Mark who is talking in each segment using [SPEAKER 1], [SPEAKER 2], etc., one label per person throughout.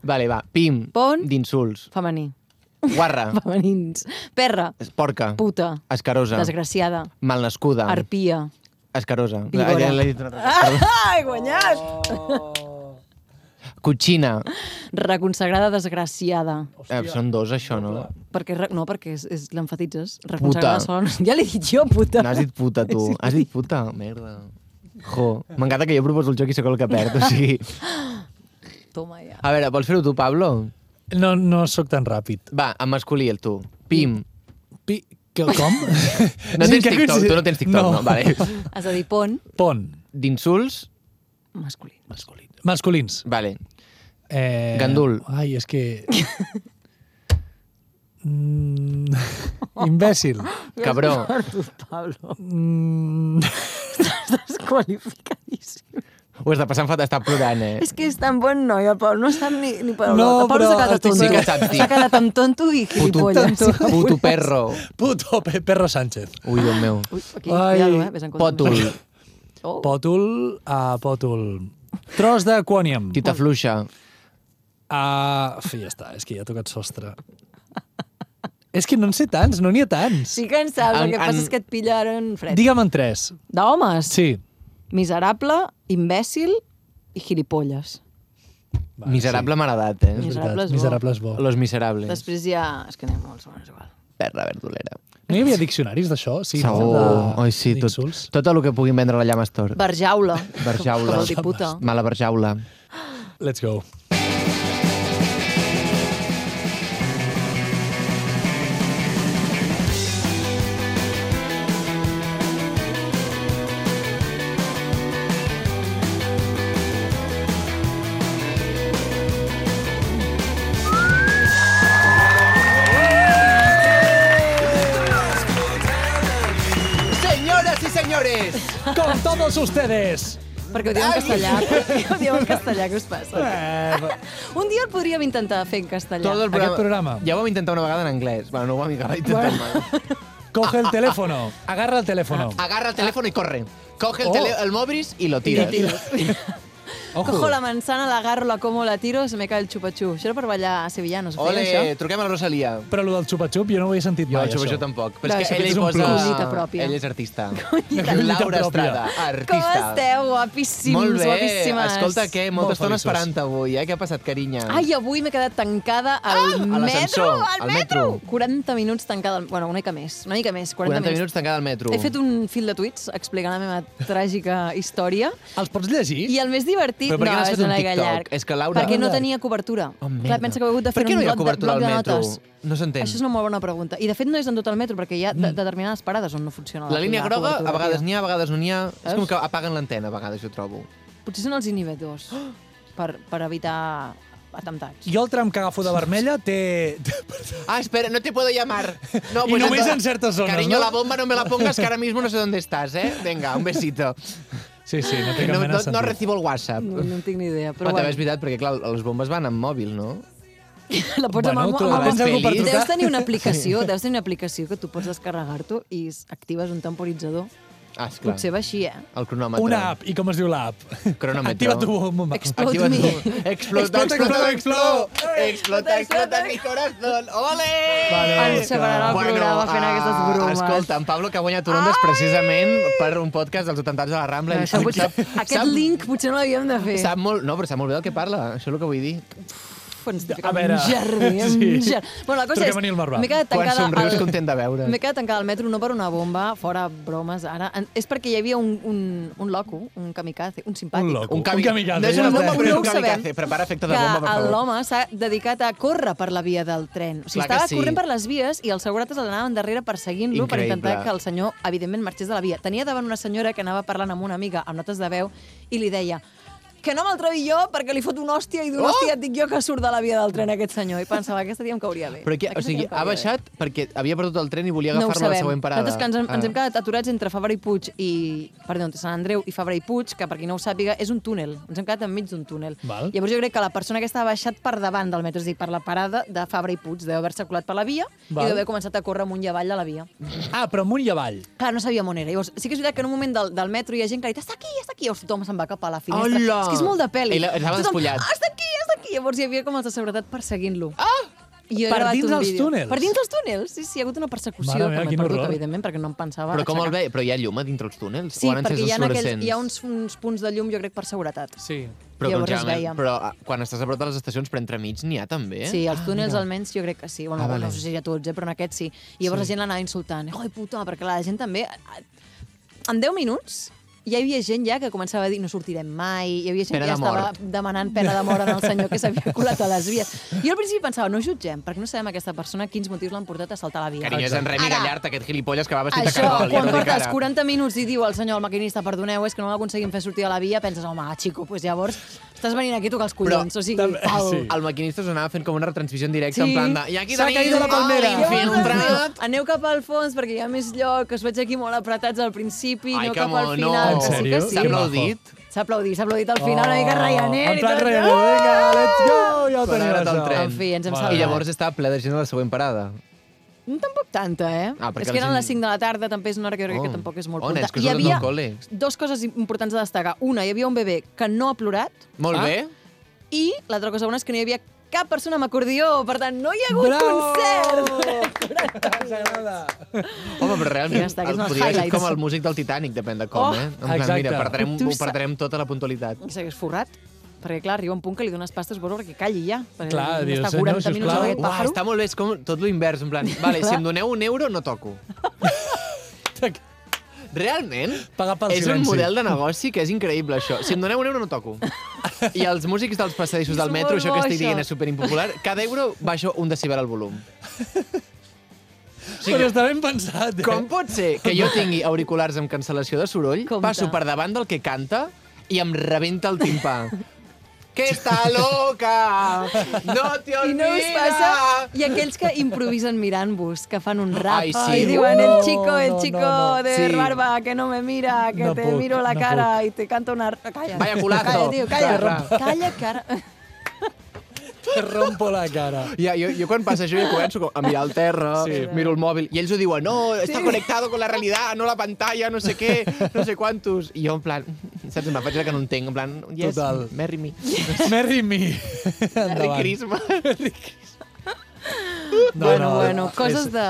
[SPEAKER 1] Vale, va. Pim.
[SPEAKER 2] Pon.
[SPEAKER 1] D'insults.
[SPEAKER 2] Femení.
[SPEAKER 1] Guarra.
[SPEAKER 2] Femenins. Perra.
[SPEAKER 1] Porca.
[SPEAKER 2] Puta.
[SPEAKER 1] Escarosa.
[SPEAKER 2] Desgraciada.
[SPEAKER 1] Malnascuda.
[SPEAKER 2] Arpia.
[SPEAKER 1] Escarosa.
[SPEAKER 2] Víbora.
[SPEAKER 1] Ja l'he dit una altra vegada.
[SPEAKER 2] Ah, he guanyat!
[SPEAKER 1] Cotxina.
[SPEAKER 2] Reconsagrada desgraciada.
[SPEAKER 1] Eh, són dos, això, no?
[SPEAKER 2] Perquè, re- no, perquè és, és l'enfatitzes.
[SPEAKER 1] Puta.
[SPEAKER 2] Reconsagrada sola. Ja l'he dit jo, puta.
[SPEAKER 1] No has dit puta, tu.
[SPEAKER 2] Sí.
[SPEAKER 1] Has dit puta, merda. Jo, m'encanta que jo proposo el joc i sóc el que perd, o sigui...
[SPEAKER 2] Toma ja.
[SPEAKER 1] A veure, vols fer-ho tu, Pablo?
[SPEAKER 3] No, no sóc tan ràpid.
[SPEAKER 1] Va, en masculí, el tu. Pim.
[SPEAKER 3] Pi... Que, com?
[SPEAKER 1] No tens TikTok, tu no tens TikTok, no, vale.
[SPEAKER 2] Has de dir pont
[SPEAKER 3] Pon.
[SPEAKER 1] D'insults,
[SPEAKER 2] masculí.
[SPEAKER 3] Masculins. Masculins.
[SPEAKER 1] vale.
[SPEAKER 3] Eh...
[SPEAKER 1] Gandul.
[SPEAKER 3] Ai, és que... Mm... Imbècil.
[SPEAKER 1] Cabró.
[SPEAKER 2] Artur Pablo.
[SPEAKER 3] Mm...
[SPEAKER 2] Estàs qualificadíssim.
[SPEAKER 1] Ho està passant fatal, està plorant, eh?
[SPEAKER 2] És que és tan bon noi, el Pol. No sap ni, ni per on.
[SPEAKER 3] No,
[SPEAKER 2] el Pol
[SPEAKER 3] però
[SPEAKER 2] s'ha quedat
[SPEAKER 3] estic
[SPEAKER 2] tonto.
[SPEAKER 1] sí que sap dir.
[SPEAKER 2] S'ha quedat amb tonto i
[SPEAKER 1] Puto,
[SPEAKER 2] gilipolles.
[SPEAKER 1] puto perro.
[SPEAKER 3] Puto pe- perro Sánchez.
[SPEAKER 1] Ui, Déu meu.
[SPEAKER 2] Ui, aquí,
[SPEAKER 3] Ai,
[SPEAKER 2] cuidado, eh? Ves en compte.
[SPEAKER 1] Pòtul,
[SPEAKER 2] Oh.
[SPEAKER 3] Pòtul a pòtul. Tros d'aquànium.
[SPEAKER 1] tita fluixa,
[SPEAKER 3] A... Fi, ja està, és que ja ha tocat sostre. és que no en sé tants, no n'hi ha tants.
[SPEAKER 2] Sí que en saps,
[SPEAKER 1] En-
[SPEAKER 2] el que
[SPEAKER 1] en-
[SPEAKER 2] passa és que et pillaren fred.
[SPEAKER 3] Digue'm en tres.
[SPEAKER 2] D'homes?
[SPEAKER 3] Sí.
[SPEAKER 2] Miserable, imbècil i gilipolles.
[SPEAKER 3] Va,
[SPEAKER 1] miserable m'agradat,
[SPEAKER 3] Sí.
[SPEAKER 1] eh?
[SPEAKER 3] És
[SPEAKER 2] Miserable
[SPEAKER 3] veritat,
[SPEAKER 2] és bo.
[SPEAKER 3] miserable és bo.
[SPEAKER 1] Los miserables.
[SPEAKER 2] Després hi ha... És que anem molts bons, igual.
[SPEAKER 1] Perra verdulera.
[SPEAKER 3] No hi havia diccionaris d'això? Sí, no?
[SPEAKER 1] Segur.
[SPEAKER 3] De-
[SPEAKER 1] Oi, sí, tot,
[SPEAKER 3] d'insults?
[SPEAKER 1] tot el que puguin vendre a la Llamastor.
[SPEAKER 2] Barjaula.
[SPEAKER 1] Barjaula.
[SPEAKER 2] Que vol dir puta.
[SPEAKER 1] Mala barjaula.
[SPEAKER 3] Let's go.
[SPEAKER 1] Senyores i senyores,
[SPEAKER 3] Con todos ustedes!
[SPEAKER 2] Perquè ho diu en castellà. Perquè ho diu en castellà, què us passa?
[SPEAKER 3] Eh,
[SPEAKER 2] Un dia el podríem intentar fer en castellà.
[SPEAKER 1] tot el programa...
[SPEAKER 3] Aquest programa.
[SPEAKER 1] Ja ho vam intentar una vegada en anglès. Bueno, no ho vam acabar intentant. Bueno.
[SPEAKER 3] coge el teléfono. Agarra el teléfono.
[SPEAKER 1] Agarra el telèfon i corre. Coge el,
[SPEAKER 3] Oh.
[SPEAKER 1] tele... el mòbris i lo tires.
[SPEAKER 2] Cojo la manzana, la agarro, la como, la tiro, se me cae el xupatxú. Això era per ballar a sevillanos. feien
[SPEAKER 1] Ole,
[SPEAKER 2] això?
[SPEAKER 1] truquem a la Rosalia.
[SPEAKER 3] Però el del xupa-xup jo no ho he sentit
[SPEAKER 1] Jo,
[SPEAKER 3] mai,
[SPEAKER 1] això,
[SPEAKER 3] això.
[SPEAKER 1] això tampoc. Però
[SPEAKER 2] Clar,
[SPEAKER 1] és
[SPEAKER 2] això
[SPEAKER 1] que ella
[SPEAKER 3] és
[SPEAKER 1] hi
[SPEAKER 3] un
[SPEAKER 1] posa...
[SPEAKER 3] plus.
[SPEAKER 2] Collita pròpia.
[SPEAKER 1] Ella és artista.
[SPEAKER 2] Collita
[SPEAKER 1] Laura
[SPEAKER 3] pròpia.
[SPEAKER 1] Estrada,
[SPEAKER 2] Com
[SPEAKER 1] artista.
[SPEAKER 2] esteu? Guapíssims,
[SPEAKER 1] Molt bé.
[SPEAKER 2] guapíssimes.
[SPEAKER 1] Escolta, què?
[SPEAKER 3] Molt
[SPEAKER 1] Molta estona
[SPEAKER 3] feliços.
[SPEAKER 1] esperant avui, eh? Què ha passat, carinyo?
[SPEAKER 2] Ai, avui m'he quedat tancada al
[SPEAKER 1] Ah! a
[SPEAKER 2] metro,
[SPEAKER 1] l'ascensor,
[SPEAKER 2] al
[SPEAKER 1] al
[SPEAKER 2] metro.
[SPEAKER 1] metro.
[SPEAKER 2] 40 minuts tancada, al- bueno, una mica més, una mica més,
[SPEAKER 1] 40
[SPEAKER 2] 40,
[SPEAKER 1] minuts tancada al metro.
[SPEAKER 2] He fet un fil de tuits explicant la meva tràgica història
[SPEAKER 3] Els pots llegir?
[SPEAKER 2] i el més divertit...
[SPEAKER 1] Però per què
[SPEAKER 2] no,
[SPEAKER 1] n'has
[SPEAKER 2] és
[SPEAKER 1] fet un
[SPEAKER 2] una mica
[SPEAKER 1] TikTok?
[SPEAKER 2] llarg.
[SPEAKER 1] És que, Laura-
[SPEAKER 2] Perquè no
[SPEAKER 3] Llarg.
[SPEAKER 2] tenia cobertura.
[SPEAKER 1] Oh, merda.
[SPEAKER 2] Clar, pensa que he hagut de
[SPEAKER 1] per
[SPEAKER 2] fer
[SPEAKER 1] què
[SPEAKER 2] un
[SPEAKER 1] no hi ha
[SPEAKER 2] bloc, de,
[SPEAKER 1] cobertura
[SPEAKER 2] bloc de
[SPEAKER 1] al metro?
[SPEAKER 2] notes.
[SPEAKER 1] No s'entén.
[SPEAKER 2] Això és una molt bona pregunta. I, de fet, no és en tot el metro, perquè hi ha de, determinades parades on no funciona la,
[SPEAKER 1] Mm. La línia groga,
[SPEAKER 2] cobertura,
[SPEAKER 1] a vegades
[SPEAKER 2] tia.
[SPEAKER 1] n'hi ha, a vegades no n'hi ha. És com
[SPEAKER 2] Veus?
[SPEAKER 1] que apaguen l'antena, a vegades, jo trobo.
[SPEAKER 2] Potser són els inhibidors per, per evitar atemptats.
[SPEAKER 3] Jo el tram que agafo de vermella té...
[SPEAKER 1] Ah, espera, no te puedo llamar. No,
[SPEAKER 3] I només en certes zones,
[SPEAKER 1] Cariño,
[SPEAKER 3] no?
[SPEAKER 1] la bomba no me la pongas, que ahora mismo no sé dónde estás, eh? Venga, un besito.
[SPEAKER 3] Sí, sí, no té cap
[SPEAKER 1] No,
[SPEAKER 3] mena
[SPEAKER 1] no,
[SPEAKER 3] de sentit.
[SPEAKER 1] no recibo el WhatsApp.
[SPEAKER 2] No, no en tinc ni idea,
[SPEAKER 1] Però
[SPEAKER 2] però
[SPEAKER 1] ah, també és
[SPEAKER 2] bueno,
[SPEAKER 1] veritat, perquè clar, les bombes van amb mòbil, no?
[SPEAKER 2] la pots
[SPEAKER 3] Bueno,
[SPEAKER 2] bueno, amb,
[SPEAKER 3] tu
[SPEAKER 2] amb,
[SPEAKER 1] abans
[SPEAKER 2] amb,
[SPEAKER 1] algú per
[SPEAKER 2] amb
[SPEAKER 3] trucar.
[SPEAKER 2] Deus tenir una aplicació, deus tenir una aplicació que tu pots descarregar-t'ho i s- actives un temporitzador.
[SPEAKER 1] Ah, esclar.
[SPEAKER 2] Potser va així, eh?
[SPEAKER 1] El cronòmetre.
[SPEAKER 3] Una app. I com es diu l'app?
[SPEAKER 1] Cronòmetre.
[SPEAKER 3] Activa tu bomba.
[SPEAKER 2] Explota.
[SPEAKER 1] Activa tu. Explota,
[SPEAKER 2] Explota,
[SPEAKER 1] explota,
[SPEAKER 3] explota,
[SPEAKER 1] explota. Explota, explota mi corazón. Ole!
[SPEAKER 3] Vale, vale,
[SPEAKER 2] Ens separarà el programa fent aquestes
[SPEAKER 1] ah,
[SPEAKER 2] bromes.
[SPEAKER 1] Escolta, en Pablo, que ha guanyat Rondes precisament per un podcast dels 80 anys de la Rambla.
[SPEAKER 2] Això
[SPEAKER 1] I
[SPEAKER 2] potser, aquest link potser no l'havíem de fer.
[SPEAKER 1] Sap molt, no, però sap molt bé del que parla, això és el que vull dir.
[SPEAKER 2] Uf, ens
[SPEAKER 3] A
[SPEAKER 2] fica
[SPEAKER 3] veure.
[SPEAKER 2] un jardí, un
[SPEAKER 3] Sí.
[SPEAKER 2] jardí. Bueno, la cosa
[SPEAKER 3] Truquem a Nil Marvà.
[SPEAKER 2] m'he quedat
[SPEAKER 1] Quan
[SPEAKER 2] tancada...
[SPEAKER 1] somrius,
[SPEAKER 2] al-
[SPEAKER 1] content de veure.
[SPEAKER 2] M'he quedat tancada al metro no per una bomba, fora bromes, ara. En- És perquè hi havia un, un, un loco, un kamikaze, un simpàtic.
[SPEAKER 3] Un loco.
[SPEAKER 1] cami-
[SPEAKER 3] kamikaze,
[SPEAKER 1] No és
[SPEAKER 3] ja
[SPEAKER 1] una
[SPEAKER 3] està.
[SPEAKER 1] bomba, però
[SPEAKER 2] No
[SPEAKER 1] és
[SPEAKER 2] ho
[SPEAKER 1] un
[SPEAKER 2] sabem.
[SPEAKER 1] kamikaze. Prepara efecte de
[SPEAKER 2] que
[SPEAKER 1] bomba, per favor.
[SPEAKER 2] l'home s'ha dedicat a córrer per la via del tren. O
[SPEAKER 1] Clar
[SPEAKER 2] sigui,
[SPEAKER 1] que
[SPEAKER 2] estava
[SPEAKER 1] sí.
[SPEAKER 2] corrent per les vies i els segurates l'anaven darrere perseguint-lo per
[SPEAKER 1] Increïble.
[SPEAKER 2] intentar que el senyor, evidentment, marxés de la via. Tenia davant una senyora que anava parlant amb una amiga amb notes de veu i li deia que no m'altrevi jo perquè li fot una hòstia i d'una
[SPEAKER 1] Oh!
[SPEAKER 2] hòstia et dic jo que surt de la via del tren aquest senyor. I pensava, aquesta tia em cauria bé.
[SPEAKER 1] Però aquí, o
[SPEAKER 2] Aquesta
[SPEAKER 1] sigui,
[SPEAKER 2] tia em
[SPEAKER 1] ha
[SPEAKER 2] cauria bé.
[SPEAKER 1] baixat perquè havia perdut el tren i volia
[SPEAKER 2] No ho
[SPEAKER 1] agafar-lo a la
[SPEAKER 2] sabem.
[SPEAKER 1] següent parada.
[SPEAKER 2] Nosaltres que ens, ens hem
[SPEAKER 1] Ah.
[SPEAKER 2] quedat aturats entre Fabra i Puig i... Perdó, entre Sant Andreu i Fabra i Puig, que per qui no ho sàpiga, és un túnel. Ens hem quedat enmig d'un túnel.
[SPEAKER 3] Val.
[SPEAKER 2] Llavors jo crec que la persona que estava baixat per davant del metro, és a dir, per la parada de Fabra i Puig, deu haver-se colat per la via
[SPEAKER 3] Val.
[SPEAKER 2] i deu haver començat a córrer amunt i avall de la via.
[SPEAKER 3] Ah, però amunt i avall.
[SPEAKER 2] Clar, no sabíem on era. Llavors, sí que és veritat que en un moment del, del metro hi ha gent que ha dit està aquí, està aquí. Llavors tothom se'n va cap a la finestra.
[SPEAKER 1] Hola!
[SPEAKER 2] És que és molt de pel·li.
[SPEAKER 1] Ell estava
[SPEAKER 2] Tothom,
[SPEAKER 1] despullat.
[SPEAKER 2] "Ah, Està aquí, està aquí. llavors hi havia com els de seguretat perseguint-lo. Ah! Jo he
[SPEAKER 3] Per
[SPEAKER 2] gravat
[SPEAKER 3] dins
[SPEAKER 2] un
[SPEAKER 3] dels
[SPEAKER 2] vídeo.
[SPEAKER 3] túnels?
[SPEAKER 2] Per dins dels túnels, sí, sí, hi ha hagut una persecució
[SPEAKER 3] Mare meva,
[SPEAKER 2] que m'he
[SPEAKER 3] quin
[SPEAKER 2] perdut,
[SPEAKER 3] horror.
[SPEAKER 2] evidentment, perquè no em pensava...
[SPEAKER 1] Però com el
[SPEAKER 2] aixecar-
[SPEAKER 1] ve? Però hi ha llum a dintre els túnels?
[SPEAKER 2] Sí,
[SPEAKER 1] o han
[SPEAKER 2] perquè
[SPEAKER 1] encès
[SPEAKER 2] hi ha,
[SPEAKER 1] els
[SPEAKER 2] aquells, hi ha
[SPEAKER 1] fluorescents?
[SPEAKER 2] uns, uns punts de llum, jo crec, per seguretat.
[SPEAKER 3] Sí.
[SPEAKER 1] Però,
[SPEAKER 2] llavors es
[SPEAKER 1] congeladament-
[SPEAKER 2] veia.
[SPEAKER 1] però ah, quan estàs a prop de les estacions, però entremig n'hi ha també.
[SPEAKER 2] Sí, els túnels almenys jo crec que sí. Bueno,
[SPEAKER 1] Eh? Ah,
[SPEAKER 2] ah,
[SPEAKER 1] vale.
[SPEAKER 2] No sé si a tots, eh, però en aquest sí. I llavors sí. la gent l'anava insultant. Oi, puta, perquè la gent també... En 10 minuts ja hi havia gent ja que començava a dir no sortirem mai, hi havia gent
[SPEAKER 1] Pena
[SPEAKER 2] que ja
[SPEAKER 1] de
[SPEAKER 2] estava
[SPEAKER 1] mort.
[SPEAKER 2] demanant pena de mort en el senyor que s'havia colat a les vies. Jo al principi pensava, no jutgem, perquè no sabem aquesta persona quins motius l'han portat a saltar la via.
[SPEAKER 1] Carinyo, és en Remi
[SPEAKER 2] Ara,
[SPEAKER 1] Gallart, aquest gilipolles que va vestit de
[SPEAKER 2] Això,
[SPEAKER 1] cargol. ja
[SPEAKER 2] quan
[SPEAKER 1] no dic
[SPEAKER 2] portes
[SPEAKER 1] ara.
[SPEAKER 2] 40 minuts i diu al senyor, el maquinista, perdoneu, és que no l'aconseguim fer sortir a la via, penses, home, xico, doncs llavors estàs venint aquí a tocar els collons. o sigui,
[SPEAKER 3] també-
[SPEAKER 2] pau.
[SPEAKER 3] sí.
[SPEAKER 1] El maquinista us anava fent com una retransmissió en directe,
[SPEAKER 2] Sí.
[SPEAKER 1] en plan de... I aquí
[SPEAKER 3] S'ha
[SPEAKER 1] tenim
[SPEAKER 3] caído la palmera."
[SPEAKER 1] l'infiltrat.
[SPEAKER 2] Aneu cap al fons perquè hi ha més lloc, us veig aquí molt apretats al principi,
[SPEAKER 1] Ai,
[SPEAKER 2] aneu
[SPEAKER 1] que
[SPEAKER 2] cap al
[SPEAKER 1] mono.
[SPEAKER 2] final.
[SPEAKER 3] En
[SPEAKER 2] que sí que
[SPEAKER 3] sèrio?
[SPEAKER 2] sí.
[SPEAKER 1] S'ha
[SPEAKER 3] Que
[SPEAKER 2] S'ha
[SPEAKER 3] maco.
[SPEAKER 1] aplaudit.
[SPEAKER 2] aplaudit, s'ha aplaudit al final, una mica Ryanair.
[SPEAKER 3] Oh. En
[SPEAKER 2] i
[SPEAKER 3] plan eh?
[SPEAKER 2] tot.
[SPEAKER 3] Ryanair, Ah! vinga, let's go! Ja ho
[SPEAKER 1] Quan ha
[SPEAKER 3] tenim,
[SPEAKER 1] anat el
[SPEAKER 3] això.
[SPEAKER 1] tren.
[SPEAKER 2] En fi, ens hem
[SPEAKER 3] Vale.
[SPEAKER 2] salvat.
[SPEAKER 1] I llavors estava ple de gent a la següent parada.
[SPEAKER 2] No Tampoc tanta, eh?
[SPEAKER 1] Ah, perquè
[SPEAKER 2] és que
[SPEAKER 1] la
[SPEAKER 2] eren
[SPEAKER 1] gent-
[SPEAKER 2] les 5 de la tarda, també és una hora que jo crec
[SPEAKER 1] Oh.
[SPEAKER 2] que tampoc és molt
[SPEAKER 1] Oh,
[SPEAKER 2] punta.
[SPEAKER 1] nens que
[SPEAKER 2] hi
[SPEAKER 1] surten del
[SPEAKER 2] havia
[SPEAKER 1] col·le.
[SPEAKER 2] dues coses importants a destacar. Una, hi havia un bebè que no ha plorat,
[SPEAKER 1] Molt
[SPEAKER 3] Ah.
[SPEAKER 1] bé.
[SPEAKER 2] i l'altra cosa bona és que no hi havia cap persona amb acordió, per tant, no hi ha hagut concert!
[SPEAKER 3] Ens agrada.
[SPEAKER 1] Home, però realment,
[SPEAKER 2] Ja està, aquests
[SPEAKER 1] el
[SPEAKER 2] són els
[SPEAKER 1] podria ser
[SPEAKER 2] highlights.
[SPEAKER 1] com el músic del Titanic, depèn de com,
[SPEAKER 2] Oh,
[SPEAKER 1] eh? En plan,
[SPEAKER 3] exacte.
[SPEAKER 1] mira, perdrem,
[SPEAKER 2] Tu
[SPEAKER 1] ho
[SPEAKER 2] sa-
[SPEAKER 1] perdrem tota la puntualitat.
[SPEAKER 2] s'hagués forrat. Perquè, clar, arriba un punt que li dones pastes vols perquè calli ja. Perquè
[SPEAKER 3] Clar,
[SPEAKER 2] hem
[SPEAKER 3] dius,
[SPEAKER 2] d'estar
[SPEAKER 3] senyor,
[SPEAKER 2] 40 minuts
[SPEAKER 3] sisplau.
[SPEAKER 2] amb aquest
[SPEAKER 1] Uah,
[SPEAKER 2] pàjaro.
[SPEAKER 1] està molt bé, és com tot l'invers, en plan, vale, si em doneu un euro, no toco. Realment,
[SPEAKER 3] Pagar pel
[SPEAKER 1] és un
[SPEAKER 3] silenci.
[SPEAKER 1] model de negoci que és increïble, això. Si em doneu un euro, no toco. I els músics dels passadissos
[SPEAKER 2] És
[SPEAKER 1] del metro,
[SPEAKER 2] molt
[SPEAKER 1] això
[SPEAKER 2] bo,
[SPEAKER 1] que estic
[SPEAKER 2] això.
[SPEAKER 1] dient és superimpopular, cada euro baixo un decibel al volum.
[SPEAKER 3] Sí, Però està ben pensat, eh?
[SPEAKER 1] Com pot ser que jo tingui auriculars amb cancel·lació de soroll,
[SPEAKER 2] Compte.
[SPEAKER 1] passo per davant del que canta i em rebenta el timpà? que està loca! No te olvides!
[SPEAKER 2] I no us passa... I aquells que improvisen mirant-vos, que fan un rap,
[SPEAKER 1] Ai,
[SPEAKER 2] i
[SPEAKER 1] sí.
[SPEAKER 2] diuen el
[SPEAKER 3] No,
[SPEAKER 2] chico, el
[SPEAKER 3] Uh, no,
[SPEAKER 2] chico
[SPEAKER 3] no, no.
[SPEAKER 2] de
[SPEAKER 1] Sí.
[SPEAKER 2] barba, que no me mira, que
[SPEAKER 3] No
[SPEAKER 2] te
[SPEAKER 3] puc,
[SPEAKER 2] miro la
[SPEAKER 3] no
[SPEAKER 2] cara i te canta una... Calla.
[SPEAKER 1] Vaya culazo.
[SPEAKER 2] Calla, tio, calla.
[SPEAKER 1] Terra.
[SPEAKER 2] Calla, cara.
[SPEAKER 3] Te rompo la cara.
[SPEAKER 1] Ja, jo, jo quan passa això jo començo com a mirar al terra, sí.
[SPEAKER 3] Sí.
[SPEAKER 1] miro el mòbil, i ells ho diuen, no, està sí. connectado con la realidad, no la pantalla, no sé què, no sé quantos. I jo en plan, saps, em faig la que no entenc, en plan, yes,
[SPEAKER 3] Total.
[SPEAKER 1] marry me.
[SPEAKER 3] Marry me.
[SPEAKER 1] Merry
[SPEAKER 3] Endavant.
[SPEAKER 1] Christmas.
[SPEAKER 3] No,
[SPEAKER 2] bueno,
[SPEAKER 3] no,
[SPEAKER 2] bueno,
[SPEAKER 3] és-
[SPEAKER 2] coses de...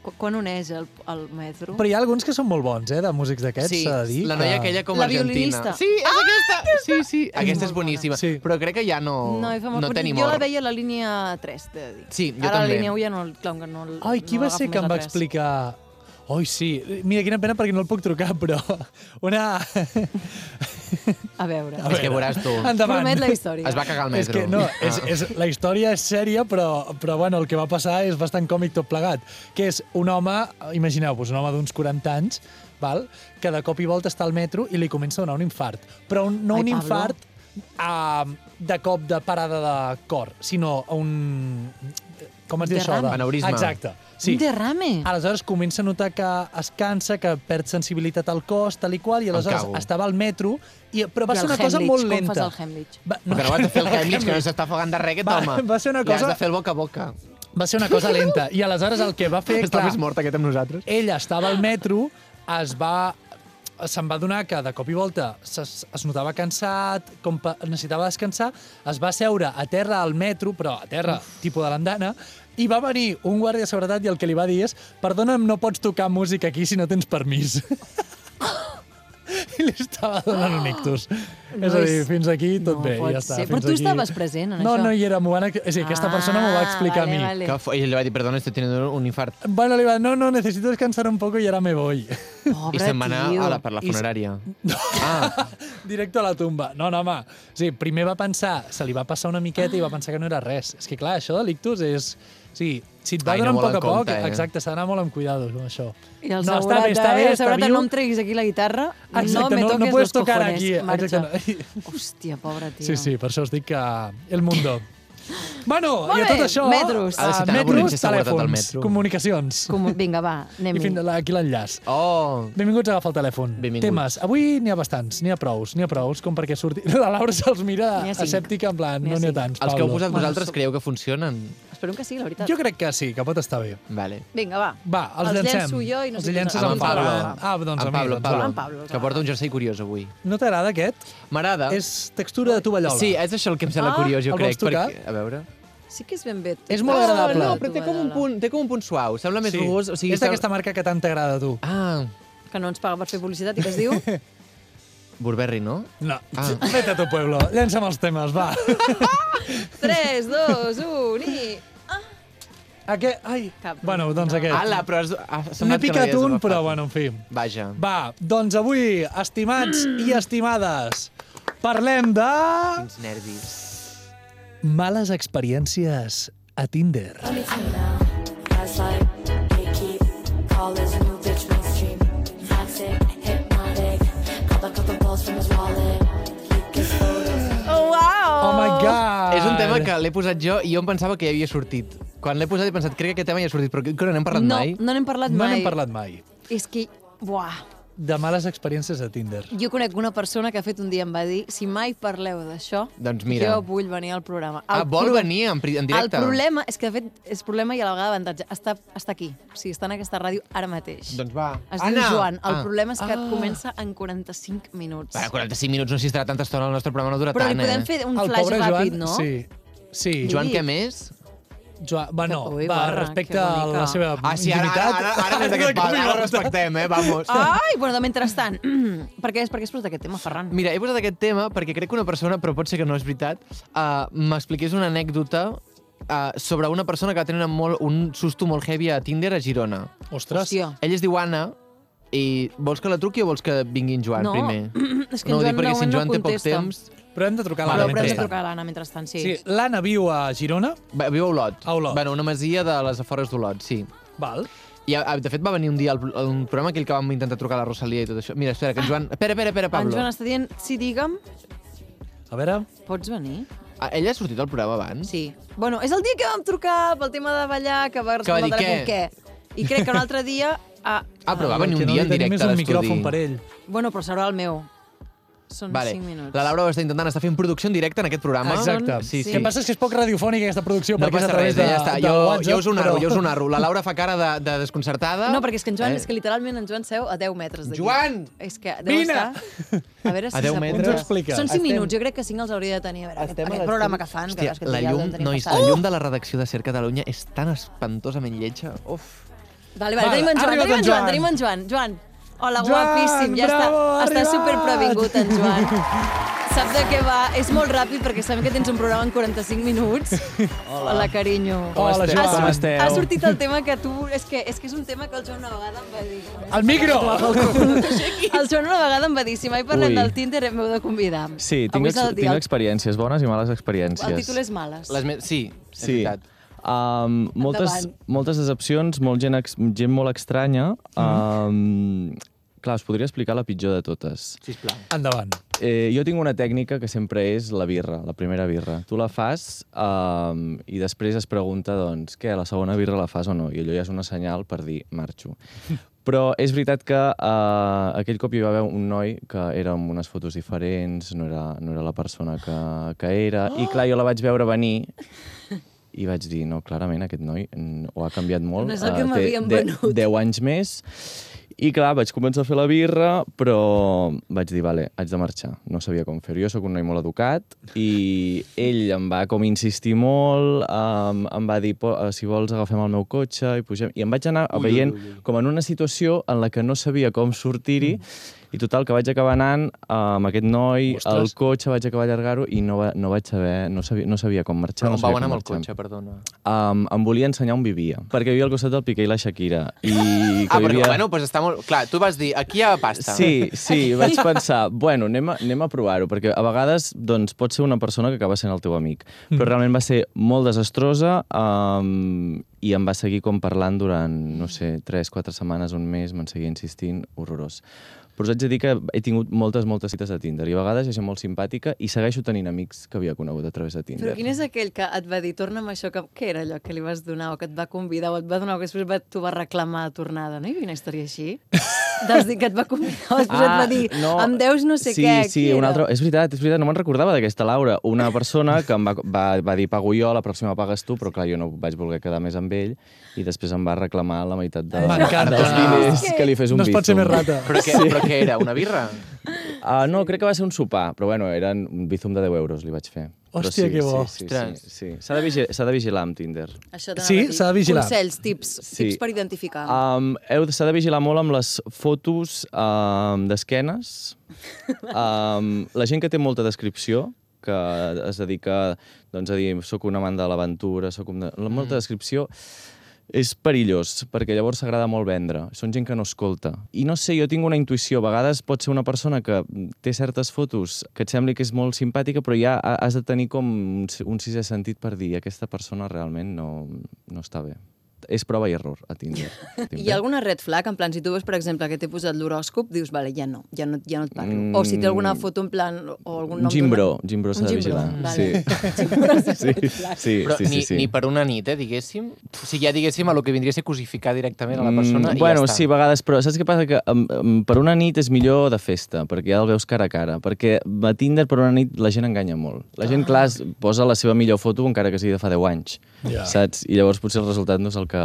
[SPEAKER 2] Qu- Quan uneix el, el metro?
[SPEAKER 3] Però hi ha alguns que són molt bons, eh, de músics d'aquests, s'ha Ah. de dir.
[SPEAKER 1] la
[SPEAKER 3] que-
[SPEAKER 1] noia aquella com
[SPEAKER 2] La
[SPEAKER 1] argentina.
[SPEAKER 2] violinista.
[SPEAKER 1] Sí, és ah, aquesta. Sí, sí, aquesta és
[SPEAKER 2] molt
[SPEAKER 1] boníssima.
[SPEAKER 3] bona. Sí.
[SPEAKER 1] Però crec que ja no,
[SPEAKER 2] No, i fa molt...
[SPEAKER 1] no tenim
[SPEAKER 2] jo
[SPEAKER 1] or.
[SPEAKER 2] la veia a la línia 3, t'he de dir.
[SPEAKER 1] Sí, jo
[SPEAKER 2] Ara
[SPEAKER 1] també.
[SPEAKER 2] la línia 1 ja no... Clar, que no,
[SPEAKER 3] Ai, qui
[SPEAKER 2] no
[SPEAKER 3] va ser
[SPEAKER 2] agafo
[SPEAKER 3] que
[SPEAKER 2] més la
[SPEAKER 3] em va
[SPEAKER 2] 3.
[SPEAKER 3] explicar... Ai, sí. Mira, quina pena perquè no el puc trucar, però... Una...
[SPEAKER 2] A veure.
[SPEAKER 1] És que veuràs tu.
[SPEAKER 3] Endavant.
[SPEAKER 2] Promet la història.
[SPEAKER 1] Es va cagar al
[SPEAKER 3] És
[SPEAKER 1] metro. Ah.
[SPEAKER 3] que, no,
[SPEAKER 2] Ah.
[SPEAKER 3] és, és, la història és sèria, però, però bueno, el que va passar és bastant còmic tot plegat. Que és un home, imagineu-vos, un home d'uns 40 anys, val? que de cop i volta està al metro i li comença a donar un infart. Però un, no
[SPEAKER 2] Ai,
[SPEAKER 3] un
[SPEAKER 2] Pablo.
[SPEAKER 3] infart uh, de cop de parada de cor, sinó un... Com es diu això?
[SPEAKER 2] Derrame.
[SPEAKER 1] Aneurisma.
[SPEAKER 3] Exacte. Sí.
[SPEAKER 2] Un derrame.
[SPEAKER 3] Aleshores comença a notar que es cansa, que perd sensibilitat al cos, tal i qual, i aleshores
[SPEAKER 1] cago.
[SPEAKER 3] estava al metro, i, però
[SPEAKER 2] I
[SPEAKER 3] va ser
[SPEAKER 2] el
[SPEAKER 3] una cosa
[SPEAKER 2] Heimlich,
[SPEAKER 3] molt
[SPEAKER 2] com
[SPEAKER 3] lenta.
[SPEAKER 2] fas el Heimlich?
[SPEAKER 3] Va,
[SPEAKER 1] Però que no vas a fer el Heimlich, que no s'està afogant de res, aquest
[SPEAKER 3] Va-
[SPEAKER 1] home.
[SPEAKER 3] va ser una
[SPEAKER 1] Li has
[SPEAKER 3] cosa-
[SPEAKER 1] de fer el boca a boca.
[SPEAKER 3] va ser una cosa lenta. I aleshores el que va fer,
[SPEAKER 1] Està
[SPEAKER 3] clar,
[SPEAKER 1] més mort aquest amb nosaltres.
[SPEAKER 3] ella estava al metro, es va se'n va donar que de cop i volta es, es notava cansat, com pa, necessitava descansar, es va seure a terra al metro, però a terra, tipus de l'andana, i va venir un guàrdia de seguretat i el que li va dir és perdona'm, no pots tocar música aquí si no tens permís. I li estava donant un ictus. és a dir,
[SPEAKER 2] Ah. Nois.
[SPEAKER 3] fins aquí tot
[SPEAKER 2] No
[SPEAKER 3] bé,
[SPEAKER 2] pot
[SPEAKER 3] ja està.
[SPEAKER 2] ser.
[SPEAKER 3] fins
[SPEAKER 2] Però tu
[SPEAKER 3] aquí.
[SPEAKER 2] estaves present en això.
[SPEAKER 3] no,
[SPEAKER 2] Ah,
[SPEAKER 3] No, no hi era. M'ho van... ex- És a dir, aquesta persona m'ho va explicar
[SPEAKER 2] vale,
[SPEAKER 3] a mi.
[SPEAKER 2] Vale.
[SPEAKER 1] Que fo- I ell li va dir, perdona, estoy teniendo un infart.
[SPEAKER 3] Bueno, le iba, no, no, necesito descansar un poco y ahora me voy.
[SPEAKER 2] Pobre
[SPEAKER 1] I se'n va anar
[SPEAKER 2] tio.
[SPEAKER 1] a la, per la
[SPEAKER 3] I se-
[SPEAKER 1] funerària. Ah,
[SPEAKER 3] Directo a la tumba. No, no, home. Sí, primer va pensar, se li va passar una miqueta i va pensar que no era res. És que, clar, això de l'ictus és... Sí, si et va
[SPEAKER 1] Ai, anar
[SPEAKER 3] donant
[SPEAKER 1] molt
[SPEAKER 3] a poc a
[SPEAKER 1] en
[SPEAKER 3] poc,
[SPEAKER 1] compte, eh?
[SPEAKER 3] exacte, s'ha d'anar molt amb cuidado amb això.
[SPEAKER 2] I el
[SPEAKER 3] no,
[SPEAKER 2] segurat,
[SPEAKER 3] està bé, està bé,
[SPEAKER 2] eh? El
[SPEAKER 3] està
[SPEAKER 2] segurat,
[SPEAKER 3] viu.
[SPEAKER 2] no em treguis aquí la guitarra, no
[SPEAKER 3] Exacte,
[SPEAKER 2] me
[SPEAKER 3] no- no
[SPEAKER 2] toques
[SPEAKER 3] puedes
[SPEAKER 2] los
[SPEAKER 3] tocar
[SPEAKER 2] cojones.
[SPEAKER 3] aquí,
[SPEAKER 2] Marxa.
[SPEAKER 3] exacte,
[SPEAKER 2] Hòstia, pobre tio.
[SPEAKER 3] Sí, sí, per això us dic que... El mundo. Bueno,
[SPEAKER 2] Molt
[SPEAKER 3] i a tot
[SPEAKER 2] bé,
[SPEAKER 3] això...
[SPEAKER 2] metros.
[SPEAKER 3] A
[SPEAKER 2] Ha de ser
[SPEAKER 1] tan avorrit
[SPEAKER 3] metros,
[SPEAKER 1] ser seguretat al
[SPEAKER 3] telèfons,
[SPEAKER 1] metro.
[SPEAKER 3] comunicacions.
[SPEAKER 2] Com, vinga, va,
[SPEAKER 3] I
[SPEAKER 2] anem-hi.
[SPEAKER 3] fins la- aquí l'enllaç.
[SPEAKER 1] Oh,
[SPEAKER 3] Benvinguts a Agafar el telèfon.
[SPEAKER 1] Benvinguts.
[SPEAKER 3] Temes. Avui n'hi ha bastants, n'hi ha prous, n'hi ha prous, com perquè surti... La Laura se'ls mira
[SPEAKER 2] N'hi ha cinc.
[SPEAKER 3] escèptica, en plan,
[SPEAKER 2] N'hi ha
[SPEAKER 3] no n'hi ha
[SPEAKER 2] cinc.
[SPEAKER 3] tants,
[SPEAKER 1] els que heu
[SPEAKER 3] Pablo.
[SPEAKER 1] posat
[SPEAKER 2] Bueno,
[SPEAKER 1] vosaltres
[SPEAKER 2] som-
[SPEAKER 1] creieu que funcionen?
[SPEAKER 2] Esperem que sí, la veritat.
[SPEAKER 3] Jo crec que sí, que pot estar bé.
[SPEAKER 1] Vale.
[SPEAKER 2] Vinga, va.
[SPEAKER 3] Va, els,
[SPEAKER 2] Els
[SPEAKER 3] llancem.
[SPEAKER 2] llenço jo i no
[SPEAKER 3] els
[SPEAKER 2] sé qui
[SPEAKER 3] llences
[SPEAKER 2] serà.
[SPEAKER 3] amb
[SPEAKER 2] En
[SPEAKER 3] en
[SPEAKER 2] Pablo.
[SPEAKER 3] Pablo. Ah, doncs
[SPEAKER 1] en
[SPEAKER 3] a mi.
[SPEAKER 1] Pablo,
[SPEAKER 3] doncs,
[SPEAKER 1] Pablo,
[SPEAKER 2] En Pablo,
[SPEAKER 1] que
[SPEAKER 2] va.
[SPEAKER 1] porta un jersei curiós avui.
[SPEAKER 3] No t'agrada aquest?
[SPEAKER 1] M'agrada.
[SPEAKER 3] És textura de tovallola.
[SPEAKER 1] Sí, és això el que em sembla
[SPEAKER 2] Ah,
[SPEAKER 1] curiós, jo
[SPEAKER 3] el
[SPEAKER 1] crec.
[SPEAKER 3] vols tocar?
[SPEAKER 1] Perquè, a veure...
[SPEAKER 2] Sí que és ben bé. Oh,
[SPEAKER 3] És molt agradable.
[SPEAKER 1] Ah, No, però té com un punt, té com un punt suau. Sembla més
[SPEAKER 3] sí.
[SPEAKER 1] rugós. O sigui,
[SPEAKER 3] és d'aquesta marca que tant t'agrada a tu.
[SPEAKER 1] Ah,
[SPEAKER 2] Que no ens paga per fer publicitat i que es diu...
[SPEAKER 1] Burberry, no?
[SPEAKER 3] No,
[SPEAKER 1] Ah.
[SPEAKER 3] vete a tu pueblo, llença'm els temes, va.
[SPEAKER 2] 3, 2, 1 i... Ah,
[SPEAKER 3] Aquest, ai,
[SPEAKER 2] Cap.
[SPEAKER 3] bueno, doncs
[SPEAKER 2] No.
[SPEAKER 3] aquest.
[SPEAKER 1] Ala, però has, ha
[SPEAKER 3] N'he
[SPEAKER 1] semblat que
[SPEAKER 3] picat
[SPEAKER 1] l'havies
[SPEAKER 3] un,
[SPEAKER 1] agafat.
[SPEAKER 3] però bueno, en fi.
[SPEAKER 1] Vaja.
[SPEAKER 3] Va, doncs avui, estimats i estimades, parlem de...
[SPEAKER 1] Quins nervis.
[SPEAKER 3] Males experiències a Tinder.
[SPEAKER 4] Let me tell you now, that's like gatekeep. Call is a new bitch mainstream. Toxic, hypnotic. Call back up the balls from his wallet. Leak his photos.
[SPEAKER 3] Oh, my God!
[SPEAKER 1] És un tema que l'he posat jo i jo em pensava que ja havia sortit. Quan l'he posat he pensat, crec que aquest tema ja ha sortit, però crec que no n'hem parlat
[SPEAKER 2] no,
[SPEAKER 1] mai.
[SPEAKER 2] no n'hem parlat
[SPEAKER 3] No
[SPEAKER 2] mai.
[SPEAKER 3] n'hem parlat mai.
[SPEAKER 2] És que, buah,
[SPEAKER 3] De males experiències a Tinder.
[SPEAKER 2] jo conec una persona que ha fet un dia em va dir si mai parleu d'això,
[SPEAKER 1] Doncs mira.
[SPEAKER 2] jo vull venir al programa.
[SPEAKER 1] Ah,
[SPEAKER 2] El
[SPEAKER 1] vol
[SPEAKER 2] proble-
[SPEAKER 1] venir en, pri- en directe?
[SPEAKER 2] El problema és que, de fet, és problema i a la vegada avantatge. Està, està aquí, o sigui, està en aquesta ràdio ara mateix.
[SPEAKER 1] Doncs va.
[SPEAKER 2] Es diu Joan. El
[SPEAKER 1] Ah.
[SPEAKER 2] problema és que et comença en 45 minuts.
[SPEAKER 1] Va, 45 minuts no s'hi estarà tanta estona, el nostre programa no dura
[SPEAKER 2] Però li
[SPEAKER 1] tant,
[SPEAKER 2] podem
[SPEAKER 1] eh?
[SPEAKER 2] fer un
[SPEAKER 3] el
[SPEAKER 2] flash
[SPEAKER 3] pobre
[SPEAKER 2] ràpid,
[SPEAKER 3] Joan,
[SPEAKER 2] no?
[SPEAKER 3] Sí. Sí, Joan,
[SPEAKER 1] Joan, què més?
[SPEAKER 3] Joan bueno,
[SPEAKER 2] Ui,
[SPEAKER 3] va,
[SPEAKER 2] guarra,
[SPEAKER 3] respecte
[SPEAKER 2] que
[SPEAKER 3] a la
[SPEAKER 2] bonica.
[SPEAKER 3] seva
[SPEAKER 1] Ah, sí, ara, ara,
[SPEAKER 3] intimitat...
[SPEAKER 1] ara, ara, ara,
[SPEAKER 3] de
[SPEAKER 1] ara,
[SPEAKER 3] cop i
[SPEAKER 1] ara,
[SPEAKER 3] volta.
[SPEAKER 1] respectem, eh? Vamos.
[SPEAKER 2] Ai, bueno, de mentrestant. per, què, per què has posat aquest tema, Ferran?
[SPEAKER 1] Mira, he posat aquest tema perquè crec que una persona, però pot ser que no és veritat, uh, m'expliqués una anècdota uh, sobre una persona que va tenir una molt, un susto molt heavy a Tinder a Girona.
[SPEAKER 3] Ostres,
[SPEAKER 2] Hòstia.
[SPEAKER 1] Ell es diu Anna, i vols que la truqui o vols que vingui en Joan
[SPEAKER 2] no,
[SPEAKER 1] primer?
[SPEAKER 2] és que
[SPEAKER 1] no ho
[SPEAKER 2] en Joan
[SPEAKER 1] dic perquè
[SPEAKER 2] no,
[SPEAKER 1] si en
[SPEAKER 2] no
[SPEAKER 1] Joan té poc
[SPEAKER 2] contesta.
[SPEAKER 1] temps...
[SPEAKER 3] però hem de trucar a
[SPEAKER 1] Vale,
[SPEAKER 3] l'Anna
[SPEAKER 2] Però, però hem de
[SPEAKER 1] mentrestant.
[SPEAKER 2] trucar a l'Anna mentrestant, sí.
[SPEAKER 3] Sí, l'Anna viu a Girona,
[SPEAKER 1] Va, Viu a Olot.
[SPEAKER 3] A Olot.
[SPEAKER 1] Bueno, una masia de les afores d'Olot, sí.
[SPEAKER 3] val?
[SPEAKER 1] I, a- de fet, va venir un dia al al programa aquell que vam intentar trucar a la Rosalia i tot això. Mira, espera, que en Joan...
[SPEAKER 3] Ah.
[SPEAKER 1] Espera, espera, espera,
[SPEAKER 2] En
[SPEAKER 1] Pablo.
[SPEAKER 2] Joan està dient, sí, digue'm,
[SPEAKER 3] A veure...
[SPEAKER 2] pots venir?
[SPEAKER 1] Ah, Ella ha sortit al programa abans?
[SPEAKER 2] Sí. Bueno, és el dia que vam trucar pel tema de ballar, que va
[SPEAKER 1] va
[SPEAKER 2] respondre
[SPEAKER 1] dir
[SPEAKER 2] al telèfon què. I crec que un altre dia... Ah,
[SPEAKER 1] Ah, però va
[SPEAKER 3] Perquè
[SPEAKER 1] venir un
[SPEAKER 3] no
[SPEAKER 1] dia
[SPEAKER 3] li
[SPEAKER 1] en
[SPEAKER 3] tenim
[SPEAKER 1] directe
[SPEAKER 3] més
[SPEAKER 1] a
[SPEAKER 3] un
[SPEAKER 1] l'estudi.
[SPEAKER 3] micròfon per ell.
[SPEAKER 2] Bueno, però serà el meu. Són
[SPEAKER 1] Vale.
[SPEAKER 2] 5 minuts.
[SPEAKER 1] La Laura ho està intentant, està fent producció en directe en aquest
[SPEAKER 2] Ah,
[SPEAKER 1] programa.
[SPEAKER 2] doncs,
[SPEAKER 3] Exacte.
[SPEAKER 1] Sí, sí.
[SPEAKER 3] Què passa és que és poc radiofònica aquesta producció,
[SPEAKER 1] No
[SPEAKER 3] perquè és
[SPEAKER 1] passa
[SPEAKER 3] a través
[SPEAKER 1] res, eh,
[SPEAKER 3] de,
[SPEAKER 1] ja està.
[SPEAKER 3] de
[SPEAKER 1] Jo,
[SPEAKER 3] WhatsApp,
[SPEAKER 1] jo us ho narro,
[SPEAKER 3] però-
[SPEAKER 1] jo us ho narro. La Laura fa cara de, de desconcertada.
[SPEAKER 2] No, perquè és que en Joan, eh? és que literalment en Joan seu a 10 metres d'aquí.
[SPEAKER 1] Joan!
[SPEAKER 2] És que deu
[SPEAKER 3] Vine!
[SPEAKER 2] estar... A veure si
[SPEAKER 1] A 10
[SPEAKER 2] s'apunta.
[SPEAKER 1] metres? Ens
[SPEAKER 3] explica.
[SPEAKER 2] Són 5
[SPEAKER 3] Estem-
[SPEAKER 2] minuts, jo crec que 5 els hauria de tenir. A veure, aquest,
[SPEAKER 1] Estem a
[SPEAKER 2] aquest
[SPEAKER 1] les
[SPEAKER 2] programa que fan, que,
[SPEAKER 1] Hòstia,
[SPEAKER 2] és que
[SPEAKER 1] la
[SPEAKER 2] ja el
[SPEAKER 1] llum,
[SPEAKER 2] vam tenir
[SPEAKER 1] nois, la
[SPEAKER 2] passat.
[SPEAKER 1] llum de la redacció de Ser Catalunya és tan espantosament lletja. Uf.
[SPEAKER 2] Vale,
[SPEAKER 3] Vale,
[SPEAKER 2] vale, tenim en
[SPEAKER 3] ha
[SPEAKER 2] Joan,
[SPEAKER 3] arribat
[SPEAKER 2] tenim en
[SPEAKER 3] en
[SPEAKER 2] Joan,
[SPEAKER 3] Joan.
[SPEAKER 2] tenim en Joan. Joan, hola,
[SPEAKER 3] Joan,
[SPEAKER 2] guapíssim, ja
[SPEAKER 3] bravo, ha
[SPEAKER 2] està. Està
[SPEAKER 3] arribat.
[SPEAKER 2] superprevingut, en Joan. Sap de què va? És molt ràpid perquè sabem que tens un programa en 45 minuts. Hola, hola carinyo.
[SPEAKER 3] Hola,
[SPEAKER 2] Ha
[SPEAKER 3] Joan.
[SPEAKER 2] sur-
[SPEAKER 3] Com
[SPEAKER 5] esteu?
[SPEAKER 2] Ha sortit el tema que tu... És que és, que és un tema que el Joan una vegada em va dir.
[SPEAKER 3] El micro!
[SPEAKER 2] El Joan una vegada em va dir, si mai parlem
[SPEAKER 5] Ui.
[SPEAKER 2] del Tinder, em heu de convidar.
[SPEAKER 6] Sí, tinc,
[SPEAKER 2] Avui
[SPEAKER 6] ex
[SPEAKER 2] s'ha de dir,
[SPEAKER 6] tinc
[SPEAKER 2] el-
[SPEAKER 6] experiències bones i males experiències.
[SPEAKER 2] El títol és Males.
[SPEAKER 1] Les me... Sí, és
[SPEAKER 6] Sí.
[SPEAKER 1] veritat.
[SPEAKER 6] Um, moltes,
[SPEAKER 2] Endavant.
[SPEAKER 6] moltes decepcions, molt gent, ex, gent molt estranya.
[SPEAKER 2] Mm-hmm.
[SPEAKER 6] Um, clar, us podria explicar la pitjor de totes.
[SPEAKER 1] Sisplau.
[SPEAKER 3] Endavant.
[SPEAKER 6] Eh, jo tinc una tècnica que sempre és la birra, la primera birra. Tu la fas um, i després es pregunta, doncs, què, la segona birra la fas o no? I allò ja és una senyal per dir, marxo. Però és veritat que uh, aquell cop hi va haver un noi que era amb unes fotos diferents, no era, no era la persona que, que era, oh! i clar, jo la vaig veure venir i vaig dir, no, clarament aquest noi mm, ho ha canviat molt.
[SPEAKER 2] No és el
[SPEAKER 6] eh,
[SPEAKER 2] que
[SPEAKER 6] té
[SPEAKER 2] m'havien
[SPEAKER 6] de-
[SPEAKER 2] venut.
[SPEAKER 6] 10 anys més. I clar, vaig començar a fer la birra, però vaig dir, vale, haig de marxar. No sabia com fer-ho. Jo sóc un noi molt educat i ell em va com insistir molt, um, em va dir, "Po- eh, si vols agafem el meu cotxe i pugem... I em vaig anar ui, veient ui, ui. com en una situació en la que no sabia com sortir-hi i total, que vaig acabar anant eh, amb aquest noi,
[SPEAKER 3] Ostres.
[SPEAKER 6] el cotxe, vaig acabar allargar-ho i no, va, no vaig saber, no sabia, no sabia com marxar.
[SPEAKER 1] Però
[SPEAKER 6] no
[SPEAKER 1] on
[SPEAKER 6] sabia
[SPEAKER 1] vau anar amb
[SPEAKER 6] com
[SPEAKER 1] el
[SPEAKER 6] marxar
[SPEAKER 1] cotxe, perdona?
[SPEAKER 6] um, em volia ensenyar on vivia, perquè vivia al costat del Piqué i la Shakira. I que
[SPEAKER 1] Ah, perquè,
[SPEAKER 6] vivia...
[SPEAKER 1] bueno, doncs està molt... Clar, tu vas dir, aquí hi ha pasta.
[SPEAKER 6] Sí, sí, vaig pensar, bueno, anem a, anem a provar-ho, perquè a vegades doncs, pot ser una persona que acaba sent el teu amic. Però realment va ser molt desastrosa um, i em va seguir com parlant durant, no sé, 3, 4 setmanes, un mes, me'n seguia insistint, horrorós. Però us haig de dir que he tingut moltes, moltes cites de Tinder i a vegades hi ha gent molt simpàtica i segueixo tenint amics que havia conegut a través de Tinder.
[SPEAKER 7] Però quin és aquell que et va dir, torna'm això, que, què era allò que li vas donar o que et va convidar o et va donar o que després va, t'ho va reclamar a tornada? No hi havia una història així? Dels dir que et va convidar o després et va dir, no, em deus no sé
[SPEAKER 6] Ah, sí,
[SPEAKER 7] què,
[SPEAKER 6] Sí,
[SPEAKER 7] qui
[SPEAKER 6] sí, una
[SPEAKER 7] era?
[SPEAKER 6] altra... És veritat, és veritat, no me'n recordava d'aquesta Laura. Una persona que em va, va, va dir, pago jo, la pròxima pagues tu, però clar, jo no vaig voler quedar més amb ell i després em va reclamar la meitat de,
[SPEAKER 3] M'encanta.
[SPEAKER 6] dels diners que li fes un
[SPEAKER 3] No es pot ser
[SPEAKER 6] bizum.
[SPEAKER 3] més rata.
[SPEAKER 1] Però què, però què era? Una birra?
[SPEAKER 6] Ah, no, crec que va ser un sopar, però bueno, eren un bizum de 10 euros, li vaig fer. Però
[SPEAKER 3] Hòstia,
[SPEAKER 6] sí,
[SPEAKER 3] que bo.
[SPEAKER 6] Sí, sí,
[SPEAKER 1] Ostres.
[SPEAKER 6] sí, sí. S'ha de, vigi s'ha de vigilar amb Tinder.
[SPEAKER 7] Això t'anava
[SPEAKER 3] Sí,
[SPEAKER 7] a dir.
[SPEAKER 3] s'ha de vigilar.
[SPEAKER 7] Consells, tips, sí.
[SPEAKER 6] Sí.
[SPEAKER 7] tips per identificar. Ah.
[SPEAKER 6] Um, heu de- s'ha de vigilar molt amb les fotos um, d'esquenes. Um, la gent que té molta descripció, que es dedica doncs, a dir sóc un amant de l'aventura, sóc un... De... la- Molta descripció és perillós, perquè llavors s'agrada molt vendre. Són gent que no escolta. I no sé, jo tinc una intuïció. A vegades pot ser una persona que té certes fotos que et sembli que és molt simpàtica, però ja ha- has de tenir com un s- un sisè sentit per dir aquesta persona realment no, no està bé. És prova i error a Tinder.
[SPEAKER 7] Hi ha alguna red flag? En plan, si tu veus, per exemple, que t'he posat l'horòscop, dius, vale, ja no, ja no, ja no et parlo. Mm. O si té alguna foto en plan, o algun nom...
[SPEAKER 6] Gimbro, Gimbro s'ha
[SPEAKER 7] Un
[SPEAKER 6] de
[SPEAKER 7] gimbro,
[SPEAKER 6] vigilar.
[SPEAKER 7] vale.
[SPEAKER 6] Sí. sí, sí,
[SPEAKER 1] Però
[SPEAKER 6] sí, sí,
[SPEAKER 1] ni,
[SPEAKER 6] sí.
[SPEAKER 1] ni per una nit, eh, diguéssim. O sigui, ja diguéssim a lo que vindria a ser cosificar directament a la persona
[SPEAKER 6] Mm,
[SPEAKER 1] i
[SPEAKER 6] bueno,
[SPEAKER 1] ja està.
[SPEAKER 6] sí, a vegades, però saps què passa? Que um, um, per una nit és millor de festa, perquè ja el veus cara a cara. Perquè a Tinder per una nit la gent enganya molt. La
[SPEAKER 1] Ah.
[SPEAKER 6] gent, clar, es posa la seva millor foto encara que sigui de fa 10 anys,
[SPEAKER 3] Ja.
[SPEAKER 6] saps? I llavors potser el resultat no és el que,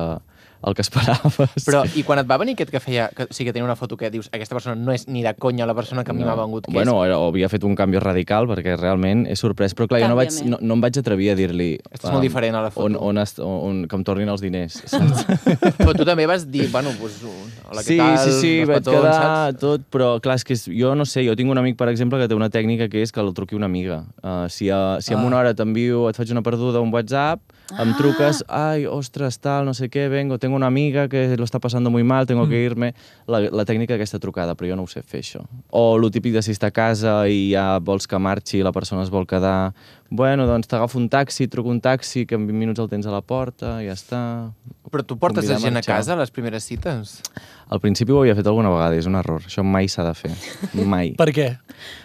[SPEAKER 6] el que esperaves.
[SPEAKER 1] Però, i quan et va venir aquest que feia... Que, o sigui, que tenia una foto que dius aquesta persona no és ni de conya la persona que a mi m'ha vengut, que
[SPEAKER 6] bueno, era, o havia fet un canvi radical perquè realment he sorprès, però clar, jo no, vaig,
[SPEAKER 7] Canvia'm, eh?
[SPEAKER 6] no, no em vaig atrevir a dir-li
[SPEAKER 1] Estàs molt
[SPEAKER 6] um,
[SPEAKER 1] diferent a la foto.
[SPEAKER 6] on, on, est, on, on, que em tornin els diners. Saps?
[SPEAKER 1] és... Però tu també vas dir, bueno, doncs, un- hola,
[SPEAKER 6] sí,
[SPEAKER 1] què tal?
[SPEAKER 6] sí, sí,
[SPEAKER 1] Uns
[SPEAKER 6] vaig
[SPEAKER 1] petons,
[SPEAKER 6] quedar
[SPEAKER 1] saps?
[SPEAKER 6] tot, però clar, és que és- jo no sé, jo tinc un amic, per exemple, que té una tècnica que és que el truqui una amiga. Uh, si a, si ah. en una hora t'envio, et faig una perduda, un WhatsApp, em
[SPEAKER 1] Ah.
[SPEAKER 6] truques, ai, ostres, tal, no sé què, vengo, tengo una amiga que lo está pasando muy mal, tengo mm. que irme. La, la tècnica d'aquesta trucada, però jo no ho sé fer, això. O lo típic de si està a casa i ja vols que marxi, la persona es vol quedar... Bueno, doncs t'agafo un taxi, truco un taxi, que en 20 minuts el tens a la porta, i ja està.
[SPEAKER 1] Però tu portes la
[SPEAKER 6] Convidar a
[SPEAKER 1] gent a
[SPEAKER 6] marxar.
[SPEAKER 1] casa a les primeres cites?
[SPEAKER 6] Al principi ho havia fet alguna vegada, és un error. Això mai s'ha de fer. Mai.
[SPEAKER 3] Per què?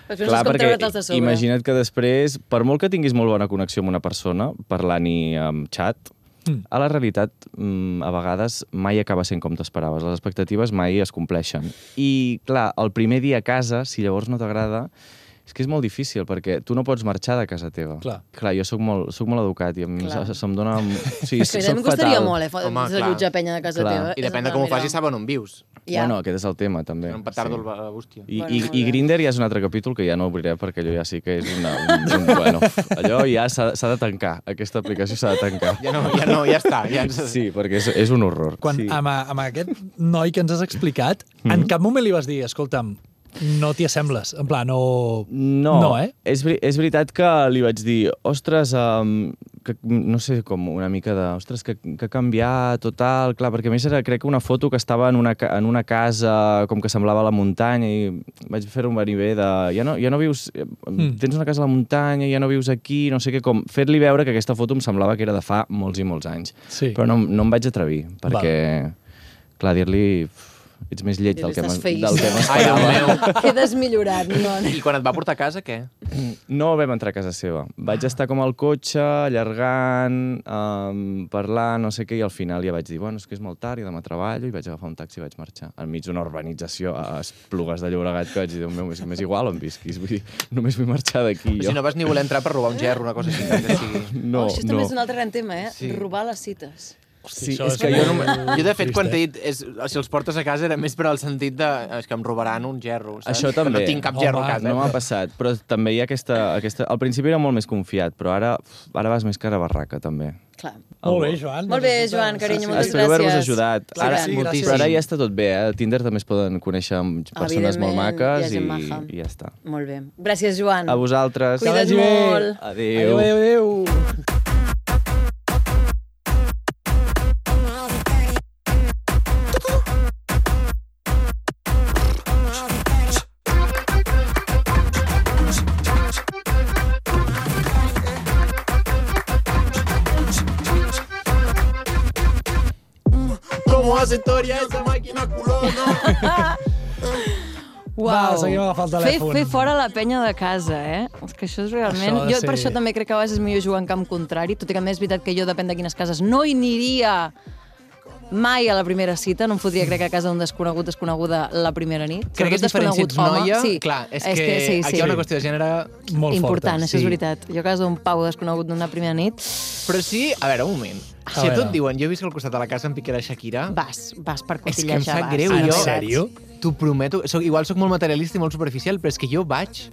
[SPEAKER 7] Després Clar, és com treure't-els de sobre.
[SPEAKER 6] imagina't que després, per molt que tinguis molt bona connexió amb una persona, parlant-hi amb xat, mm. a la realitat, mm, a vegades, mai acaba sent com t'esperaves. Les expectatives mai es compleixen. I, clar, el primer dia a casa, si llavors no t'agrada, és que és molt difícil, perquè tu no pots marxar de casa teva.
[SPEAKER 3] Clar.
[SPEAKER 6] clar jo sóc molt, sóc molt educat i a mi
[SPEAKER 7] Clar.
[SPEAKER 6] se, se'm dona... O sigui,
[SPEAKER 7] És que
[SPEAKER 6] soc
[SPEAKER 7] em costaria
[SPEAKER 6] fatal.
[SPEAKER 7] molt, eh, fa-
[SPEAKER 1] Home, clar.
[SPEAKER 7] desallotjar penya de casa
[SPEAKER 6] Clar.
[SPEAKER 7] teva.
[SPEAKER 1] I depèn de com ho facis, saben on vius.
[SPEAKER 7] Ja.
[SPEAKER 6] Bueno, aquest és el tema, també.
[SPEAKER 1] Era un petardo sí. a bústia.
[SPEAKER 6] I,
[SPEAKER 7] Bueno,
[SPEAKER 6] bueno,
[SPEAKER 7] molt
[SPEAKER 6] i, i
[SPEAKER 7] bé.
[SPEAKER 6] Grindr ja és un altre capítol que ja no obriré perquè allò ja sí que és una... Un, un, bueno, allò ja s'ha s'ha de tancar, aquesta aplicació s'ha de tancar.
[SPEAKER 1] Ja no, ja no, ja està. Ja ens...
[SPEAKER 6] Sí, perquè és, és un horror.
[SPEAKER 3] Quan
[SPEAKER 6] sí.
[SPEAKER 3] sí. amb, a- amb aquest noi que ens has explicat, mm.
[SPEAKER 1] Mm-hmm.
[SPEAKER 3] en cap moment li vas dir, escolta'm, no t'hi assembles. En plan, no...
[SPEAKER 6] No,
[SPEAKER 3] No, eh?
[SPEAKER 6] és, veri- és veritat que li vaig dir, ostres, um, que, no sé, com una mica de, ostres, que, que ha canviat, total, clar, perquè a més era, crec que una foto que estava en una, ca- en una casa, com que semblava a la muntanya, i vaig fer un veniver de, ja no, ja no vius,
[SPEAKER 3] Hmm.
[SPEAKER 6] mm. tens una casa a la muntanya, ja no vius aquí, no sé què, com fer-li veure que aquesta foto em semblava que era de fa molts i molts anys.
[SPEAKER 3] Sí.
[SPEAKER 6] Però no, no em vaig atrevir, perquè, clar, dir-li, "Uf, ets més lleig del que,
[SPEAKER 7] Estàs
[SPEAKER 6] m'es-
[SPEAKER 7] feíssim.
[SPEAKER 6] del que
[SPEAKER 1] Ai, Déu
[SPEAKER 6] m'esperava.
[SPEAKER 1] meu.
[SPEAKER 7] Quedes millorat, no?
[SPEAKER 1] I quan et va portar a casa, què?
[SPEAKER 6] Mm, No vam entrar a casa seva.
[SPEAKER 7] Ah.
[SPEAKER 6] Vaig estar com al cotxe, allargant, um, parlant, no sé què, i al final ja vaig dir, bueno, és que és molt tard, i demà treballo, i vaig agafar un taxi i vaig marxar. Enmig d'una urbanització a Esplugues de Llobregat, que vaig dir, "Déu meu, és, m'és igual on visquis, vull dir, només vull marxar d'aquí
[SPEAKER 1] Jo.
[SPEAKER 6] jo.
[SPEAKER 1] Si no vas ni voler entrar per robar un gerro, una cosa així. Que sigui.
[SPEAKER 6] no,
[SPEAKER 7] oh, això també és un altre gran tema, eh?
[SPEAKER 1] Sí.
[SPEAKER 7] Robar les cites.
[SPEAKER 6] Sí,
[SPEAKER 3] Això
[SPEAKER 6] és que jo no...
[SPEAKER 1] Jo, de fet, quan t'he dit, és, si els portes a casa era més per al sentit de és que em robaran un gerro, saps?
[SPEAKER 6] Això
[SPEAKER 1] Que
[SPEAKER 6] també.
[SPEAKER 1] No tinc cap
[SPEAKER 3] Home,
[SPEAKER 1] gerro a casa.
[SPEAKER 6] No m'ha passat, però també hi ha aquesta, aquesta... Al principi era molt més confiat, però ara, ara vas més cara a barraca, també.
[SPEAKER 7] Clar.
[SPEAKER 3] Molt bé, Joan. doncs,
[SPEAKER 7] Molt bé, Joan, carinyo, moltes
[SPEAKER 6] Espero haver-vos
[SPEAKER 7] gràcies.
[SPEAKER 6] ajudat.
[SPEAKER 7] Clar
[SPEAKER 6] ara,
[SPEAKER 7] que sí,
[SPEAKER 3] gràcies.
[SPEAKER 6] però ara ja està tot bé, eh? A Tinder també es poden conèixer amb persones molt
[SPEAKER 7] Evidentment, hi ha
[SPEAKER 6] maques i,
[SPEAKER 7] gent maja.
[SPEAKER 6] i ja està.
[SPEAKER 7] Molt bé. Gràcies, Joan.
[SPEAKER 6] A vosaltres.
[SPEAKER 7] Cuida't
[SPEAKER 3] vagi bé.
[SPEAKER 7] molt.
[SPEAKER 6] Adéu.
[SPEAKER 3] adéu, adéu.
[SPEAKER 8] ¿Cómo hace historia esa máquina culona?
[SPEAKER 3] Va, seguim agafant el
[SPEAKER 2] Fer,
[SPEAKER 3] telèfon.
[SPEAKER 2] fer fora la penya de casa, eh? És que això és realment...
[SPEAKER 3] Això ha de
[SPEAKER 2] jo
[SPEAKER 3] ser-
[SPEAKER 2] per això també crec que a vegades és millor jugar en camp contrari, tot i que a més és veritat que jo, depèn de quines cases, no hi aniria mai a la primera cita, no em fotria, crec, a casa d'un desconegut, desconeguda, la primera nit.
[SPEAKER 1] Crec que és
[SPEAKER 2] Sobretot
[SPEAKER 1] diferent si ets
[SPEAKER 2] desconegut home.
[SPEAKER 1] noia,
[SPEAKER 2] sí.
[SPEAKER 1] clar, és,
[SPEAKER 2] és que, sí, sí.
[SPEAKER 1] aquí hi ha una qüestió de gènere...
[SPEAKER 3] Molt
[SPEAKER 2] important,
[SPEAKER 3] forta.
[SPEAKER 2] això
[SPEAKER 1] sí.
[SPEAKER 2] és veritat. Jo a casa d'un pau desconegut d'una primera nit,
[SPEAKER 1] Però sí, a veure, un moment. Si a
[SPEAKER 3] veure.
[SPEAKER 1] tu et diuen, jo he vist que al costat de la casa em piqué la Shakira,
[SPEAKER 2] vas, vas per
[SPEAKER 1] és que
[SPEAKER 2] cotillejar.
[SPEAKER 1] em sap
[SPEAKER 2] vas.
[SPEAKER 1] greu.
[SPEAKER 3] Ah, en
[SPEAKER 1] jo,
[SPEAKER 3] sèrio?
[SPEAKER 1] T'ho prometo. Soc, igual sóc molt materialista i molt superficial, però és que jo vaig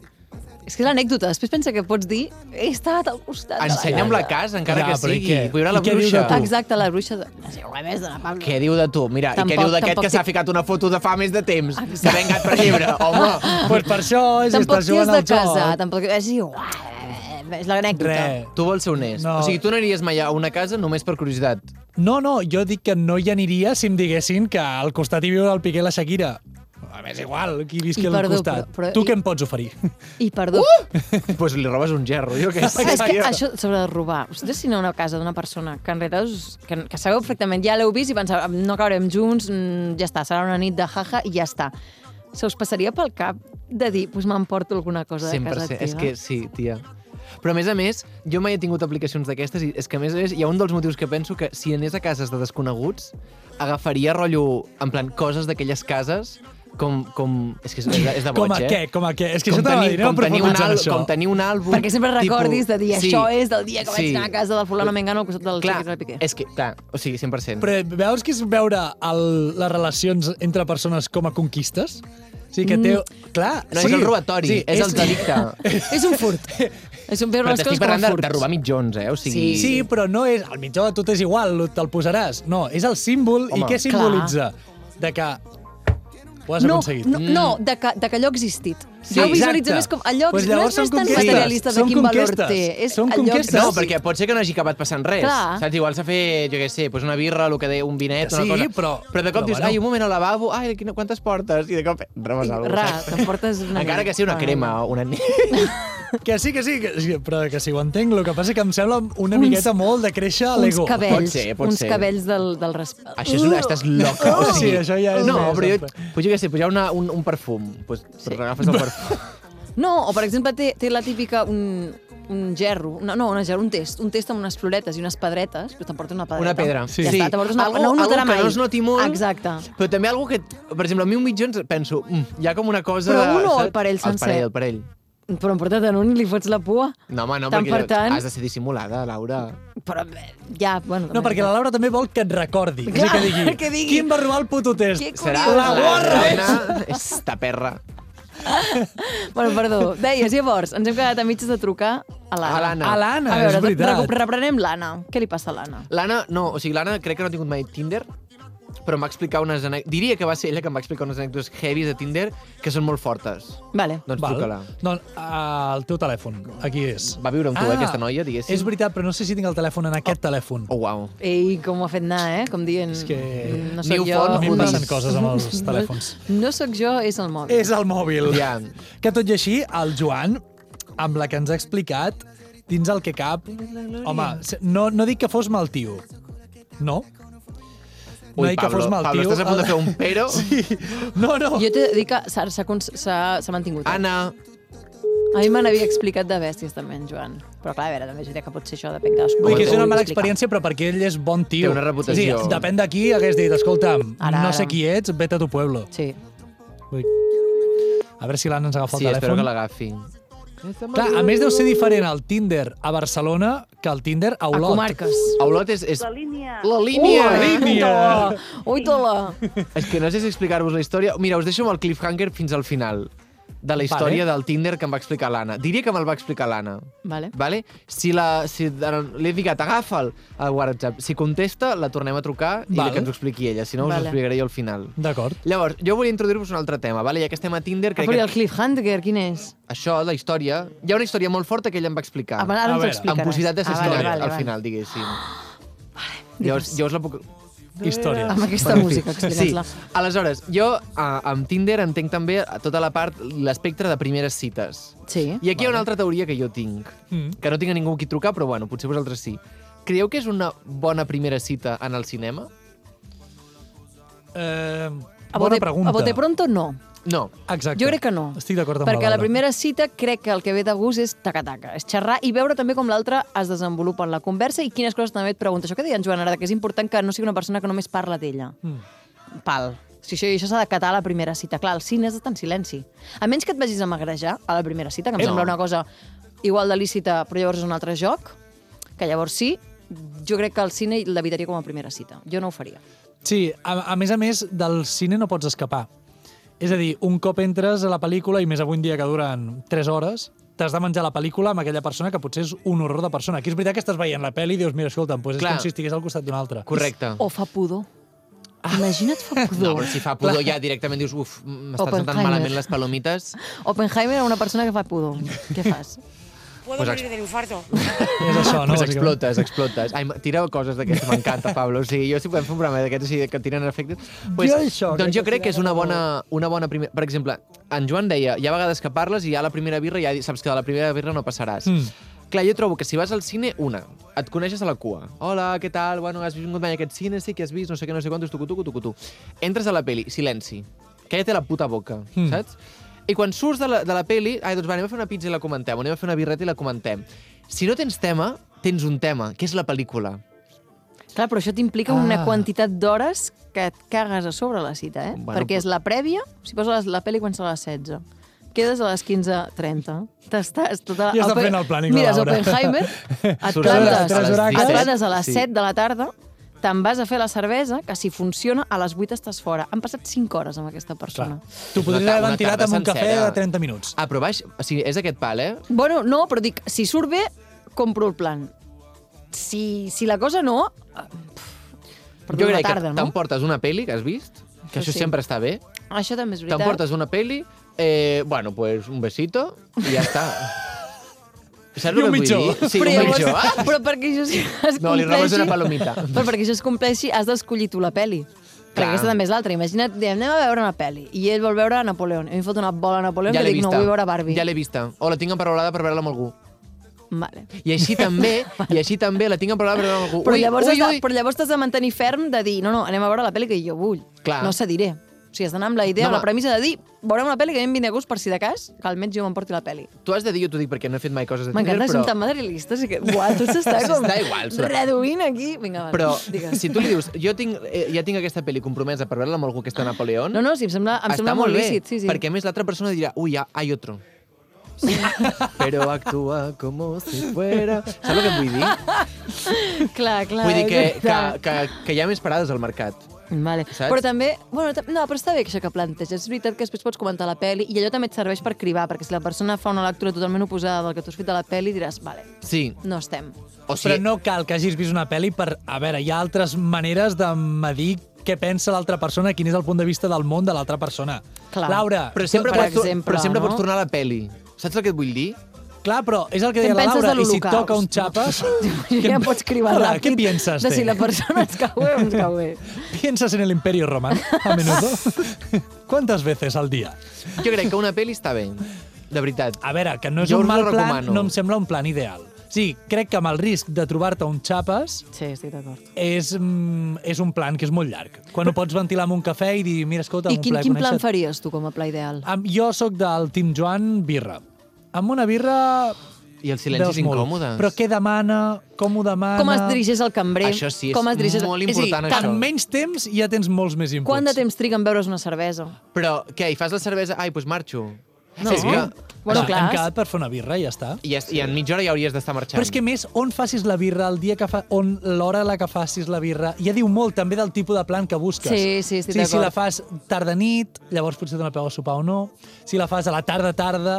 [SPEAKER 2] És que és l'anècdota. Després pensa que pots dir he estat al costat
[SPEAKER 1] ensenya'm
[SPEAKER 2] de la
[SPEAKER 1] la casa, encara
[SPEAKER 3] Ja,
[SPEAKER 1] que
[SPEAKER 3] però i
[SPEAKER 1] sigui.
[SPEAKER 3] què?
[SPEAKER 1] Viure
[SPEAKER 3] I
[SPEAKER 1] la
[SPEAKER 3] què diu de
[SPEAKER 1] bruixa.
[SPEAKER 3] tu?
[SPEAKER 2] Exacte, la bruixa de... La seua més de la Pablo.
[SPEAKER 1] Què diu de tu? Mira, i
[SPEAKER 2] Tampoc-
[SPEAKER 1] què diu d'aquest
[SPEAKER 2] tampoc
[SPEAKER 1] que s'ha
[SPEAKER 2] t'hi-
[SPEAKER 1] ficat una foto de fa més de temps? S'ha vengat per llibre, home.
[SPEAKER 3] pues per això, és
[SPEAKER 2] Tampoc t'hi has
[SPEAKER 3] estàs jugant
[SPEAKER 2] de
[SPEAKER 3] al joc.
[SPEAKER 2] casar, tampoc... És igual, eh, és l'anècdota.
[SPEAKER 3] Res.
[SPEAKER 1] Tu vols ser honest.
[SPEAKER 3] No.
[SPEAKER 1] No. O sigui, tu aniries mai a una casa només per curiositat.
[SPEAKER 3] No, no, jo dic que no hi aniria si em diguessin que al costat hi viu el Piqué i la Shakira. A més, igual, qui visqui
[SPEAKER 2] I
[SPEAKER 3] al
[SPEAKER 2] perdó,
[SPEAKER 3] costat.
[SPEAKER 2] però- però-
[SPEAKER 3] tu
[SPEAKER 2] i-
[SPEAKER 3] què em pots oferir?
[SPEAKER 2] I perdó, uh!
[SPEAKER 1] Doncs pues li robes un gerro, jo què sé.
[SPEAKER 2] és que això sobre de robar. Ostres, si aneu a una casa d'una persona que en realitat us, que, que sabeu perfectament, ja l'heu vist i penseu, "Mm, no caurem junts, mm, ja està, serà una nit de jaja i ja està. Se us passaria pel cap de dir, doncs m'emporto alguna cosa de casa
[SPEAKER 1] 100%.
[SPEAKER 2] teva?
[SPEAKER 1] És que sí, tia. Però a més a més, jo mai he tingut aplicacions d'aquestes i és que a més a més hi ha un dels motius que penso que si anés a cases de desconeguts agafaria rotllo, en plan, coses d'aquelles cases com, com... És que és, és de- és de boig,
[SPEAKER 3] com a
[SPEAKER 1] eh?
[SPEAKER 3] què? Com a què? És que
[SPEAKER 1] com
[SPEAKER 3] això t'anava a
[SPEAKER 1] tenir,
[SPEAKER 3] dir, anem
[SPEAKER 1] com, tenir un
[SPEAKER 3] profunditzant
[SPEAKER 1] àl-
[SPEAKER 3] això.
[SPEAKER 1] com tenir un àlbum...
[SPEAKER 2] Perquè sempre recordis de dir,
[SPEAKER 1] sí,
[SPEAKER 2] això és del dia que vaig
[SPEAKER 1] sí.
[SPEAKER 2] anar a casa del fulano Mengano al costat del
[SPEAKER 1] Clar,
[SPEAKER 2] Xiquis de Piqué.
[SPEAKER 1] és que, clar, o sigui, 100%.
[SPEAKER 3] Però veus que és veure el, les relacions entre persones com a conquistes? O sigui que té... Clar,
[SPEAKER 1] No,
[SPEAKER 3] sí,
[SPEAKER 1] és el robatori,
[SPEAKER 3] sí, Eh,
[SPEAKER 1] és el delicte.
[SPEAKER 2] Mm. És un furt. És un veure
[SPEAKER 1] Però
[SPEAKER 2] les
[SPEAKER 1] t'estic
[SPEAKER 2] coses com a
[SPEAKER 1] parlant de,
[SPEAKER 2] furts.
[SPEAKER 1] de robar mitjons, eh? O sigui...
[SPEAKER 3] Sí, però no és... Al mitjà de tot és igual, te'l posaràs. No, és el símbol.
[SPEAKER 1] Home,
[SPEAKER 3] I què simbolitza? De que ho has
[SPEAKER 2] no,
[SPEAKER 3] aconseguit.
[SPEAKER 2] no, no
[SPEAKER 1] Mm.
[SPEAKER 2] de, que, de que allò ha existit.
[SPEAKER 3] Sí,
[SPEAKER 2] Sí, jo visualitzo
[SPEAKER 3] exacte.
[SPEAKER 2] més com allò
[SPEAKER 3] Pues
[SPEAKER 2] pues no
[SPEAKER 3] llavors
[SPEAKER 2] és més
[SPEAKER 3] són
[SPEAKER 2] tan
[SPEAKER 3] conquestes.
[SPEAKER 2] materialista de
[SPEAKER 3] Són
[SPEAKER 2] quin valor
[SPEAKER 3] conquestes.
[SPEAKER 2] té. És
[SPEAKER 3] Són
[SPEAKER 2] allò
[SPEAKER 3] conquestes.
[SPEAKER 1] No,
[SPEAKER 3] Sí.
[SPEAKER 1] perquè pot ser que no hagi acabat passant res.
[SPEAKER 2] Clar.
[SPEAKER 1] Saps? Igual s'ha fet, jo què sé, doncs una birra, el que deia, un vinet, una
[SPEAKER 3] Sí,
[SPEAKER 1] cosa.
[SPEAKER 3] però-
[SPEAKER 1] però de
[SPEAKER 3] però
[SPEAKER 1] cop dius,
[SPEAKER 3] bueno.
[SPEAKER 1] ai, un moment al lavabo, ai, quina, quantes portes? I de cop eh, rebes alguna
[SPEAKER 2] Ra,
[SPEAKER 1] cosa.
[SPEAKER 2] t'emportes una...
[SPEAKER 1] Encara que sigui una
[SPEAKER 2] Ah.
[SPEAKER 1] crema o una
[SPEAKER 3] Que sí, que sí, que sí, però que sí, ho entenc. El que passa és que em sembla una miqueta molt de créixer a
[SPEAKER 2] Uns
[SPEAKER 3] l'ego.
[SPEAKER 2] cabells,
[SPEAKER 1] Pot ser, pot
[SPEAKER 2] uns
[SPEAKER 1] ser.
[SPEAKER 2] cabells del, del respecte.
[SPEAKER 1] Això és una... Estàs loca.
[SPEAKER 3] Oh, sí, això ja és
[SPEAKER 1] No,
[SPEAKER 3] més,
[SPEAKER 1] però
[SPEAKER 3] en
[SPEAKER 1] jo, pues, jo què sé, pujar una, un, un perfum. Pues, sí. agafes el perfum.
[SPEAKER 9] No, o per exemple té, té la típica un, un gerro, una, no, una gerro, un test, un test amb unes floretes i unes pedretes, però t'emportes una pedreta.
[SPEAKER 1] Una pedra.
[SPEAKER 3] Sí.
[SPEAKER 9] Ja està, t'emportes una...
[SPEAKER 1] Algú-
[SPEAKER 9] no ho notarà
[SPEAKER 1] algú que
[SPEAKER 9] mai.
[SPEAKER 1] no es noti molt.
[SPEAKER 9] Exacte.
[SPEAKER 1] Però també algú que, per exemple, a mi un mitjó ens penso, mm, hi ha com una cosa...
[SPEAKER 2] Però un o
[SPEAKER 1] saps?
[SPEAKER 2] el parell
[SPEAKER 1] El
[SPEAKER 2] sencer?
[SPEAKER 1] parell, el parell.
[SPEAKER 2] Però emporta't en un i li fots la pua.
[SPEAKER 1] No, home, no,
[SPEAKER 2] Tant
[SPEAKER 1] perquè
[SPEAKER 2] per tant.
[SPEAKER 1] has de ser dissimulada, Laura.
[SPEAKER 2] Però eh, ja, bueno...
[SPEAKER 3] No, perquè la Laura també vol que et recordi. és a
[SPEAKER 2] Clar,
[SPEAKER 3] dir, que, digui,
[SPEAKER 2] que digui.
[SPEAKER 3] Qui em va robar el puto test?
[SPEAKER 2] Que
[SPEAKER 1] Serà
[SPEAKER 3] La guarra, eh?
[SPEAKER 1] reina, Esta perra.
[SPEAKER 2] Bueno, perdó. Deies, llavors, ens hem quedat a mitges de trucar a l'Anna.
[SPEAKER 1] A l'Anna.
[SPEAKER 3] A l'Anna,
[SPEAKER 2] A veure, doncs
[SPEAKER 3] és veritat.
[SPEAKER 2] recu- reprenem l'Anna. Què li passa a l'Anna?
[SPEAKER 1] L'Anna, no, o sigui, l'Anna crec que no ha tingut mai Tinder, però em va explicar unes anècdotes... Diria que va ser ella que em va explicar unes anècdotes heavies de Tinder que són molt fortes.
[SPEAKER 2] Vale.
[SPEAKER 1] Doncs
[SPEAKER 3] Val.
[SPEAKER 1] truca-la.
[SPEAKER 3] No, al teu telèfon, aquí és. Ah,
[SPEAKER 1] Va viure amb tu, eh, aquesta noia, diguéssim.
[SPEAKER 3] És veritat, però no sé si tinc el telèfon en aquest telèfon.
[SPEAKER 1] Oh, uau.
[SPEAKER 2] Ei, com ho ha fet anar, eh? Com dient...
[SPEAKER 3] És que
[SPEAKER 2] mm, No
[SPEAKER 1] New
[SPEAKER 2] sóc jo...
[SPEAKER 1] phone,
[SPEAKER 3] A mi em
[SPEAKER 1] Hoodies.
[SPEAKER 3] passen coses amb els telèfons.
[SPEAKER 2] No sóc jo, és el mòbil.
[SPEAKER 3] És el mòbil.
[SPEAKER 1] Ja.
[SPEAKER 3] Que tot i així, el Joan, amb la que ens ha explicat, dins el que cap... Home, se- no, no dic que fos mal tio. No? no
[SPEAKER 1] Ui,
[SPEAKER 3] dic que
[SPEAKER 1] Pablo,
[SPEAKER 3] fos mal
[SPEAKER 1] Pablo,
[SPEAKER 3] tio.
[SPEAKER 1] estàs a punt de fer un pero?
[SPEAKER 3] Sí. No, no.
[SPEAKER 2] Jo t'he de dir que s'ha- s'ha cons- s'ha s'ha mantingut. eh?
[SPEAKER 1] Anna,
[SPEAKER 2] A mi me n'havia explicat de bèsties també, en Joan. Però clar, a veure, també és veritat que pot ser això, depèn de cadascú.
[SPEAKER 3] Vull dir que és
[SPEAKER 2] com ho
[SPEAKER 3] una mala
[SPEAKER 2] explica.
[SPEAKER 3] experiència, però perquè ell és bon tio.
[SPEAKER 1] Té una reputació.
[SPEAKER 3] Sí, depèn de qui hagués dit, escolta'm,
[SPEAKER 2] Ara,
[SPEAKER 3] no
[SPEAKER 2] ara.
[SPEAKER 3] sé qui ets, vete a tu pueblo.
[SPEAKER 2] Sí.
[SPEAKER 3] Vull dir- A veure si l'Anna ens agafa el
[SPEAKER 1] sí, espero
[SPEAKER 3] telèfon.
[SPEAKER 1] que l'agafi.
[SPEAKER 3] Clar, a més deu ser diferent el Tinder a Barcelona que el Tinder a
[SPEAKER 2] A
[SPEAKER 3] Olot.
[SPEAKER 2] comarques.
[SPEAKER 1] A Olot és... és...
[SPEAKER 10] línia.
[SPEAKER 1] La línia! eh?
[SPEAKER 3] Oh, La línia!
[SPEAKER 2] Ui, tola!
[SPEAKER 1] És que no sé si explicar-vos la història. Mira, us deixo amb el cliffhanger fins al final de la història del Tinder que em va explicar l'Anna. Diria que me'l va explicar l'Anna.
[SPEAKER 2] Vale.
[SPEAKER 1] Vale? Si la- si l'he ficat, agafa'l al WhatsApp. Si contesta, la tornem a trucar
[SPEAKER 3] Val.
[SPEAKER 1] i que ens ho expliqui ella. Si no, us
[SPEAKER 2] Vale.
[SPEAKER 1] ho explicaré jo al final.
[SPEAKER 3] D'acord.
[SPEAKER 1] Llavors, jo volia introduir-vos un altre tema, vale? ja que estem a Tinder,
[SPEAKER 2] Ah,
[SPEAKER 1] crec
[SPEAKER 2] però i
[SPEAKER 1] que
[SPEAKER 2] el cliffhanger, quin és?
[SPEAKER 1] això, la història... Hi ha una història molt forta que ella em va explicar.
[SPEAKER 2] Ah, va,
[SPEAKER 3] A
[SPEAKER 2] ara ens ho
[SPEAKER 3] veure.
[SPEAKER 2] explicaràs.
[SPEAKER 1] amb possibilitat d'assassinat
[SPEAKER 2] ah, vale, vale,
[SPEAKER 1] al
[SPEAKER 2] vale.
[SPEAKER 1] final, diguéssim. Llavors, jo us la puc...
[SPEAKER 3] Història.
[SPEAKER 2] Amb aquesta música,
[SPEAKER 1] Sí.
[SPEAKER 2] explica'ns-la.
[SPEAKER 1] Aleshores, jo a, amb Tinder entenc també tota la part, l'espectre de primeres cites.
[SPEAKER 2] Sí.
[SPEAKER 1] I aquí hi ha una altra teoria que jo tinc,
[SPEAKER 3] Mm.
[SPEAKER 1] que no tinc a ningú a qui trucar, però bueno, potser vosaltres sí. Creieu que és una bona primera cita en el cinema?
[SPEAKER 3] Eh,
[SPEAKER 2] A
[SPEAKER 3] bona
[SPEAKER 2] bote,
[SPEAKER 3] Eh, pregunta.
[SPEAKER 2] A bote pronto, no.
[SPEAKER 1] No.
[SPEAKER 3] Exacte.
[SPEAKER 2] Jo crec que no.
[SPEAKER 3] Estic d'acord amb
[SPEAKER 2] Perquè a
[SPEAKER 3] la
[SPEAKER 2] la
[SPEAKER 3] Laura.
[SPEAKER 2] primera cita crec que el que ve de gust és taca-taca, és xerrar i veure també com l'altre es desenvolupa en la conversa i quines coses també et pregunta. Això que deia en Joan ara, que és important que no sigui una persona que només parla d'ella. Mm. Pal. Si això, això s'ha de catar a la primera cita. Clar, el cine és de tant silenci. A menys que et vagis a magrejar a la primera cita, que em
[SPEAKER 3] Eh,
[SPEAKER 2] sembla
[SPEAKER 3] no.
[SPEAKER 2] una cosa igual de lícita, però llavors és un altre joc, que llavors sí, jo crec que el cine l'evitaria com a primera cita. Jo no ho faria.
[SPEAKER 3] Sí, a, a més a més, del cine no pots escapar. És a dir, un cop entres a la pel·lícula, i més avui en dia que duren 3 hores, t'has de menjar la pel·lícula amb aquella persona que potser és un horror de persona. Aquí és veritat que estàs veient la pel·li i dius, mira, escolta'm, doncs és
[SPEAKER 1] Clar.
[SPEAKER 3] com si estigués al costat d'un altre.
[SPEAKER 1] Correcte.
[SPEAKER 2] O fa pudor.
[SPEAKER 3] Ah.
[SPEAKER 2] Imagina't fa
[SPEAKER 1] No,
[SPEAKER 2] pudor.
[SPEAKER 1] però si fa pudor ja directament dius uf, m'estan
[SPEAKER 2] Oppenheimer.
[SPEAKER 1] sentant malament les palomites.
[SPEAKER 2] Oppenheimer era una persona que fa pudor. Què fas?
[SPEAKER 8] Puedo
[SPEAKER 1] Pues ex-
[SPEAKER 8] morir del infarto.
[SPEAKER 3] És
[SPEAKER 1] pues
[SPEAKER 3] això, no? bàsicament?
[SPEAKER 1] Doncs explotes, explotes. Ai, tira coses d'aquestes, m'encanta, Pablo. O sigui, jo si podem fer un programa d'aquests així que tiren efectes... Pues,
[SPEAKER 3] Jo això, crec
[SPEAKER 1] Doncs jo
[SPEAKER 3] que
[SPEAKER 1] crec que és una
[SPEAKER 3] seria
[SPEAKER 1] bona, una bona primera... Per exemple, en Joan deia, hi ha vegades que parles i ja a la primera birra ja di- saps que de la primera birra no passaràs.
[SPEAKER 3] Mm.
[SPEAKER 1] Clar, jo trobo que si vas al cine, una, et coneixes a la cua. Hola, què tal? Bueno, has vingut mai a aquest cine? Sí, que has vist? No sé què, no sé quantos, tucu, tucu, tucu, tu. Entres a la peli, silenci. Calla-te la puta boca,
[SPEAKER 3] Mm.
[SPEAKER 1] mm. saps? I quan surts de la, de la peli, ai, doncs va, anem a fer una pizza i la comentem, o anem a fer una birreta i la comentem. Si no tens tema, tens un tema, que és la pel·lícula.
[SPEAKER 2] Clar, però això t'implica ah. una
[SPEAKER 3] Ah.
[SPEAKER 2] quantitat d'hores que et cagues a sobre la cita, eh?
[SPEAKER 1] Bueno,
[SPEAKER 2] Bueno, Perquè
[SPEAKER 1] però-
[SPEAKER 2] és la prèvia, si posa les- la pel·li quan serà a les 16. Quedes a les 15.30. T'estàs tota...
[SPEAKER 3] Ja està
[SPEAKER 2] Oppen-
[SPEAKER 3] fent el planning, la
[SPEAKER 2] Mires
[SPEAKER 3] Laura.
[SPEAKER 2] Oppenheimer, et
[SPEAKER 1] Surts a les
[SPEAKER 2] plantes,
[SPEAKER 3] tres
[SPEAKER 2] et
[SPEAKER 3] horacles.
[SPEAKER 2] plantes a les
[SPEAKER 1] Sí.
[SPEAKER 2] 7 de la tarda, te'n vas a fer la cervesa, que si funciona, a les 8 estàs fora. Han passat 5 hores amb aquesta
[SPEAKER 3] Clar.
[SPEAKER 2] persona.
[SPEAKER 3] Tu podries
[SPEAKER 1] Una ta-
[SPEAKER 3] haver
[SPEAKER 1] una
[SPEAKER 3] ventilat
[SPEAKER 1] tarda
[SPEAKER 3] amb un cafè
[SPEAKER 1] sencera.
[SPEAKER 3] de 30 minuts.
[SPEAKER 1] Ah, però baix, o sigui, és aquest pal, eh?
[SPEAKER 2] Bueno, no, però dic, si surt bé, compro el plan. Si, si la cosa no... eh, pff, Perdó,
[SPEAKER 1] jo
[SPEAKER 2] la
[SPEAKER 1] crec
[SPEAKER 2] tota tarda,
[SPEAKER 1] que
[SPEAKER 2] no?
[SPEAKER 1] t'emportes una peli que has vist, que
[SPEAKER 2] Això
[SPEAKER 1] això,
[SPEAKER 2] sí.
[SPEAKER 1] sempre està bé,
[SPEAKER 2] Això també és veritat.
[SPEAKER 1] t'emportes una peli, eh, bueno, pues un besito, i ja està. Saps
[SPEAKER 3] I
[SPEAKER 1] el
[SPEAKER 3] un
[SPEAKER 1] que vull
[SPEAKER 3] mitjó.
[SPEAKER 1] dir? Sí, un mitjó. Ah!
[SPEAKER 2] però perquè això sí es
[SPEAKER 1] No, li robes
[SPEAKER 2] compleixi-
[SPEAKER 1] una palomita.
[SPEAKER 2] Però perquè això es compleixi, has d'escollir tu la peli. Perquè
[SPEAKER 1] Clar.
[SPEAKER 2] aquesta també és l'altra. Imagina't, diem, anem a veure una peli i ell vol veure Napoleón. I em fot una bola a Napoleón
[SPEAKER 1] Ja
[SPEAKER 2] que
[SPEAKER 1] l'he
[SPEAKER 2] dic,
[SPEAKER 1] vista.
[SPEAKER 2] no vull veure Barbie.
[SPEAKER 1] Ja l'he vista. O la tinc emparolada per veure-la amb algú.
[SPEAKER 2] Vale.
[SPEAKER 1] I així també, i així també la tinc emparolada per veure-la amb algú.
[SPEAKER 2] Però,
[SPEAKER 1] Ui,
[SPEAKER 2] llavors
[SPEAKER 1] ui,
[SPEAKER 2] has de,
[SPEAKER 1] ui.
[SPEAKER 2] però llavors t'has de mantenir ferm de dir, no, no, anem a veure la pel·li que jo vull.
[SPEAKER 1] Clar.
[SPEAKER 2] No cediré. O sigui, has d'anar amb la idea,
[SPEAKER 1] No,
[SPEAKER 2] no, amb la
[SPEAKER 1] no.
[SPEAKER 2] premissa de dir, veurem una pel·li que a mi em vingui de gust per si de cas, que almenys jo m'emporti la pel·li.
[SPEAKER 1] Tu has de dir, jo t'ho dic perquè no he fet mai coses de Tinder,
[SPEAKER 2] M'encanta,
[SPEAKER 1] però...
[SPEAKER 2] som tan materialistes i que, uau, tot s'està
[SPEAKER 1] S'està
[SPEAKER 2] com
[SPEAKER 1] igual, s'està-
[SPEAKER 2] reduint aquí. Vinga, va,
[SPEAKER 1] Però
[SPEAKER 2] digues.
[SPEAKER 1] si tu li dius, jo tinc, eh, ja tinc aquesta pel·li compromesa per veure-la amb algú que està a Napoleón,
[SPEAKER 2] No, no, sí, em sembla, em
[SPEAKER 1] està
[SPEAKER 2] sembla molt
[SPEAKER 1] molt bé,
[SPEAKER 2] lícit. Sí, sí.
[SPEAKER 1] perquè a més l'altra persona dirà, ui, ja, hay otro. Sí. Però actua com si fuera... Saps el que et vull dir?
[SPEAKER 2] Clar, clar.
[SPEAKER 1] Vull dir que,
[SPEAKER 2] Ah, és
[SPEAKER 1] que,
[SPEAKER 2] veritat.
[SPEAKER 1] que, que hi ha més parades al mercat.
[SPEAKER 2] Vale.
[SPEAKER 1] Saps?
[SPEAKER 2] Però també... Bueno, ta- no, però està bé això que planteges. És veritat que després pots comentar la peli i allò també et serveix per cribar, perquè si la persona fa una lectura totalment oposada del que tu has fet de la peli, diràs, vale,
[SPEAKER 1] Sí.
[SPEAKER 2] no estem.
[SPEAKER 1] O
[SPEAKER 3] Però
[SPEAKER 1] sigui,
[SPEAKER 3] no cal que hagis vist una pel·li per... A veure, hi ha altres maneres de medir què pensa l'altra persona, quin és el punt de vista del món de l'altra persona.
[SPEAKER 2] Clar.
[SPEAKER 3] Laura,
[SPEAKER 1] però sempre,
[SPEAKER 2] per
[SPEAKER 1] pots, tor-
[SPEAKER 2] exemple,
[SPEAKER 1] però sempre
[SPEAKER 2] no?
[SPEAKER 1] pots tornar a la peli. Saps el que et vull dir?
[SPEAKER 3] Clar, però és el que
[SPEAKER 2] Què
[SPEAKER 3] deia
[SPEAKER 2] en
[SPEAKER 3] la
[SPEAKER 2] penses
[SPEAKER 3] Laura,
[SPEAKER 2] de
[SPEAKER 3] i si
[SPEAKER 2] l'Holocaust?
[SPEAKER 3] toca un xapes...
[SPEAKER 2] Ja pots cribar
[SPEAKER 3] Clar,
[SPEAKER 2] ràpid
[SPEAKER 3] Què pienses,
[SPEAKER 2] de
[SPEAKER 3] té?
[SPEAKER 2] si la persona ens cau bé o ens cau bé.
[SPEAKER 3] ¿Piensas en el Imperio Romano a menudo? ¿Cuántas veces al día?
[SPEAKER 1] Jo crec que una peli està bé. De veritat.
[SPEAKER 3] A veure, que no és
[SPEAKER 1] Jo
[SPEAKER 3] un
[SPEAKER 1] us la
[SPEAKER 3] mal plan,
[SPEAKER 1] recomano.
[SPEAKER 3] no em sembla un plan ideal. Sí, crec que amb el risc de trobar-te un xapes
[SPEAKER 2] Sí, estic d'acord.
[SPEAKER 3] és, mm, és un plan que és molt llarg. Quan ho pots ventilar amb un cafè i dir, mira, escolta,
[SPEAKER 2] I
[SPEAKER 3] un
[SPEAKER 2] quin,
[SPEAKER 3] plaer
[SPEAKER 2] quin plan
[SPEAKER 3] conèixer-te. Ah,
[SPEAKER 2] faries tu com a pla ideal?
[SPEAKER 3] Am- Jo sóc del Tim Joan birra. Amb una birra...
[SPEAKER 1] I els silencis
[SPEAKER 3] veus molt.
[SPEAKER 1] incòmodes.
[SPEAKER 3] Però què demana? Com ho demana?
[SPEAKER 2] Com es dirigeix al cambrer?
[SPEAKER 1] Això sí, és
[SPEAKER 2] com es dirigeix...
[SPEAKER 1] molt
[SPEAKER 2] És a dir,
[SPEAKER 1] important,
[SPEAKER 2] tant-
[SPEAKER 1] això.
[SPEAKER 3] Amb menys temps ja tens molts més inputs.
[SPEAKER 2] Quant de temps triga en beure's una cervesa?
[SPEAKER 1] Però què, hi fas la cervesa? Ai, doncs marxo.
[SPEAKER 2] No.
[SPEAKER 1] És que...
[SPEAKER 2] Bueno,
[SPEAKER 3] Bueno,
[SPEAKER 2] clar,
[SPEAKER 3] Hem quedat per fer una birra i ja està.
[SPEAKER 1] I, es, I en mitja hora ja hauries d'estar marxant.
[SPEAKER 3] Però és que a més, on facis la birra, el dia que fa, on l'hora a la que facis la birra, ja diu molt també del tipus de plan que busques.
[SPEAKER 2] Sí, sí, estic
[SPEAKER 3] sí si
[SPEAKER 2] d'acord.
[SPEAKER 3] la fas tarda nit, llavors potser dona peu a sopar o no. Si la fas a la tarda tarda...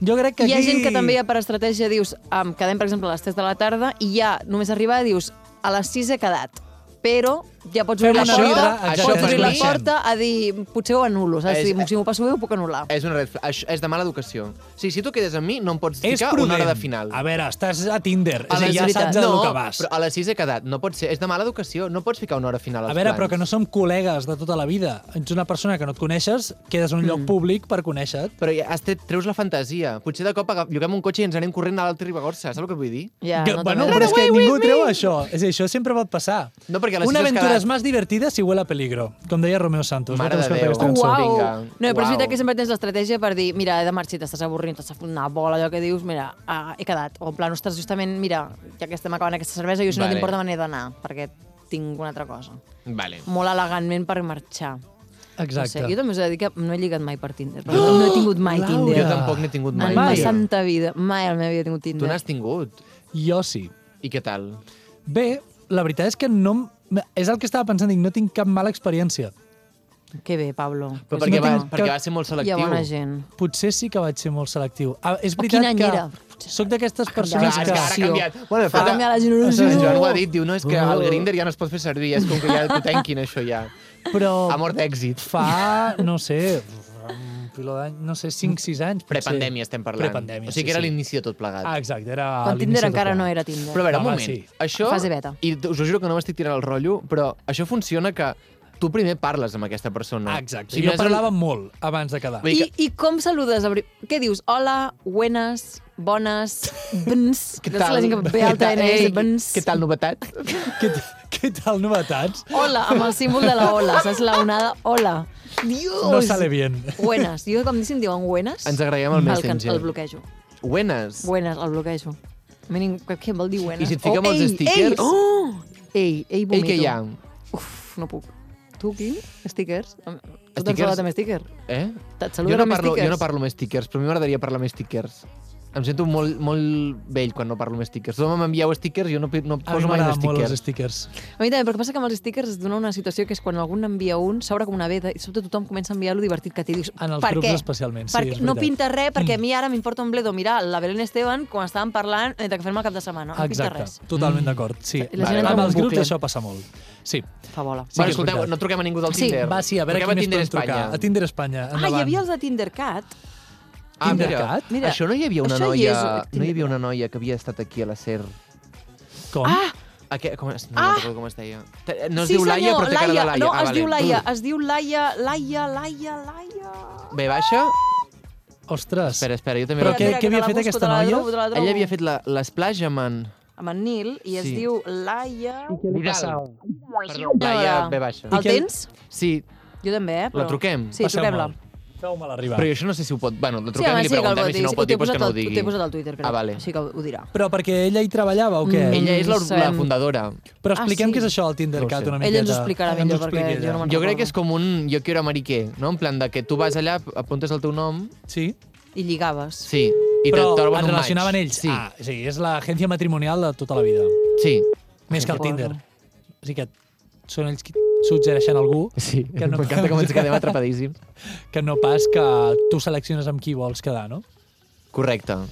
[SPEAKER 3] Jo crec que
[SPEAKER 2] Hi ha
[SPEAKER 3] aquí...
[SPEAKER 2] gent que també ja per estratègia dius, um, quedem, per exemple, a les 3 de la tarda i ja només arribar dius, a les 6 he quedat, però ja pots obrir la
[SPEAKER 3] Fem una
[SPEAKER 2] porta,
[SPEAKER 3] birra,
[SPEAKER 1] això
[SPEAKER 2] pots obrir la
[SPEAKER 1] desconeixem.
[SPEAKER 2] porta a dir, potser ho anul·lo, saps?
[SPEAKER 1] És- Eh,
[SPEAKER 2] És, si m'ho passo bé, ho puc anul·lar.
[SPEAKER 1] És una red flag. Això és de mala educació. O sigui, si tu quedes amb mi, no em pots
[SPEAKER 3] És
[SPEAKER 1] ficar
[SPEAKER 3] prudent.
[SPEAKER 1] una hora de final.
[SPEAKER 3] A veure, estàs a Tinder,
[SPEAKER 1] A
[SPEAKER 3] és a dir,
[SPEAKER 1] les
[SPEAKER 3] ja
[SPEAKER 1] veritats-
[SPEAKER 3] saps a
[SPEAKER 1] no,
[SPEAKER 3] lo que vas.
[SPEAKER 1] Però ah, a les 6 he quedat. No pot ser. És de mala educació. No pots ficar una hora final als
[SPEAKER 3] A veure,
[SPEAKER 1] plans.
[SPEAKER 3] però que no som col·legues de tota la vida. Ets una persona que no et coneixes, quedes en un
[SPEAKER 1] Mm.
[SPEAKER 3] lloc públic per conèixer-te.
[SPEAKER 1] Però ja has tret, treus la fantasia. Potser de cop agaf- lloguem un cotxe i ens anem corrent a l'Alta Ribagorça. Saps el que vull dir?
[SPEAKER 2] Ja,
[SPEAKER 3] Que,
[SPEAKER 2] no
[SPEAKER 3] bueno,
[SPEAKER 2] t'agrada.
[SPEAKER 3] però és que ningú treu això. És a dir, això sempre pot passar.
[SPEAKER 1] No, perquè a les sis
[SPEAKER 3] Una
[SPEAKER 1] has
[SPEAKER 3] aventura Mientras más divertida, si huele a peligro. Com deia Romeo Santos.
[SPEAKER 1] Mare
[SPEAKER 3] Vaig
[SPEAKER 1] de
[SPEAKER 3] buscar
[SPEAKER 1] Déu.
[SPEAKER 3] aquesta cançó.
[SPEAKER 1] Uau.
[SPEAKER 2] Uau!
[SPEAKER 1] Vinga.
[SPEAKER 2] No, però és
[SPEAKER 1] Uau.
[SPEAKER 2] veritat que sempre tens l'estratègia per dir, mira, he de marxar, t'estàs avorrint, t'estàs fent una bola, allò que dius, mira, ah, he quedat. O en plan, ostres, justament, mira, ja que estem acabant aquesta cervesa, jo si no
[SPEAKER 1] Vale.
[SPEAKER 2] t'importa me n'he d'anar, perquè tinc una altra cosa.
[SPEAKER 1] Vale.
[SPEAKER 2] Molt elegantment per marxar. No sé,
[SPEAKER 3] Exacte.
[SPEAKER 2] jo també us he de dir que no he lligat mai per Tinder. perquè no he tingut mai
[SPEAKER 3] Laura!
[SPEAKER 2] Tinder.
[SPEAKER 1] Oh! Jo tampoc n'he tingut mai.
[SPEAKER 2] En ma
[SPEAKER 3] Mai.
[SPEAKER 2] santa vida, mai a la meva vida he tingut
[SPEAKER 1] Tu
[SPEAKER 2] Tinder.
[SPEAKER 1] n'has tingut.
[SPEAKER 3] Jo sí.
[SPEAKER 1] I què tal?
[SPEAKER 3] Bé, la veritat és que no... em- És el que estava pensant, dic, no tinc cap mala experiència.
[SPEAKER 2] Que bé, Pablo.
[SPEAKER 1] Però
[SPEAKER 3] És
[SPEAKER 1] perquè,
[SPEAKER 3] una
[SPEAKER 1] va,
[SPEAKER 3] tinc-
[SPEAKER 1] perquè va ser molt
[SPEAKER 2] Hi
[SPEAKER 1] selectiu. Ah,
[SPEAKER 2] ha bona gent.
[SPEAKER 3] Potser sí que vaig ser molt selectiu. Ah, és veritat
[SPEAKER 2] quin any
[SPEAKER 3] que
[SPEAKER 2] era? Ah,
[SPEAKER 3] soc d'aquestes
[SPEAKER 1] Clar,
[SPEAKER 3] persones
[SPEAKER 1] és que
[SPEAKER 3] que...
[SPEAKER 1] ara ha canviat. Bueno,
[SPEAKER 2] Fa
[SPEAKER 1] fa-
[SPEAKER 2] canviar la
[SPEAKER 1] En Joan ho
[SPEAKER 2] generació.
[SPEAKER 1] ha dit, diu, no, és que
[SPEAKER 3] Uh.
[SPEAKER 1] el Grindr ja no es pot fer servir, és com que ja t'ho tanquin, això ja.
[SPEAKER 3] Però
[SPEAKER 1] Amor d'èxit.
[SPEAKER 3] fa, no sé, un pilo d'any, no sé, 5-6 anys. potser.
[SPEAKER 1] Mm. Prepandèmia estem parlant.
[SPEAKER 3] Prepandèmia,
[SPEAKER 1] O sigui que era
[SPEAKER 3] sí, sí.
[SPEAKER 1] l'inici de tot plegat.
[SPEAKER 3] Ah, exacte, era...
[SPEAKER 2] Quan
[SPEAKER 3] l'inici
[SPEAKER 2] Tinder
[SPEAKER 3] de
[SPEAKER 2] encara
[SPEAKER 3] tot.
[SPEAKER 2] no era Tinder.
[SPEAKER 1] Però a veure, un
[SPEAKER 3] Home,
[SPEAKER 1] moment.
[SPEAKER 3] sí.
[SPEAKER 1] Això,
[SPEAKER 2] Fase beta.
[SPEAKER 1] I us ho juro que no m'estic tirant el rotllo, però això funciona que tu primer parles amb aquesta persona.
[SPEAKER 3] Ah, exacte.
[SPEAKER 1] O sigui,
[SPEAKER 3] jo
[SPEAKER 1] no és el-
[SPEAKER 3] parlava molt abans de quedar.
[SPEAKER 1] Vull
[SPEAKER 2] I,
[SPEAKER 1] dir
[SPEAKER 2] I com saludes? a pri- Què dius? Hola, buenas, bones, bens...
[SPEAKER 1] Què
[SPEAKER 2] Saps
[SPEAKER 1] tal?
[SPEAKER 2] La gent que ve al
[SPEAKER 1] Què tal? Ei,
[SPEAKER 2] TNS, bens...
[SPEAKER 1] Què tal, novetat?
[SPEAKER 3] Què, què tal, novetats?
[SPEAKER 2] Hola, amb el símbol de la ola. Saps la onada? Hola. Dios!
[SPEAKER 3] No sale bien.
[SPEAKER 2] Buenas. Jo, com dicen, diuen buenas.
[SPEAKER 1] Ens agraiem el
[SPEAKER 2] que-
[SPEAKER 1] Messenger.
[SPEAKER 2] El bloquejo.
[SPEAKER 1] Buenas.
[SPEAKER 2] Buenas, el bloquejo. Mínim, què- què vol dir buenas?
[SPEAKER 1] I si et fiquem els
[SPEAKER 2] ei,
[SPEAKER 1] stickers?
[SPEAKER 2] Ei, oh! ei, ei,
[SPEAKER 1] Ei,
[SPEAKER 2] vomito.
[SPEAKER 1] què hi ha?
[SPEAKER 2] Uf, no puc. Tu, Quim? Stickers? Tu t'han
[SPEAKER 1] Stickers?
[SPEAKER 2] saludat amb sticker?
[SPEAKER 1] Eh?
[SPEAKER 2] Te't
[SPEAKER 1] Jo
[SPEAKER 2] saluden
[SPEAKER 1] no,
[SPEAKER 2] amb
[SPEAKER 1] parlo,
[SPEAKER 2] stickers?
[SPEAKER 1] jo no parlo amb stickers, però a mi m'agradaria parlar amb stickers. Em sento molt, molt vell quan no parlo amb stickers. Tothom m'envieu stickers i jo no, pi- no
[SPEAKER 3] A mi
[SPEAKER 1] poso mai un
[SPEAKER 3] m'agraden molt
[SPEAKER 1] sticker.
[SPEAKER 3] els stickers.
[SPEAKER 2] A mi també, però el que passa que amb els stickers es dona una situació que és quan algú n'envia un, s'obre com una veda i sobretot tothom comença a enviar lo divertit que té. Dius,
[SPEAKER 3] En els
[SPEAKER 2] per
[SPEAKER 3] grups
[SPEAKER 2] què?
[SPEAKER 3] especialment, sí,
[SPEAKER 2] Per
[SPEAKER 3] és
[SPEAKER 2] què? no
[SPEAKER 3] veritat. Mm.
[SPEAKER 2] pinta res, perquè a mi ara m'importa un bledo. Mira, la Belén Esteban, quan estàvem parlant, mentre que fem el cap de setmana, Ah, no pinta
[SPEAKER 3] Exacte,
[SPEAKER 2] res. Mm.
[SPEAKER 3] totalment d'acord. Sí.
[SPEAKER 2] La gent entra en
[SPEAKER 3] amb
[SPEAKER 2] un
[SPEAKER 3] els grups
[SPEAKER 2] bucle.
[SPEAKER 3] això passa molt. Sí.
[SPEAKER 2] Fa bola.
[SPEAKER 3] Sí,
[SPEAKER 1] Sí, bueno,
[SPEAKER 3] que és
[SPEAKER 1] escolteu,
[SPEAKER 3] veritat.
[SPEAKER 1] no truquem a ningú del
[SPEAKER 2] Sí.
[SPEAKER 1] Tinder.
[SPEAKER 3] Va, sí, a veure
[SPEAKER 1] Truquem
[SPEAKER 3] qui més
[SPEAKER 1] Tinder
[SPEAKER 3] podem trucar.
[SPEAKER 1] Espanya.
[SPEAKER 3] A Tinder Espanya,
[SPEAKER 2] Ah,
[SPEAKER 3] endavant.
[SPEAKER 2] hi havia els de Tindercat.
[SPEAKER 1] Ah,
[SPEAKER 3] Tinder
[SPEAKER 1] mira,
[SPEAKER 3] Cat?
[SPEAKER 2] Mira,
[SPEAKER 1] això no hi havia una
[SPEAKER 2] això hi
[SPEAKER 1] noia...
[SPEAKER 2] és-
[SPEAKER 1] No hi havia una noia que havia estat aquí a la SER.
[SPEAKER 3] Com? Ah,
[SPEAKER 1] Aqu com es, no,
[SPEAKER 2] Ah!
[SPEAKER 1] no recordo com es deia. Te- eh, No es diu Laia, però té cara de Laia.
[SPEAKER 2] No,
[SPEAKER 1] ah,
[SPEAKER 2] es
[SPEAKER 1] vale.
[SPEAKER 2] diu
[SPEAKER 3] Mm.
[SPEAKER 2] Laia, es diu Laia, Laia, Laia, Laia...
[SPEAKER 1] Bé, baixa.
[SPEAKER 3] Ostres.
[SPEAKER 1] Espera, espera, jo també...
[SPEAKER 3] Però
[SPEAKER 1] la-
[SPEAKER 3] què-
[SPEAKER 2] Espera,
[SPEAKER 3] què
[SPEAKER 2] que te
[SPEAKER 3] havia
[SPEAKER 2] la
[SPEAKER 3] fet
[SPEAKER 2] busco,
[SPEAKER 3] aquesta
[SPEAKER 2] te la
[SPEAKER 3] noia?
[SPEAKER 2] trobo, te la trobo.
[SPEAKER 1] Ella havia fet la- l'esplash amb en...
[SPEAKER 2] Amb en Nil, i es
[SPEAKER 1] Sí.
[SPEAKER 2] diu Laia...
[SPEAKER 1] Vidal. Perdó, Laia,
[SPEAKER 2] Laia.
[SPEAKER 1] bé baixa.
[SPEAKER 2] El
[SPEAKER 3] què-
[SPEAKER 2] tens?
[SPEAKER 1] Sí,
[SPEAKER 2] Jo també, eh? Però...
[SPEAKER 1] la truquem.
[SPEAKER 2] Sí, truquem-la.
[SPEAKER 3] Feu-me l'arribar.
[SPEAKER 1] Però jo això no sé si ho pot... Bueno, la truquem
[SPEAKER 2] home,
[SPEAKER 1] i li preguntem
[SPEAKER 2] que
[SPEAKER 1] i si no ho
[SPEAKER 2] ho
[SPEAKER 1] pot dir, doncs
[SPEAKER 2] posat
[SPEAKER 1] que no
[SPEAKER 2] al-
[SPEAKER 1] ho digui.
[SPEAKER 2] T'he posat al Twitter, però
[SPEAKER 1] Ah, vale.
[SPEAKER 2] així que ho dirà.
[SPEAKER 3] Però perquè ella hi treballava o què?
[SPEAKER 2] Mm,
[SPEAKER 1] Ella és la, la
[SPEAKER 2] Sabem.
[SPEAKER 1] fundadora.
[SPEAKER 3] Però
[SPEAKER 2] Ah,
[SPEAKER 3] expliquem
[SPEAKER 2] sí.
[SPEAKER 3] què és això del Tinder
[SPEAKER 1] No ho
[SPEAKER 3] Cat
[SPEAKER 1] sé.
[SPEAKER 3] una miqueta.
[SPEAKER 2] Ella ens ho explicarà
[SPEAKER 3] Ens ho
[SPEAKER 2] millor, perquè
[SPEAKER 3] expliqui
[SPEAKER 2] jo
[SPEAKER 3] ella.
[SPEAKER 2] no me'n
[SPEAKER 1] Jo crec que és
[SPEAKER 2] recordo.
[SPEAKER 1] com un jo quiero mariquer, no? En plan de que tu vas allà, apuntes el teu nom,
[SPEAKER 3] Sí?
[SPEAKER 2] I lligaves.
[SPEAKER 1] sí, i
[SPEAKER 3] Però
[SPEAKER 1] te troben
[SPEAKER 3] es
[SPEAKER 1] un match.
[SPEAKER 3] relacionaven ells.
[SPEAKER 1] Sí,
[SPEAKER 3] Ah, sí, és l'agència matrimonial de tota la vida.
[SPEAKER 1] sí.
[SPEAKER 3] Més que el
[SPEAKER 2] Porno.
[SPEAKER 3] Tinder. O sigui que són ells qui suggereixen algú
[SPEAKER 1] Sí,
[SPEAKER 3] Que no-
[SPEAKER 1] m'encanta com ens quedem atrapadíssims.
[SPEAKER 3] que no pas que tu selecciones amb qui vols quedar, no?
[SPEAKER 1] Correcte.
[SPEAKER 3] A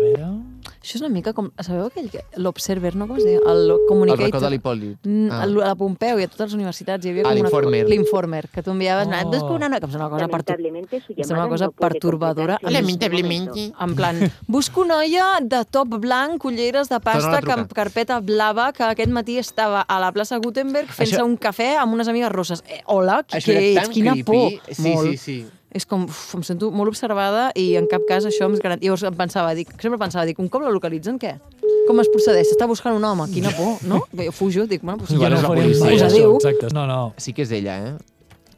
[SPEAKER 3] veure...
[SPEAKER 2] Això és una mica com... Sabeu aquell... que- L'Observer, no? Com es deia? El
[SPEAKER 1] El racó de
[SPEAKER 2] Communicator.
[SPEAKER 1] l'Hipòlit.
[SPEAKER 2] Mm,
[SPEAKER 1] Ah.
[SPEAKER 2] a la a Pompeu i a totes les universitats hi havia
[SPEAKER 1] Ah,
[SPEAKER 2] com una-
[SPEAKER 1] l'Informer.
[SPEAKER 2] L'Informer, que tu enviaves,
[SPEAKER 3] Oh.
[SPEAKER 2] oh. anat una noia, que em sembla una cosa, pertur...
[SPEAKER 8] Lamentablemente su
[SPEAKER 2] em
[SPEAKER 8] llamada
[SPEAKER 2] sembla una cosa
[SPEAKER 8] no puede
[SPEAKER 2] perturbadora.
[SPEAKER 8] completarse en este
[SPEAKER 1] Lamentablemente.
[SPEAKER 8] momento.
[SPEAKER 2] En plan, busco noia de top blanc, culleres de pasta,
[SPEAKER 1] Torna a trucar.
[SPEAKER 2] cam- carpeta blava, que aquest matí estava a la plaça Gutenberg fent-se
[SPEAKER 1] Això-
[SPEAKER 2] un cafè amb unes amigues rosses. Eh, hola, qui, què ets? Quina por.
[SPEAKER 1] Sí,
[SPEAKER 2] Molt.
[SPEAKER 1] sí, sí.
[SPEAKER 2] És com, uf, em sento molt observada i en cap cas això em garantia. Llavors em pensava, dic, sempre pensava, dic, un cop la localitzen, què? Com es procedeix? S'està buscant un home, quina por, no? Bé, Jo fujo, dic, bueno, doncs...
[SPEAKER 3] Jo
[SPEAKER 1] Igual
[SPEAKER 3] no
[SPEAKER 1] és la
[SPEAKER 3] faria
[SPEAKER 1] policia.
[SPEAKER 3] mai
[SPEAKER 2] Us
[SPEAKER 3] això,
[SPEAKER 2] adéu.
[SPEAKER 3] exacte. No, no.
[SPEAKER 1] Sí que és ella, eh?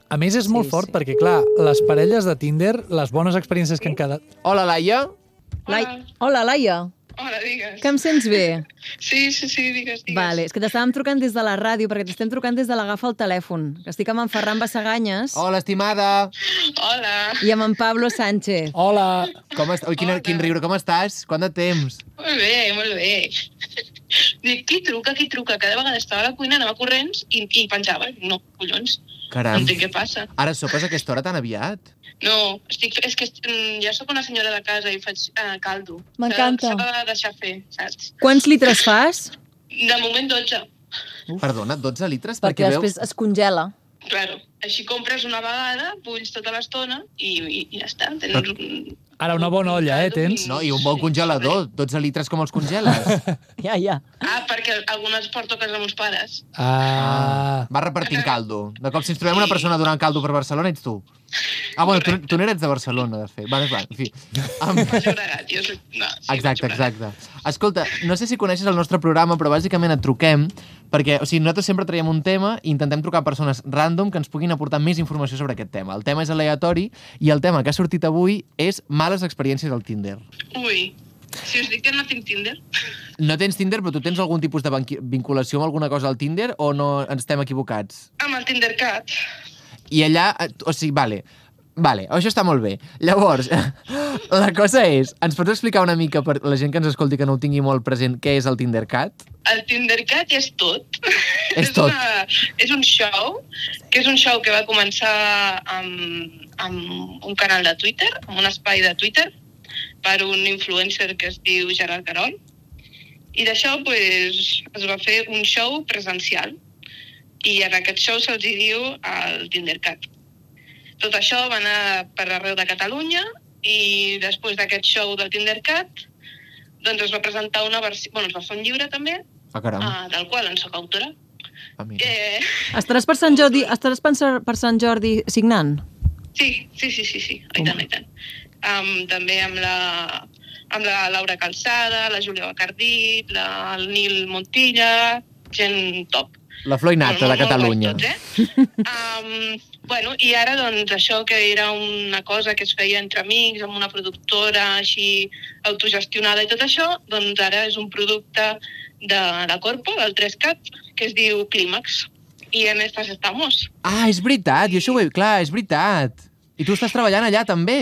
[SPEAKER 3] A més, és molt
[SPEAKER 2] Sí,
[SPEAKER 3] fort
[SPEAKER 2] sí.
[SPEAKER 3] perquè, clar, les parelles de Tinder, les bones experiències que han quedat...
[SPEAKER 1] Hola, Laia.
[SPEAKER 2] Lai... Hola, Laia,
[SPEAKER 11] Hola, digues.
[SPEAKER 2] que em sents bé?
[SPEAKER 11] Sí, sí, sí, digues, digues.
[SPEAKER 2] Vale, és que t'estàvem trucant des de la ràdio, perquè t'estem trucant des de l'agafa el telèfon. Estic amb en Ferran Bassaganyes
[SPEAKER 1] Hola, estimada.
[SPEAKER 11] Hola.
[SPEAKER 2] i amb en Pablo Sánchez.
[SPEAKER 3] Hola!
[SPEAKER 1] Com est... Ui, quin, quin riure, com estàs? Quant de temps?
[SPEAKER 11] Molt bé, molt bé. Dic, qui truca, qui truca? Cada vegada estava a la cuina, anava corrents i, i penjava. No, collons, no
[SPEAKER 1] Caram.
[SPEAKER 11] entenc què passa.
[SPEAKER 1] Ara sopes a aquesta hora tan aviat?
[SPEAKER 11] No, estic, és que mm, ja sóc una senyora de casa i faig eh, caldo.
[SPEAKER 2] M'encanta.
[SPEAKER 11] S'ha s'ha de deixar fer, saps?
[SPEAKER 2] Quants litres fas?
[SPEAKER 11] De moment 12,
[SPEAKER 1] Uf. Perdona, 12 litres?
[SPEAKER 2] Perquè
[SPEAKER 1] Perquè,
[SPEAKER 2] després es congela.
[SPEAKER 11] claro. Així compres una vegada, bulls tota l'estona i, i, i ja està. Tens un...
[SPEAKER 3] Ara una bona olla, eh, tens?
[SPEAKER 1] veus... No, i un bon congelador. 12 litres com els congeles.
[SPEAKER 2] Ja, ja.
[SPEAKER 11] Ah, perquè algunes porto a casa meus pares.
[SPEAKER 3] Ah...
[SPEAKER 1] Va repartint caldo. De cop, si ens trobem una persona donant caldo per Barcelona, ets tu. Ah, bueno, tu, tu no eres de Barcelona, de fet. Vale, va, en fi.
[SPEAKER 11] M'ha
[SPEAKER 1] Amb...
[SPEAKER 11] lloregat, jo soc... No, sí,
[SPEAKER 1] Exacte,
[SPEAKER 11] m'ha lloregat.
[SPEAKER 1] exacte. Escolta, no sé si coneixes el nostre programa, però bàsicament et truquem perquè, o sigui, nosaltres sempre traiem un tema i intentem trucar persones random que ens puguin aportar més informació sobre aquest tema. El tema és aleatori i el tema que ha sortit avui és males experiències al Tinder.
[SPEAKER 11] Ui, si us dic que no tinc Tinder,
[SPEAKER 1] No tens Tinder, però tu tens algun tipus de banqui- vinculació amb alguna cosa al Tinder o no ens estem equivocats?
[SPEAKER 11] amb el Tindercat,
[SPEAKER 1] I allà, eh, o sigui, vale, vale, això està molt bé. Llavors, la cosa és, ens pots explicar una mica per la gent que ens escolti que no ho tingui molt present, què és el Tindercat?
[SPEAKER 11] el Tindercat és tot.
[SPEAKER 1] És tot.
[SPEAKER 11] Una, és un show, que és un show que va començar amb, amb un canal de Twitter, amb un espai de Twitter, per un influencer que es diu Gerard Carol. I d'això pues, es va fer un show presencial. I en aquest show se'ls hi diu el Tindercat. Tot això va anar per arreu de Catalunya i després d'aquest show del Tindercat doncs es va presentar una versió... Bueno, es va fer un llibre també,
[SPEAKER 1] Ah, caram,
[SPEAKER 11] ah, del qual en sóc autora.
[SPEAKER 1] ah, mira.
[SPEAKER 11] Eh,
[SPEAKER 2] Estaràs per Sant Jordi, estaràs per, Sant- per Sant Jordi signant?
[SPEAKER 11] sí, sí, sí, sí, sí, i tant, i tant. Um, també amb la, amb la Laura Calçada, la Júlia Bacardí, la, el Nil Montilla, gent top.
[SPEAKER 1] La flor innata de
[SPEAKER 11] Molt, molt
[SPEAKER 1] Catalunya.
[SPEAKER 11] guai Tots, eh? um, bueno, I ara, doncs, això que era una cosa que es feia entre amics, amb una productora així autogestionada i tot això, doncs ara és un producte de la Corpo, del 3CAT, que es diu Clímax. I en estas estamos.
[SPEAKER 1] Ah, és veritat, i això ho he... Clar, és veritat. I tu estàs treballant allà, també?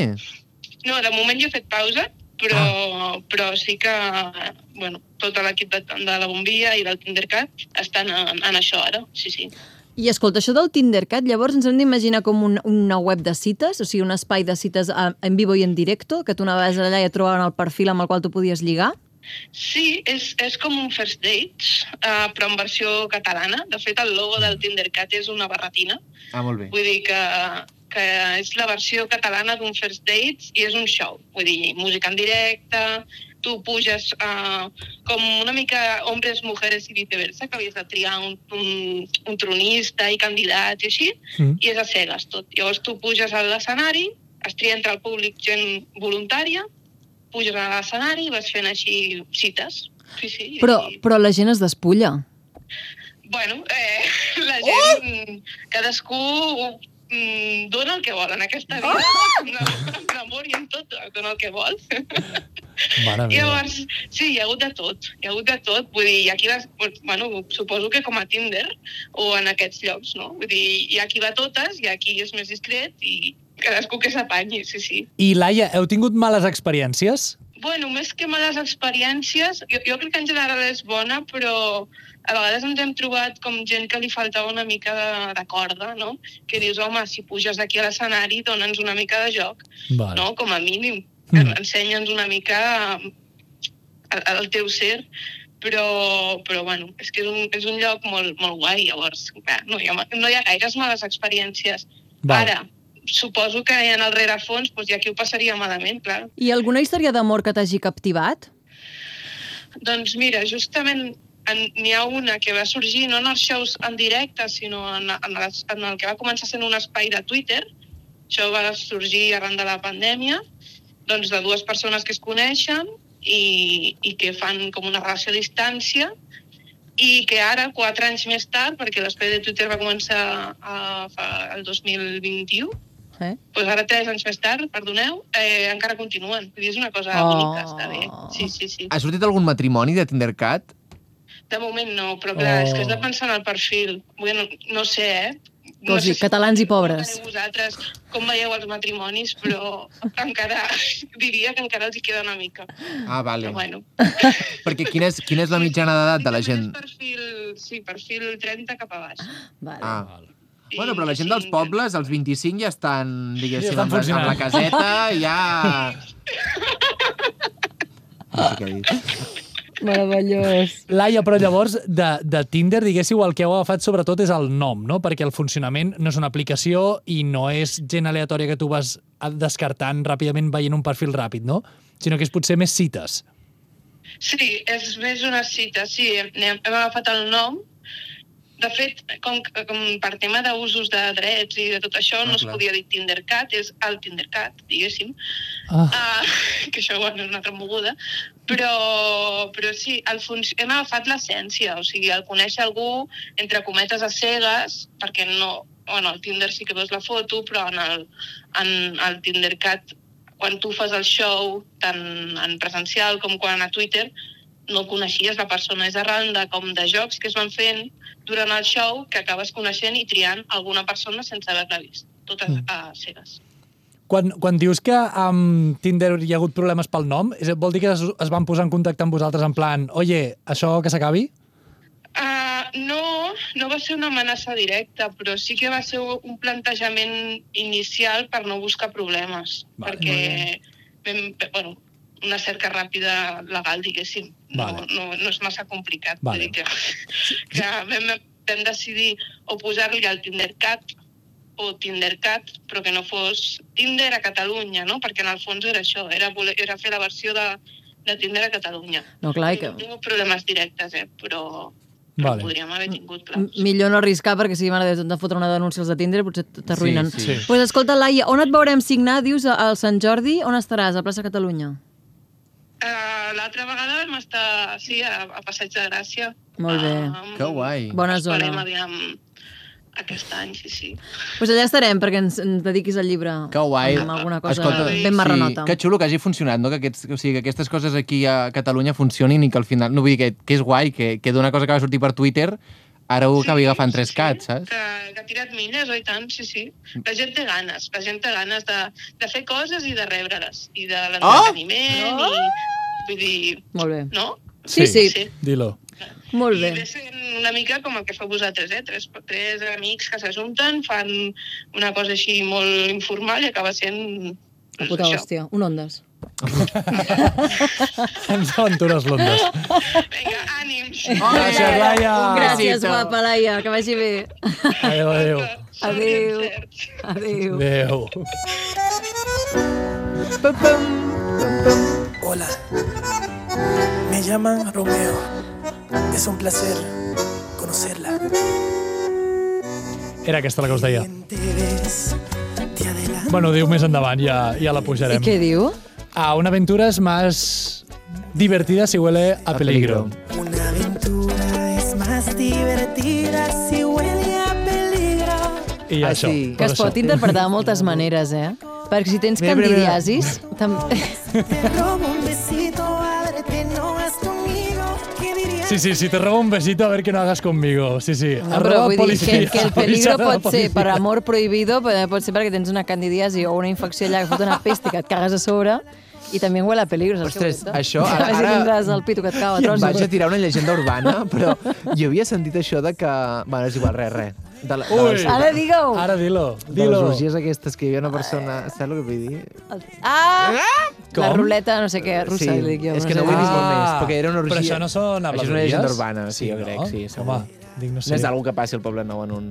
[SPEAKER 11] No, de moment jo he fet pausa, però, però sí que bueno, tot l'equip de, de la Bombilla i del Tindercat estan en, en això ara, sí, sí.
[SPEAKER 2] I escolta, això del Tindercat, llavors ens hem d'imaginar com un, una web de cites, o sigui, un espai de cites a- en vivo i en directo, que tu anaves allà i et trobaven el perfil amb el qual tu podies lligar.
[SPEAKER 11] Sí, és, és com un first dates, uh, però en versió catalana. De fet, el logo del Tindercat és una barretina.
[SPEAKER 1] Ah, molt bé.
[SPEAKER 11] Vull dir que, que és la versió catalana d'un first dates i és un show. Vull dir, música en directe, tu puges uh, com una mica hombres, mujeres i viceversa, que havies de triar un, un, un tronista i candidats i així,
[SPEAKER 3] Mm.
[SPEAKER 11] i és a cegues tot. Llavors tu puges a l'escenari, es tria entre el públic gent voluntària, puges a l'escenari i vas fent així cites. Sí, sí.
[SPEAKER 2] Però,
[SPEAKER 11] i...
[SPEAKER 2] però la gent es despulla.
[SPEAKER 11] Bueno, eh, la gent, oh! cadascú mm, dona el que vol en aquesta vida. Oh! No, en amor i en tot, dona el que vol.
[SPEAKER 3] Mare meva.
[SPEAKER 11] Llavors, sí, hi ha hagut de tot, hi ha hagut de tot. Vull dir, hi ha qui va, bueno, suposo que com a Tinder o en aquests llocs, no? Vull dir, hi ha qui va a totes, hi ha qui és més discret i cadascú que s'apanyi, sí, sí.
[SPEAKER 3] I, Laia, heu tingut males experiències?
[SPEAKER 11] Bueno, més que males experiències, jo, jo crec que en general és bona, però a vegades ens hem trobat com gent que li faltava una mica de, de corda, no? Que dius, home, si puges aquí a l'escenari, dona'ns una mica de joc,
[SPEAKER 3] Vale.
[SPEAKER 11] no? Com a mínim.
[SPEAKER 3] Mm.
[SPEAKER 11] Mm. Ensenya'ns una mica eh, el, el teu ser, però, però bueno, és que és un, és un lloc molt, molt guai, llavors, clar, no hi ha, ma- no hi ha gaires males experiències.
[SPEAKER 3] Val.
[SPEAKER 11] Ara, suposo que en el rerefons doncs, hi ha qui ho passaria malament, clar.
[SPEAKER 2] I alguna història d'amor que t'hagi captivat?
[SPEAKER 11] Doncs mira, justament en- n'hi ha una que va sorgir no en els shows en directe, sinó en, en, les, en el que va començar sent un espai de Twitter. Això va sorgir arran de la pandèmia, doncs de dues persones que es coneixen i, i que fan com una relació a distància i que ara, quatre anys més tard, perquè l'espai de Twitter va començar a, fa, el 2021,
[SPEAKER 2] Eh?
[SPEAKER 11] doncs ara tres anys més tard, perdoneu, eh, encara continuen. Vull dir, és una cosa
[SPEAKER 2] Oh.
[SPEAKER 11] oh. bonica, està bé. Sí, sí, sí.
[SPEAKER 1] Ha sortit algun matrimoni de Tindercat?
[SPEAKER 11] De moment no, però clar,
[SPEAKER 3] Oh.
[SPEAKER 11] oh. és que has de pensar en el perfil. Bueno, no sé, eh? No
[SPEAKER 2] Cosi, Doncs catalans i pobres.
[SPEAKER 11] Com vosaltres com veieu els matrimonis, però encara diria que encara els hi queda una mica.
[SPEAKER 1] Ah, vale.
[SPEAKER 11] Però bueno.
[SPEAKER 1] Perquè quina és, quina és la mitjana d'edat de la gent?
[SPEAKER 11] És Perfil, sí, perfil 30 cap a baix.
[SPEAKER 2] Vale. Ah.
[SPEAKER 1] Ah. Bueno, però la gent dels
[SPEAKER 11] sí,
[SPEAKER 1] pobles, als 25, ja estan, diguéssim,
[SPEAKER 3] Ja estan
[SPEAKER 1] amb, la- amb la
[SPEAKER 3] funcionant.
[SPEAKER 1] caseta, ja... No sé què he dit.
[SPEAKER 2] Meravellós.
[SPEAKER 3] Laia, però llavors, de, de Tinder, diguéssiu, el que heu agafat sobretot és el nom, no? Perquè el funcionament no és una aplicació i no és gent aleatòria que tu vas descartant ràpidament veient un perfil ràpid, no? Sinó que és potser més cites.
[SPEAKER 11] Sí, és més una cita, sí. Hem, hem agafat el nom De fet, com, que- com per tema d'usos de drets i de tot això,
[SPEAKER 3] Ah,
[SPEAKER 11] no es
[SPEAKER 3] clar.
[SPEAKER 11] podia dir Tindercat, és el Tindercat, diguéssim.
[SPEAKER 3] Ah.
[SPEAKER 11] Ah, que això bueno, és una altra moguda. Però, però sí, el func... hem agafat l'essència, o sigui, el conèixer algú, entre cometes, a cegues, perquè no... Bueno, al Tinder sí que veus la foto, però en el, en el Tindercat, quan tu fas el show, tant en presencial com quan a Twitter, no coneixies la persona. És arran de, com de jocs que es van fent durant el show que acabes coneixent i triant alguna persona sense haver-la vist. Totes
[SPEAKER 3] Mm.
[SPEAKER 11] a cegues.
[SPEAKER 3] Quan, quan dius que amb Tinder hi ha hagut problemes pel nom, és, vol dir que es, es van posar en contacte amb vosaltres en plan, oye, això que s'acabi?
[SPEAKER 11] Uh, no, no va ser una amenaça directa, però sí que va ser un plantejament inicial per no buscar problemes,
[SPEAKER 3] Vale.
[SPEAKER 11] vale, perquè vam, bueno, una cerca ràpida legal, diguéssim.
[SPEAKER 3] Vale.
[SPEAKER 11] No, no, no és massa complicat.
[SPEAKER 3] Vale.
[SPEAKER 11] Vull dir que, que vam, vam decidir o posar-li al Tindercat o Tindercat, però que no fos Tinder a Catalunya, no? Perquè en el fons era això, era, voler, era fer la versió de, de Tinder a Catalunya.
[SPEAKER 2] No, clar, i
[SPEAKER 11] No
[SPEAKER 2] que...
[SPEAKER 11] tinc problemes directes, eh? però
[SPEAKER 3] Vale.
[SPEAKER 11] vale. podríem haver tingut clams.
[SPEAKER 2] Millor no arriscar perquè si m'agrada de fotre una denúncia als de Tinder potser t'arruïnen.
[SPEAKER 1] Sí, sí.
[SPEAKER 2] pues escolta, Laia, on et veurem signar? Dius al Sant Jordi? On estaràs? A plaça Catalunya?
[SPEAKER 11] Uh, L'altra vegada vam estar sí, a, a Passeig de Gràcia.
[SPEAKER 2] Molt bé.
[SPEAKER 11] Um,
[SPEAKER 1] Que guai.
[SPEAKER 2] Bona
[SPEAKER 11] Esperem,
[SPEAKER 2] zona.
[SPEAKER 11] aviam, aquest any, sí, sí.
[SPEAKER 2] Doncs pues allà estarem perquè ens, ens dediquis al llibre.
[SPEAKER 1] Que guai.
[SPEAKER 2] Amb alguna cosa
[SPEAKER 1] Escolta,
[SPEAKER 2] ben marranota.
[SPEAKER 1] Sí, que xulo que hagi funcionat, no? Que, aquests, o sigui, que aquestes coses aquí a Catalunya funcionin i que al final... No vull dir que, que és guai, que, que d'una cosa que va sortir per Twitter ara ho acabi agafant tres cats, saps?
[SPEAKER 11] Que, que ha tirat milles, oi tant, sí, sí.
[SPEAKER 1] Mm.
[SPEAKER 11] La gent té ganes, la gent té ganes de, de fer coses i de rebre-les, i
[SPEAKER 1] Ah!
[SPEAKER 11] de l'entreteniment, oh!
[SPEAKER 2] Ah!
[SPEAKER 11] i vull dir,
[SPEAKER 2] Molt bé.
[SPEAKER 11] no?
[SPEAKER 2] Sí, sí.
[SPEAKER 11] sí.
[SPEAKER 3] Dilo.
[SPEAKER 2] Molt
[SPEAKER 11] I
[SPEAKER 2] bé.
[SPEAKER 11] ve sent una mica com el que feu vosaltres, eh? Tres, tres amics que s'ajunten, fan una cosa així molt informal i acaba sent...
[SPEAKER 2] La puta
[SPEAKER 11] això.
[SPEAKER 2] hòstia. Un ondes.
[SPEAKER 3] Ens aventures l'ondes.
[SPEAKER 11] Vinga, ànims!
[SPEAKER 3] Gràcies, Laia.
[SPEAKER 1] Ah,
[SPEAKER 2] Gràcies,
[SPEAKER 1] Besito.
[SPEAKER 2] guapa, Laia. Que vagi bé.
[SPEAKER 3] Adéu, adéu.
[SPEAKER 2] Adéu.
[SPEAKER 11] Adéu.
[SPEAKER 2] Adéu.
[SPEAKER 3] Adéu.
[SPEAKER 8] Hola, me llaman Romeo. Es un placer conocerla.
[SPEAKER 3] Era aquesta la que us deia.
[SPEAKER 8] Te ves, te adelanto.
[SPEAKER 3] Bueno, diu més endavant, ja, ja la
[SPEAKER 2] I
[SPEAKER 3] pujarem.
[SPEAKER 2] què diu?
[SPEAKER 3] A una aventura es más divertida si huele a peligro.
[SPEAKER 8] Una aventura es más divertida si huele a peligro.
[SPEAKER 3] I
[SPEAKER 1] Ah,
[SPEAKER 3] això.
[SPEAKER 1] sí.
[SPEAKER 2] Que es pot interpretar de moltes maneres, eh? Perquè si tens
[SPEAKER 3] Mira, mira, mira.
[SPEAKER 2] candidiasis... També...
[SPEAKER 8] Te robo un besito, ábrete, no vas conmigo. ¿Qué dirías?
[SPEAKER 3] Sí, sí, si te robo un besito, a ver que no hagas conmigo. Sí, sí.
[SPEAKER 2] No, però
[SPEAKER 3] Arroba
[SPEAKER 2] vull dir que,
[SPEAKER 3] policia.
[SPEAKER 2] que el peligro
[SPEAKER 3] Arroba
[SPEAKER 2] pot ser
[SPEAKER 3] policia.
[SPEAKER 2] per amor prohibido, però pot ser perquè tens una candidiasi o una infecció allà que fot una pesta que et cagues a sobre i també huele a peligro. saps què
[SPEAKER 1] Ostres,
[SPEAKER 2] vull dir-te?
[SPEAKER 1] això, ara-
[SPEAKER 2] A veure si
[SPEAKER 1] ara-
[SPEAKER 2] tindràs el pito que et cau a
[SPEAKER 1] Em
[SPEAKER 2] trons.
[SPEAKER 1] vaig a tirar una llegenda urbana, però jo havia sentit això de que... Bueno, és igual, res, res. De la, de
[SPEAKER 3] Ui.
[SPEAKER 1] les,
[SPEAKER 2] Ara digue-ho!
[SPEAKER 3] Ara dilo,
[SPEAKER 1] de les
[SPEAKER 3] dilo.
[SPEAKER 1] orgies aquestes que hi havia una persona... Saps el que vull dir?
[SPEAKER 2] Ah! La
[SPEAKER 3] Com?
[SPEAKER 2] ruleta, no sé què, russa,
[SPEAKER 1] Sí,
[SPEAKER 2] li dic jo.
[SPEAKER 1] és que
[SPEAKER 2] sé Ah,
[SPEAKER 1] no vull
[SPEAKER 2] què.
[SPEAKER 1] dir molt més, perquè era una orgia.
[SPEAKER 3] Ah, Però això no són
[SPEAKER 1] Això és una
[SPEAKER 3] habladuries?
[SPEAKER 1] llegenda urbana, sí, jo crec, sí, segur.
[SPEAKER 3] Home, dic, no
[SPEAKER 1] Sí. No
[SPEAKER 3] sé,
[SPEAKER 1] és algo que passi al Poble Nou en un...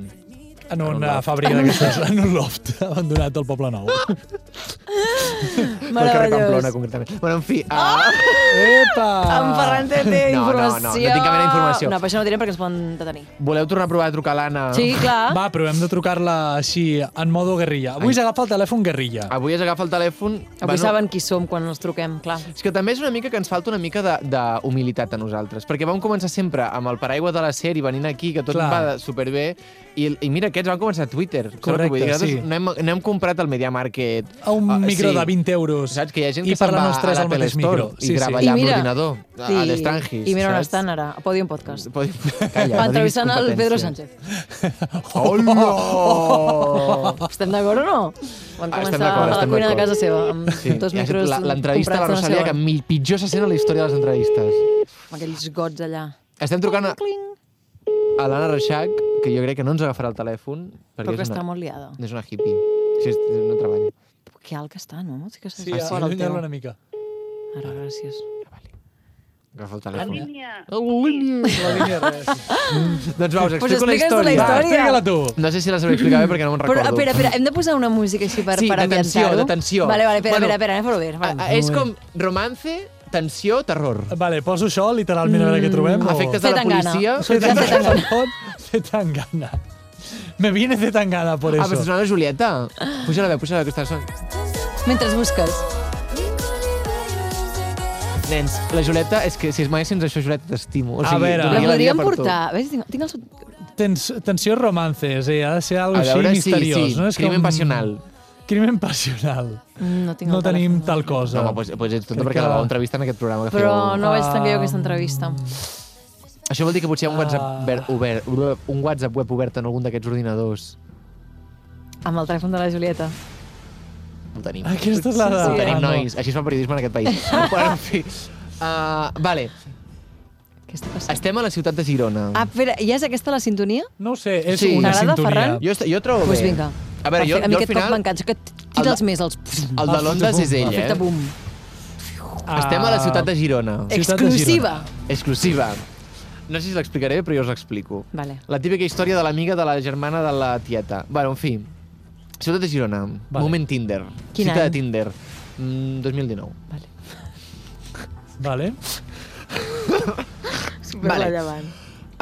[SPEAKER 3] en una fàbrica d'aquestes, en un loft abandonat del Poble Nou.
[SPEAKER 1] Pel carrer
[SPEAKER 2] Meravellós.
[SPEAKER 1] Pamplona, concretament. Bueno, en fi... Ah!
[SPEAKER 3] Epa!
[SPEAKER 2] En Ferran té, té
[SPEAKER 1] No, no, no,
[SPEAKER 2] informació.
[SPEAKER 1] no tinc cap mena d'informació. Ah.
[SPEAKER 2] No, però això no ho direm perquè es poden detenir.
[SPEAKER 1] Voleu tornar a provar a trucar a l'Anna?
[SPEAKER 2] Sí, clar.
[SPEAKER 3] Va, però hem de trucar-la així, en modo guerrilla. Avui s'agafa el telèfon guerrilla.
[SPEAKER 1] Avui es agafa el telèfon...
[SPEAKER 2] Avui saben qui som quan ens truquem, clar.
[SPEAKER 1] És que també és una mica que ens falta una mica de- d'humilitat a nosaltres, perquè vam començar sempre amb el paraigua de la sèrie, venint aquí, que tot
[SPEAKER 3] Clar.
[SPEAKER 1] Clar. va superbé, i, i mira, aquests van començar a Twitter. saps
[SPEAKER 3] Correcte,
[SPEAKER 1] què vull dir? Nosaltres
[SPEAKER 3] sí.
[SPEAKER 1] No hem, no hem comprat el Media Market.
[SPEAKER 3] A un
[SPEAKER 1] Ah,
[SPEAKER 3] micro
[SPEAKER 1] sí.
[SPEAKER 3] de 20 euros.
[SPEAKER 1] Saps que hi ha gent
[SPEAKER 3] I
[SPEAKER 1] que se'n
[SPEAKER 3] parlen
[SPEAKER 1] va
[SPEAKER 3] els
[SPEAKER 1] a
[SPEAKER 3] tres al
[SPEAKER 1] l'Apple
[SPEAKER 3] mateix
[SPEAKER 1] Store
[SPEAKER 3] micro.
[SPEAKER 1] i
[SPEAKER 3] Sí, sí.
[SPEAKER 1] grava
[SPEAKER 2] I
[SPEAKER 1] allà amb
[SPEAKER 2] mira-
[SPEAKER 1] l'ordinador, a- Ah, a les Trangis.
[SPEAKER 2] I mira on
[SPEAKER 1] saps?
[SPEAKER 2] estan ara, a Podium Podcast.
[SPEAKER 1] Pot- Calla,
[SPEAKER 2] Va
[SPEAKER 1] no diguis
[SPEAKER 2] entrevistant el Pedro
[SPEAKER 1] competències.
[SPEAKER 2] Sánchez.
[SPEAKER 1] Hola!
[SPEAKER 2] Estem d'acord o no? Van
[SPEAKER 1] Ah,
[SPEAKER 2] començar
[SPEAKER 1] estem d'acord,
[SPEAKER 2] a la
[SPEAKER 1] estem
[SPEAKER 2] cuina de
[SPEAKER 1] d'acord.
[SPEAKER 2] casa seva, amb
[SPEAKER 1] Sí,
[SPEAKER 2] dos
[SPEAKER 1] ja ha
[SPEAKER 2] micros
[SPEAKER 1] sigut la- L'entrevista a la
[SPEAKER 2] comprats d'una
[SPEAKER 1] Rosalia
[SPEAKER 2] seva,
[SPEAKER 1] que mil pitjor se sent a la història de les entrevistes.
[SPEAKER 2] Amb aquells gots allà.
[SPEAKER 1] Estem trucant a,
[SPEAKER 2] Cling,
[SPEAKER 1] a l'Anna Reixac, que jo crec que no ens agafarà el telèfon, perquè
[SPEAKER 2] però que
[SPEAKER 1] és
[SPEAKER 2] està
[SPEAKER 1] una,
[SPEAKER 2] molt liada.
[SPEAKER 1] és una hippie. Sí, és- no treballa.
[SPEAKER 2] Que alt que està, no? Sí que s'ha
[SPEAKER 3] Sí,
[SPEAKER 1] Ah,
[SPEAKER 2] sí, fora el teu.
[SPEAKER 3] allunyar-lo una mica.
[SPEAKER 2] Ara, gràcies.
[SPEAKER 1] Agafa el telèfon. Ah,
[SPEAKER 3] La línia res.
[SPEAKER 1] Doncs va, us
[SPEAKER 2] Pues
[SPEAKER 1] explico la
[SPEAKER 2] explica'ns la
[SPEAKER 1] història.
[SPEAKER 3] Va,
[SPEAKER 2] història.
[SPEAKER 3] explica-la tu.
[SPEAKER 1] No sé si la sabré explicar bé perquè no me'n
[SPEAKER 2] Però,
[SPEAKER 1] recordo.
[SPEAKER 2] espera, espera, hem de posar una música així per,
[SPEAKER 1] Sí,
[SPEAKER 2] per
[SPEAKER 1] de tensió,
[SPEAKER 2] ambientar-ho?
[SPEAKER 1] de tensió.
[SPEAKER 2] Vale, vale, espera,
[SPEAKER 1] Bueno,
[SPEAKER 2] espera, espera, anem a veure.
[SPEAKER 1] A, a, Ah, és com romance, tensió, terror.
[SPEAKER 3] Vale, poso això literalment a veure què trobem. o-
[SPEAKER 1] Efectes de la
[SPEAKER 2] Fet en gana.
[SPEAKER 1] policia.
[SPEAKER 3] Surt
[SPEAKER 2] Ja
[SPEAKER 3] un
[SPEAKER 2] sé tant.
[SPEAKER 3] telèfon, Zetangana. Me viene Zetangana por
[SPEAKER 1] Ah,
[SPEAKER 3] eso.
[SPEAKER 1] però si sona Julieta. Puja la veu, puja la veu, que està sonant.
[SPEAKER 7] Mentre busques.
[SPEAKER 1] Nens, la Julieta, és que si es mai sents això, Julieta, t'estimo. O
[SPEAKER 3] A
[SPEAKER 1] sigui,
[SPEAKER 3] veure.
[SPEAKER 1] donaria
[SPEAKER 3] La
[SPEAKER 7] La
[SPEAKER 1] vida
[SPEAKER 7] podríem
[SPEAKER 1] per tu.
[SPEAKER 7] portar. A veure, si tinc, tinc el... sub-
[SPEAKER 3] Tens, tensió romances, eh? ha de ser algo
[SPEAKER 1] A
[SPEAKER 3] així
[SPEAKER 1] veure, sí,
[SPEAKER 3] misteriós.
[SPEAKER 1] sí.
[SPEAKER 3] No? És
[SPEAKER 1] Crimen
[SPEAKER 3] com-
[SPEAKER 1] passional.
[SPEAKER 3] Crimen passional.
[SPEAKER 7] Mm, No tinc el
[SPEAKER 3] No tenim
[SPEAKER 7] telèfon.
[SPEAKER 3] tal cosa.
[SPEAKER 1] No, home, doncs, doncs ets tonta
[SPEAKER 3] Crec
[SPEAKER 1] perquè
[SPEAKER 3] que-
[SPEAKER 1] la vau entrevistar en aquest programa. Que
[SPEAKER 7] Però
[SPEAKER 1] feu...
[SPEAKER 7] no vaig tan bé
[SPEAKER 3] Ah.
[SPEAKER 7] aquesta entrevista.
[SPEAKER 1] Això vol dir que potser hi ha un
[SPEAKER 3] Ah.
[SPEAKER 1] WhatsApp, ver, obert, un WhatsApp web obert en algun d'aquests ordinadors.
[SPEAKER 7] Amb el telèfon de la Julieta.
[SPEAKER 1] Ho tenim.
[SPEAKER 3] Aquesta és la...
[SPEAKER 7] Sí,
[SPEAKER 1] Ho
[SPEAKER 7] sí.
[SPEAKER 1] tenim,
[SPEAKER 3] Ah, no.
[SPEAKER 1] nois. Així es fa periodisme en aquest país. Però, en fi. Uh, vale,
[SPEAKER 7] Què està passant?
[SPEAKER 1] estem a la ciutat de Girona.
[SPEAKER 7] Ah, espera, ja és aquesta la sintonia?
[SPEAKER 3] No ho sé, és
[SPEAKER 1] Sí.
[SPEAKER 3] una
[SPEAKER 7] T'agrada,
[SPEAKER 3] sintonia.
[SPEAKER 7] Ferran?
[SPEAKER 1] Jo, est- jo trobo
[SPEAKER 7] Doncs pues
[SPEAKER 1] bé.
[SPEAKER 7] vinga.
[SPEAKER 1] A veure,
[SPEAKER 7] Perfecte. a
[SPEAKER 1] jo,
[SPEAKER 7] mi
[SPEAKER 1] jo al
[SPEAKER 7] aquest cop
[SPEAKER 1] final...
[SPEAKER 7] m'encanta, que
[SPEAKER 1] El de-
[SPEAKER 7] tira'ls més, els... Pum,
[SPEAKER 1] El de Londres és ell,
[SPEAKER 7] Perfecte,
[SPEAKER 1] eh?
[SPEAKER 7] bum.
[SPEAKER 3] Ah,
[SPEAKER 1] Estem a la ciutat de Girona.
[SPEAKER 3] Ciutat de
[SPEAKER 7] Exclusiva.
[SPEAKER 1] Exclusiva. No sé si l'explicaré, però jo us l'explico.
[SPEAKER 7] Vale.
[SPEAKER 1] La típica història de l'amiga de la germana de la tieta. Bueno, en fi. Ciutat de Girona.
[SPEAKER 3] Vale.
[SPEAKER 1] Moment Tinder.
[SPEAKER 7] Quin
[SPEAKER 1] Cita
[SPEAKER 7] any?
[SPEAKER 1] de Tinder. Mm, 2019.
[SPEAKER 7] Vale.
[SPEAKER 3] Vale.
[SPEAKER 1] Vale.
[SPEAKER 7] Rellevant.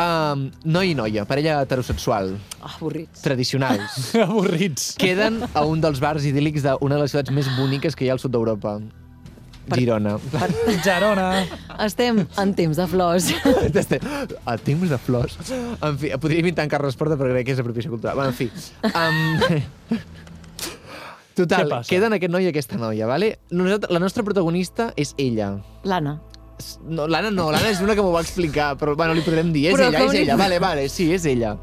[SPEAKER 1] Um, noi i noia, parella heterosexual,
[SPEAKER 7] Ah, avorrits.
[SPEAKER 1] tradicionals.
[SPEAKER 3] Avorrits.
[SPEAKER 1] Queden a un dels bars idíl·lics d'una de les ciutats més boniques que hi ha al sud d'Europa. Girona.
[SPEAKER 3] Gerona.
[SPEAKER 7] Estem en temps de flors.
[SPEAKER 1] a temps de flors. En fi, podria imitar en Carles Porta, però crec que és apropiació cultural. Bueno, en fi. Um,
[SPEAKER 3] Què
[SPEAKER 1] total,
[SPEAKER 3] passa?
[SPEAKER 1] queden aquest noi i aquesta noia, vale? Nosaltres, la nostra protagonista és ella.
[SPEAKER 7] L'Anna.
[SPEAKER 1] S- No, l'Anna no, l'Anna és una que m'ho va explicar, però bueno, li podrem dir, és
[SPEAKER 7] Però
[SPEAKER 1] ella,
[SPEAKER 7] com
[SPEAKER 1] és
[SPEAKER 7] li-
[SPEAKER 1] ella, vale, vale, sí, és ella.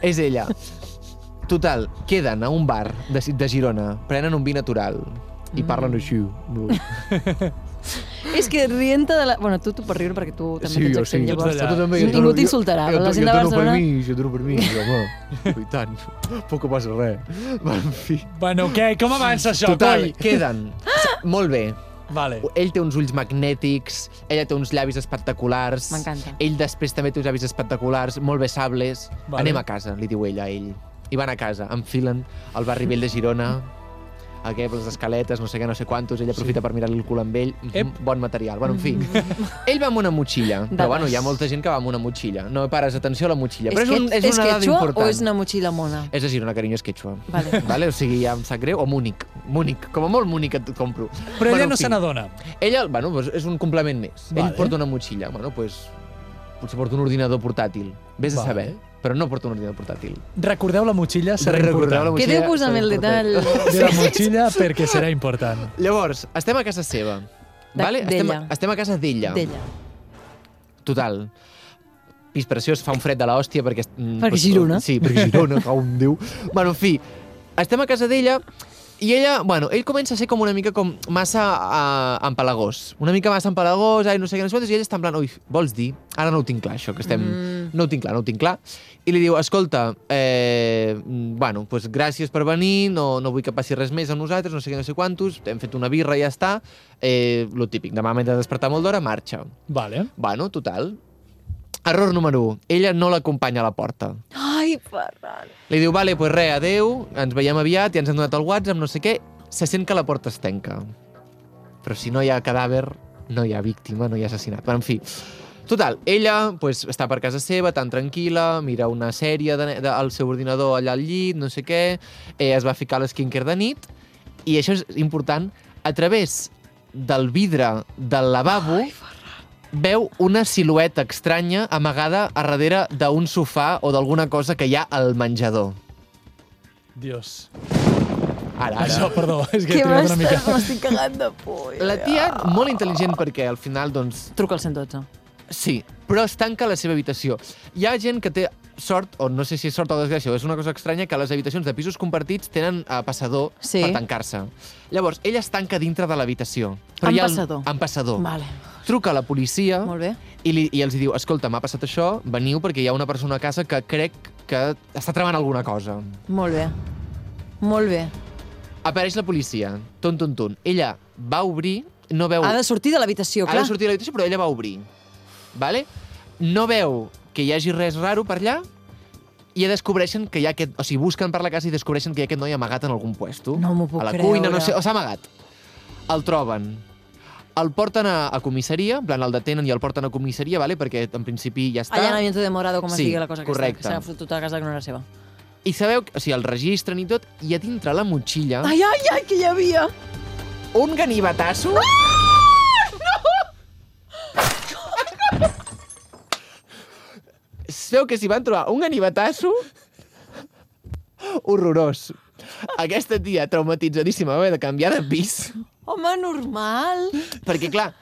[SPEAKER 1] És ella. Total, queden a un bar de, de Girona, prenen un vi natural
[SPEAKER 7] Mm.
[SPEAKER 1] i parlen així.
[SPEAKER 7] És que rienta de la... Bueno, tu t'ho per riure perquè tu també tens accent,
[SPEAKER 3] tu
[SPEAKER 7] llavors.
[SPEAKER 3] allà.
[SPEAKER 1] tu també, jo
[SPEAKER 7] Ningú
[SPEAKER 1] dono-
[SPEAKER 7] t'insultarà,
[SPEAKER 1] jo-
[SPEAKER 7] però la
[SPEAKER 1] jo
[SPEAKER 7] gent de
[SPEAKER 1] dono
[SPEAKER 7] Barcelona-
[SPEAKER 1] Per mi, jo dono per mi, home. I tant, poc passa res. Va, en fi.
[SPEAKER 3] Bueno, què? Com avança això,
[SPEAKER 1] Total,
[SPEAKER 3] coi?
[SPEAKER 1] queden. Molt bé.
[SPEAKER 3] Vale.
[SPEAKER 1] Ell té uns ulls magnètics, ella té uns llavis espectaculars.
[SPEAKER 7] M'encanta.
[SPEAKER 1] Ell després també té uns llavis espectaculars, molt bé sables.
[SPEAKER 3] Vale.
[SPEAKER 1] Vale. Anem a casa, li diu ella a ell. I van a casa, enfilen al barri vell de Girona, aquest, les escaletes, no sé què, no sé quantos, ella aprofita sí. per mirar-li el cul amb ell. Mhm,
[SPEAKER 3] Ep.
[SPEAKER 1] Bon material. Bueno, en fi. ell va amb una motxilla,
[SPEAKER 7] Dades.
[SPEAKER 1] però bueno, hi ha molta gent que va amb una motxilla. No pares atenció a la motxilla, però és,
[SPEAKER 7] que
[SPEAKER 1] un, és,
[SPEAKER 7] és
[SPEAKER 1] una dada
[SPEAKER 7] quechua
[SPEAKER 1] important.
[SPEAKER 7] o és una motxilla mona?
[SPEAKER 1] És de Girona, carinyo, és quechua.
[SPEAKER 7] Vale.
[SPEAKER 1] vale? O sigui, ja em sap greu, o Múnich. Múnich, com a molt Múnich et compro.
[SPEAKER 3] Però ella
[SPEAKER 1] en
[SPEAKER 3] no
[SPEAKER 1] fi.
[SPEAKER 3] se n'adona.
[SPEAKER 1] Ella, bueno, doncs és un complement més. Vale.
[SPEAKER 3] Vale.
[SPEAKER 1] Ell porta una motxilla, bueno, doncs, potser porta un ordinador portàtil. Vés a
[SPEAKER 3] Vale.
[SPEAKER 1] saber, però no porta un ordinador portàtil.
[SPEAKER 3] Recordeu la motxilla, serà
[SPEAKER 1] Recordeu
[SPEAKER 3] important.
[SPEAKER 1] la
[SPEAKER 7] Què diu
[SPEAKER 1] motxilla,
[SPEAKER 7] posant
[SPEAKER 1] serà
[SPEAKER 7] el
[SPEAKER 1] important.
[SPEAKER 7] detall?
[SPEAKER 3] De la motxilla perquè serà important.
[SPEAKER 1] Llavors, estem a casa seva.
[SPEAKER 7] De-
[SPEAKER 1] vale? estem,
[SPEAKER 7] d'ella.
[SPEAKER 1] estem a casa d'ella.
[SPEAKER 7] D'ella.
[SPEAKER 1] Total. Pis preciós, fa un fred de l'hòstia perquè... mm,
[SPEAKER 7] Perquè
[SPEAKER 1] doncs,
[SPEAKER 7] Girona.
[SPEAKER 1] Sí, perquè Girona, que un diu. Bueno, en fi, estem a casa d'ella i ella, bueno, ell comença a ser com una mica com massa uh, empalagós. Una mica massa empalagós, ai, no sé què, no sé quantos, i ella està en plan, ui, vols dir? Ara no ho tinc clar, això, que estem... Mm. No ho tinc clar, no ho tinc clar. I li diu, escolta, eh, mm, bueno, doncs gràcies per venir, no, no vull que passi res més a nosaltres, no sé què, no sé quantos, hem fet una birra i ja està. Eh, lo típic, demà m'he de despertar molt d'hora, marxa.
[SPEAKER 3] Vale.
[SPEAKER 1] Bueno, total. Error número 1. Ella no l'acompanya a la porta.
[SPEAKER 7] Ai, Ferran.
[SPEAKER 1] Li diu, vale, pues res, adeu, ens veiem aviat, ja ens han donat el WhatsApp, no sé què. Se sent que la porta es tanca. Però si no hi ha cadàver, no hi ha víctima, no hi ha assassinat. Bueno, en fi, Total, ella pues, està per casa seva, tan tranquil·la, mira una sèrie de, de, al seu ordinador allà al llit, no sé què, eh, es va ficar a l'esquinker de nit, i això és important, a través del vidre del lavabo Ai, veu una silueta estranya amagada a darrere d'un sofà o d'alguna cosa que hi ha al menjador.
[SPEAKER 3] Dios.
[SPEAKER 1] Ara,
[SPEAKER 3] Això,
[SPEAKER 1] ara.
[SPEAKER 3] perdó, és que he
[SPEAKER 7] Què
[SPEAKER 3] trigat una
[SPEAKER 7] m'està-
[SPEAKER 3] mica.
[SPEAKER 7] m'estic cagant de por.
[SPEAKER 1] La tia, molt intel·ligent perquè al final, doncs,
[SPEAKER 7] Truca al 112.
[SPEAKER 1] Sí, però es tanca la seva habitació. Hi ha gent que té sort, o no sé si és sort o desgràcia, o és una cosa estranya, que les habitacions de pisos compartits tenen eh, passador
[SPEAKER 7] Sí.
[SPEAKER 1] per tancar-se. Llavors, ella es tanca dintre de l'habitació. però
[SPEAKER 7] Amb
[SPEAKER 1] hi ha el-
[SPEAKER 7] passador.
[SPEAKER 1] Amb passador.
[SPEAKER 7] Vale.
[SPEAKER 1] Truca a la policia
[SPEAKER 7] Molt bé.
[SPEAKER 1] i, li, i els diu, escolta, m'ha passat això, veniu perquè hi ha una persona a casa que crec que està tramant alguna cosa.
[SPEAKER 7] Molt bé. Molt bé.
[SPEAKER 1] Apareix la policia, ton, ton, ton. Ella va obrir, no veu...
[SPEAKER 7] Ha de sortir de l'habitació,
[SPEAKER 1] ha
[SPEAKER 7] clar.
[SPEAKER 1] de sortir de l'habitació, però ella va obrir. Vale? No veu que hi hagi res raro per allà i ja descobreixen que hi ha aquest... O sigui, busquen per la casa i descobreixen que hi ha aquest noi amagat en algun puesto.
[SPEAKER 7] No m'ho puc
[SPEAKER 1] A la
[SPEAKER 7] creure.
[SPEAKER 1] cuina, no sé... O s'ha amagat. El troben. El porten a, a comissaria, en plan, el detenen i el porten a comissaria, vale? perquè en principi ja està.
[SPEAKER 2] Allà en Amiento Demorado, com es
[SPEAKER 1] Sí,
[SPEAKER 2] digui la cosa
[SPEAKER 1] correcte.
[SPEAKER 2] aquesta, que s'ha fotut a casa que no era seva.
[SPEAKER 1] I sabeu, que- o sigui, el registren i tot, i a dintre la motxilla...
[SPEAKER 2] Ai, ai, ai, que hi havia!
[SPEAKER 1] Un ganivatasso? Ah! No! Sabeu que s'hi van trobar un ganivatasso? Horrorós. Aquesta tia, traumatitzadíssima, va haver de canviar de pis.
[SPEAKER 2] Home, normal!
[SPEAKER 1] Perquè, clar,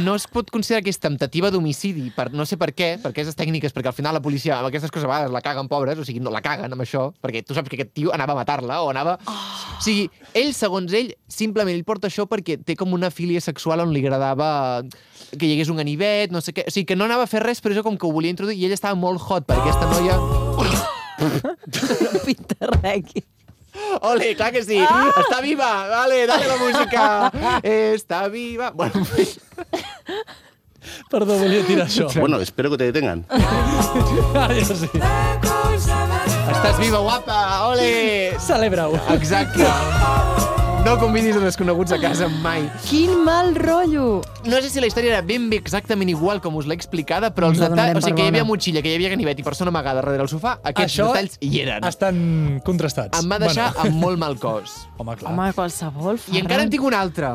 [SPEAKER 1] no es pot considerar que és temptativa d'homicidi, per no sé per què, per aquestes tècniques, perquè al final la policia amb aquestes coses a vegades la caguen, pobres, o sigui, no la caguen amb això, perquè tu saps que aquest tio anava a matar-la o anava... Oh. O sigui, ell, segons ell, simplement ell porta això perquè té com una filia sexual on li agradava que hi hagués un ganivet, no sé què... O sigui, que no anava a fer res, però això com que ho volia introduir i ell estava molt hot per aquesta noia...
[SPEAKER 2] No pinta res aquí.
[SPEAKER 1] Ole, clar que sí! Ah! Està viva! Vale, dale la música! Està viva! Bueno, en fi.
[SPEAKER 3] Perdó, volia tirar això.
[SPEAKER 12] Bueno, espero que te detengan.
[SPEAKER 3] Ara ja sí.
[SPEAKER 1] Estàs viva, guapa! Ole!
[SPEAKER 3] Celebra-ho.
[SPEAKER 1] Exacte. No convidis a desconeguts a casa mai.
[SPEAKER 2] Quin mal rotllo!
[SPEAKER 1] No sé si la història era ben bé exactament igual com us l'he explicada, però els
[SPEAKER 2] Ens la
[SPEAKER 1] detalls...
[SPEAKER 2] donarem
[SPEAKER 1] O sigui,
[SPEAKER 2] per
[SPEAKER 1] que hi havia
[SPEAKER 2] bona.
[SPEAKER 1] motxilla, que hi havia ganivet i persona amagada darrere el sofà, aquests
[SPEAKER 3] Això
[SPEAKER 1] detalls hi eren.
[SPEAKER 3] Estan contrastats.
[SPEAKER 1] Em va deixar
[SPEAKER 3] Bueno,
[SPEAKER 1] amb molt mal cos.
[SPEAKER 3] home, clar.
[SPEAKER 2] Home, qualsevol, Ferran.
[SPEAKER 1] I encara en tinc un altre.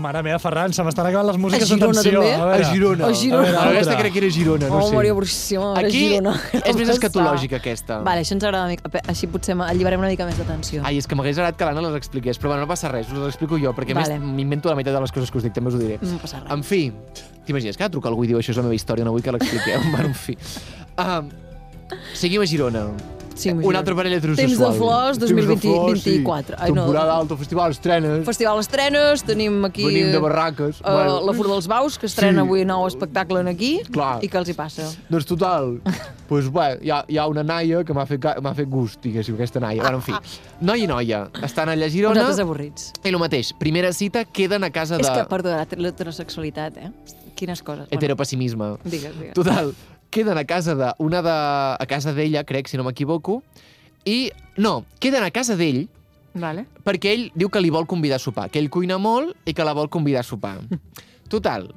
[SPEAKER 3] Mare meva, Ferran, se m'estan acabant les músiques
[SPEAKER 2] A Girona,
[SPEAKER 3] d'atenció.
[SPEAKER 2] també?
[SPEAKER 3] veure.
[SPEAKER 1] A Girona.
[SPEAKER 2] A Girona.
[SPEAKER 3] veure,
[SPEAKER 1] Ara, aquesta
[SPEAKER 3] altra.
[SPEAKER 1] crec que era Girona, no
[SPEAKER 2] oh,
[SPEAKER 1] sé.
[SPEAKER 2] Maria Bruxíssima, Maria
[SPEAKER 1] Aquí
[SPEAKER 2] Girona.
[SPEAKER 1] és més escatològica, aquesta.
[SPEAKER 2] Vale, això ens agrada una mica. Pe- Així potser me- alliberem una mica més d'atenció.
[SPEAKER 1] Ai, és que m'hagués agradat que l'Anna les expliqués, però bueno, no passa res, us les explico jo, perquè a
[SPEAKER 2] Vale. Mm.
[SPEAKER 1] més m'invento la meitat de les coses que us dic, també us ho diré.
[SPEAKER 2] No passa res.
[SPEAKER 1] En fi, t'imagines que ara truca algú i diu això és la meva història, no vull que l'expliqueu. bueno, en fi. Um, seguim a Girona.
[SPEAKER 2] Sí, m'ho
[SPEAKER 1] Una
[SPEAKER 2] juro.
[SPEAKER 1] altra parella
[SPEAKER 2] Temps
[SPEAKER 1] heterosexual.
[SPEAKER 2] de flors 2024. Ai, no.
[SPEAKER 1] Temporada alta, festival, estrenes,
[SPEAKER 2] Festival Estrenes, tenim aquí...
[SPEAKER 1] venim de barraques.
[SPEAKER 2] Uh, bueno. La Fur dels Baus, que estrena
[SPEAKER 1] Sí.
[SPEAKER 2] sí. avui nou espectacle en aquí.
[SPEAKER 1] Clar.
[SPEAKER 2] I què els hi passa?
[SPEAKER 1] Doncs total, pues, bé, hi, ha, hi ha una naia que m'ha fet, ca- m'ha fet gust, diguéssim, aquesta naia. Bueno, en fi, noi i noia, estan allà a Girona
[SPEAKER 2] Vosaltres avorrits.
[SPEAKER 1] i el mateix, primera cita, queden a casa
[SPEAKER 2] És
[SPEAKER 1] de
[SPEAKER 2] que, perdó, l'heterosexualitat, eh? Quines coses.
[SPEAKER 1] heteropessimisme.
[SPEAKER 2] Bueno, digues, digues.
[SPEAKER 1] Total, queden a casa de, una de, a casa d'ella, crec, si no m'equivoco, i, no, queden a casa d'ell
[SPEAKER 2] Vale.
[SPEAKER 1] perquè ell diu que li vol convidar a sopar, que ell cuina molt i que la vol convidar a sopar. Total,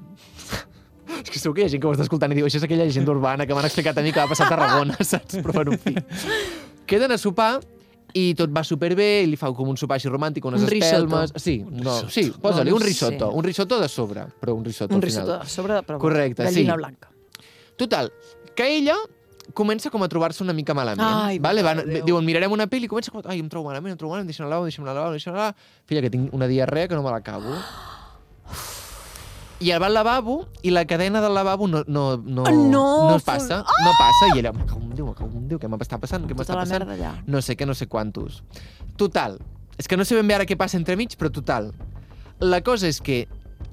[SPEAKER 1] és que segur que hi ha gent que ho està escoltant i diu això és aquella llegenda urbana que m'han explicat a mi que va passar a Tarragona, saps? Però bueno, en fi. Queden a sopar i tot va superbé, i li fa com un sopar així romàntic, unes
[SPEAKER 2] Un risotto.
[SPEAKER 1] espelmes... Sí, no, sí,
[SPEAKER 2] No,
[SPEAKER 1] posa-li
[SPEAKER 2] no
[SPEAKER 1] un
[SPEAKER 2] sé.
[SPEAKER 1] risotto, un risotto de sobre, però un risotto
[SPEAKER 2] Un
[SPEAKER 1] al final.
[SPEAKER 2] risotto a sobre, però
[SPEAKER 1] Correcte,
[SPEAKER 2] gallina
[SPEAKER 1] sí.
[SPEAKER 2] blanca.
[SPEAKER 1] Total, que ella comença com a trobar-se una mica malament.
[SPEAKER 2] Ai,
[SPEAKER 1] vale?
[SPEAKER 2] mare
[SPEAKER 1] Van,
[SPEAKER 2] de Déu.
[SPEAKER 1] diuen, mirarem una pel·li i comença com... Ai, em trobo malament, em trobo malament, deixa'm al lavabo, deixa'm al lavabo, deixa'm al lavabo. Filla, que tinc una diarrea que no me l'acabo. I el va al lavabo i la cadena del lavabo no, no, no,
[SPEAKER 2] no,
[SPEAKER 1] no
[SPEAKER 2] fol-
[SPEAKER 1] passa. No passa. I ella, me cago en Déu, me cago en Déu, què m'està passant? Què
[SPEAKER 2] Tota
[SPEAKER 1] m'està
[SPEAKER 2] la
[SPEAKER 1] passant?
[SPEAKER 2] merda allà.
[SPEAKER 1] No sé què, no sé quantos. Total. És que no sé ben bé ara què passa entre mig, però total. La cosa és que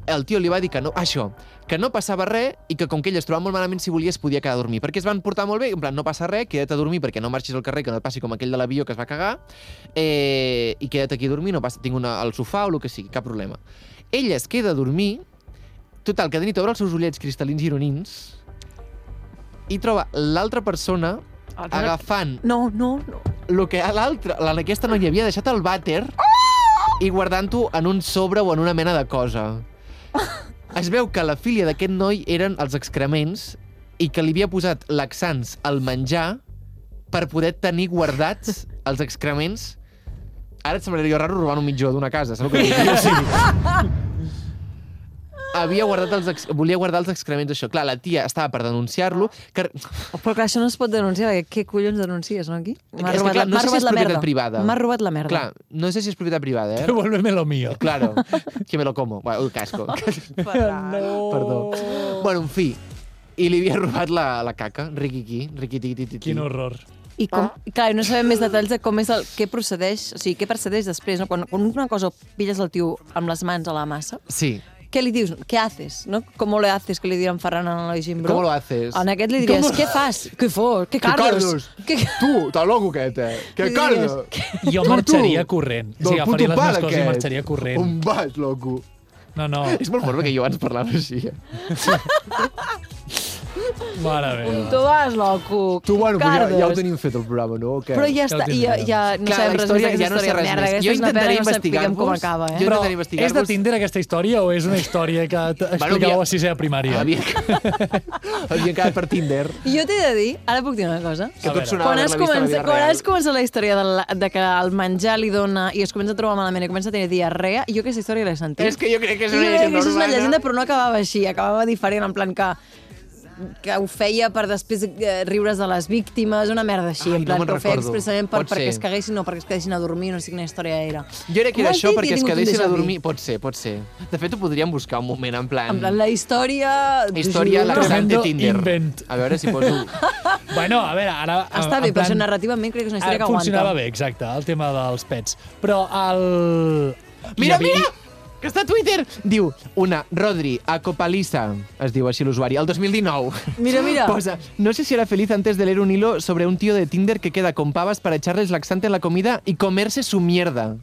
[SPEAKER 1] el tio li va dir que no, això, que no passava res i que com que ell es trobava molt malament, si volia es podia quedar a dormir. Perquè es van portar molt bé, en plan, no passa res, queda't a dormir perquè no marxis al carrer, que no et passi com aquell de l'avió que es va cagar, eh, i queda't aquí a dormir, no passa, tinc una, al sofà o el que sigui, cap problema. Ella es queda a dormir, total, que de nit obre els seus ullets cristal·lins gironins i troba l'altra persona agafant
[SPEAKER 2] No, no, no.
[SPEAKER 1] el que a l'altre, la- aquesta noia havia deixat el vàter i guardant-ho en un sobre o en una mena de cosa. Es veu que la filia d'aquest noi eren els excrements i que li havia posat laxants al menjar per poder tenir guardats els excrements. Ara et semblaria raro robar un mitjó d'una casa, sabeu què vull dir? O sigui, havia guardat els ex... volia guardar els excrements això. Clar, la tia estava per denunciar-lo, que
[SPEAKER 2] Però clar, això no es pot denunciar, perquè què collons denuncies, no, aquí? M'ha
[SPEAKER 1] És que,
[SPEAKER 2] robat,
[SPEAKER 1] clar,
[SPEAKER 2] la-
[SPEAKER 1] no
[SPEAKER 2] m'ha
[SPEAKER 1] sé si
[SPEAKER 2] robat
[SPEAKER 1] és
[SPEAKER 2] la
[SPEAKER 1] propietat
[SPEAKER 2] merda.
[SPEAKER 1] privada.
[SPEAKER 2] M'ha robat la merda.
[SPEAKER 1] Clar, no sé si és propietat privada, eh?
[SPEAKER 3] Devuélveme lo mío.
[SPEAKER 1] Claro, que me lo como. Bueno, el casco.
[SPEAKER 3] No.
[SPEAKER 2] Oh.
[SPEAKER 1] Perdó. Bueno, en fi. I li havia robat la, la caca. Riquiqui, riquititititi.
[SPEAKER 3] Quin horror.
[SPEAKER 2] I com,
[SPEAKER 1] Ah.
[SPEAKER 2] clar, i no sabem més detalls de com és el que procedeix, o sigui, què precedeix després, no? Quan, quan una cosa pilles el tio amb les mans a la massa,
[SPEAKER 1] Sí.
[SPEAKER 2] què li dius? Què haces? No? ¿Cómo le haces? Que li diran Ferran a la Gimbro.
[SPEAKER 1] ¿Cómo lo haces?
[SPEAKER 2] En aquest li diries,
[SPEAKER 1] ¿Cómo-
[SPEAKER 2] què fas? Què fos? Què Carlos? Què
[SPEAKER 1] Tu, estàs loco, aquest, eh?
[SPEAKER 2] Li diries,
[SPEAKER 3] Jo marxaria corrent. O sigui, agafaria les meves coses i marxaria corrent.
[SPEAKER 1] vas, loco?
[SPEAKER 3] No, no.
[SPEAKER 1] És molt fort perquè jo abans parlava així. eh?
[SPEAKER 3] Mare meva.
[SPEAKER 2] Tu vas, loco.
[SPEAKER 1] Tu, bueno, però ja,
[SPEAKER 2] Cardes.
[SPEAKER 1] ja ho tenim fet, el programa, no? O Què?
[SPEAKER 2] Però ja
[SPEAKER 3] Ja ho
[SPEAKER 2] està, i ja,
[SPEAKER 3] tindrem, doncs.
[SPEAKER 2] ja no
[SPEAKER 1] Clar, la
[SPEAKER 2] sabem res més
[SPEAKER 1] història
[SPEAKER 2] d'aquesta
[SPEAKER 1] ja no sé
[SPEAKER 2] història.
[SPEAKER 1] res
[SPEAKER 2] Merda,
[SPEAKER 1] més.
[SPEAKER 2] aquesta
[SPEAKER 1] Jo
[SPEAKER 2] és una
[SPEAKER 1] intentaré
[SPEAKER 2] pena, no sapiguem com
[SPEAKER 1] investigar-vos.
[SPEAKER 2] acaba, eh?
[SPEAKER 1] Jo-
[SPEAKER 3] Però
[SPEAKER 1] intentaré investigar-vos.
[SPEAKER 3] és de Tinder aquesta història o és una història que t- explicàveu
[SPEAKER 1] havia-
[SPEAKER 3] a sisè de primària?
[SPEAKER 1] Havia, havia quedat per Tinder.
[SPEAKER 2] Jo t'he de dir, ara puc dir una cosa?
[SPEAKER 1] Que
[SPEAKER 3] veure.
[SPEAKER 1] tot sonava
[SPEAKER 2] Quan
[SPEAKER 1] haver-la
[SPEAKER 2] has,
[SPEAKER 1] vist a la
[SPEAKER 2] comença,
[SPEAKER 1] vida
[SPEAKER 2] quan
[SPEAKER 1] real.
[SPEAKER 2] has començat la història de, la, de que el menjar li dona i es comença a trobar malament i comença a tenir diarrea, jo aquesta història l'he sentit.
[SPEAKER 1] És que jo crec que és
[SPEAKER 2] I
[SPEAKER 1] una
[SPEAKER 2] jo crec que
[SPEAKER 1] llegenda
[SPEAKER 2] això és una
[SPEAKER 1] urbana.
[SPEAKER 2] llegenda, però no acabava així, acabava diferent, en plan que que ho feia per després eh, riures de les víctimes, una merda així,
[SPEAKER 1] Ai,
[SPEAKER 2] en plan
[SPEAKER 1] no me'n
[SPEAKER 2] que ho feia
[SPEAKER 1] recordo.
[SPEAKER 2] expressament per,
[SPEAKER 1] Pot
[SPEAKER 2] perquè
[SPEAKER 1] ser.
[SPEAKER 2] es caguessin o perquè es quedessin a dormir, no sé quina història era.
[SPEAKER 1] Jo crec que era
[SPEAKER 2] Ho has
[SPEAKER 1] això
[SPEAKER 2] dit i he
[SPEAKER 1] perquè es
[SPEAKER 2] tingut un
[SPEAKER 1] quedessin a
[SPEAKER 2] déjà vu.
[SPEAKER 1] dormir. Pot ser, pot ser. De fet, ho podríem buscar un moment en plan...
[SPEAKER 2] En plan, la història...
[SPEAKER 1] Història
[SPEAKER 2] Juro.
[SPEAKER 1] laxant de
[SPEAKER 3] Tremendo
[SPEAKER 1] Tinder.
[SPEAKER 3] invent.
[SPEAKER 1] A veure si poso...
[SPEAKER 3] Bueno, a veure, ara...
[SPEAKER 2] Està
[SPEAKER 3] en
[SPEAKER 2] bé, però
[SPEAKER 3] plan-
[SPEAKER 2] això narrativament crec que és una
[SPEAKER 3] Ara
[SPEAKER 2] història que aguanta.
[SPEAKER 3] funcionava bé, exacte, el tema dels pets. Però el...
[SPEAKER 1] Mira,
[SPEAKER 3] hi havia-
[SPEAKER 1] mira! Que està a Twitter! Diu, una, Rodri, Acopalisa, es diu així l'usuari, el 2019.
[SPEAKER 2] Mira, mira.
[SPEAKER 1] Posa, no sé si era feliz antes de leer un hilo sobre un tío de Tinder que queda con pavas para echarles laxante en la comida y comerse su mierda.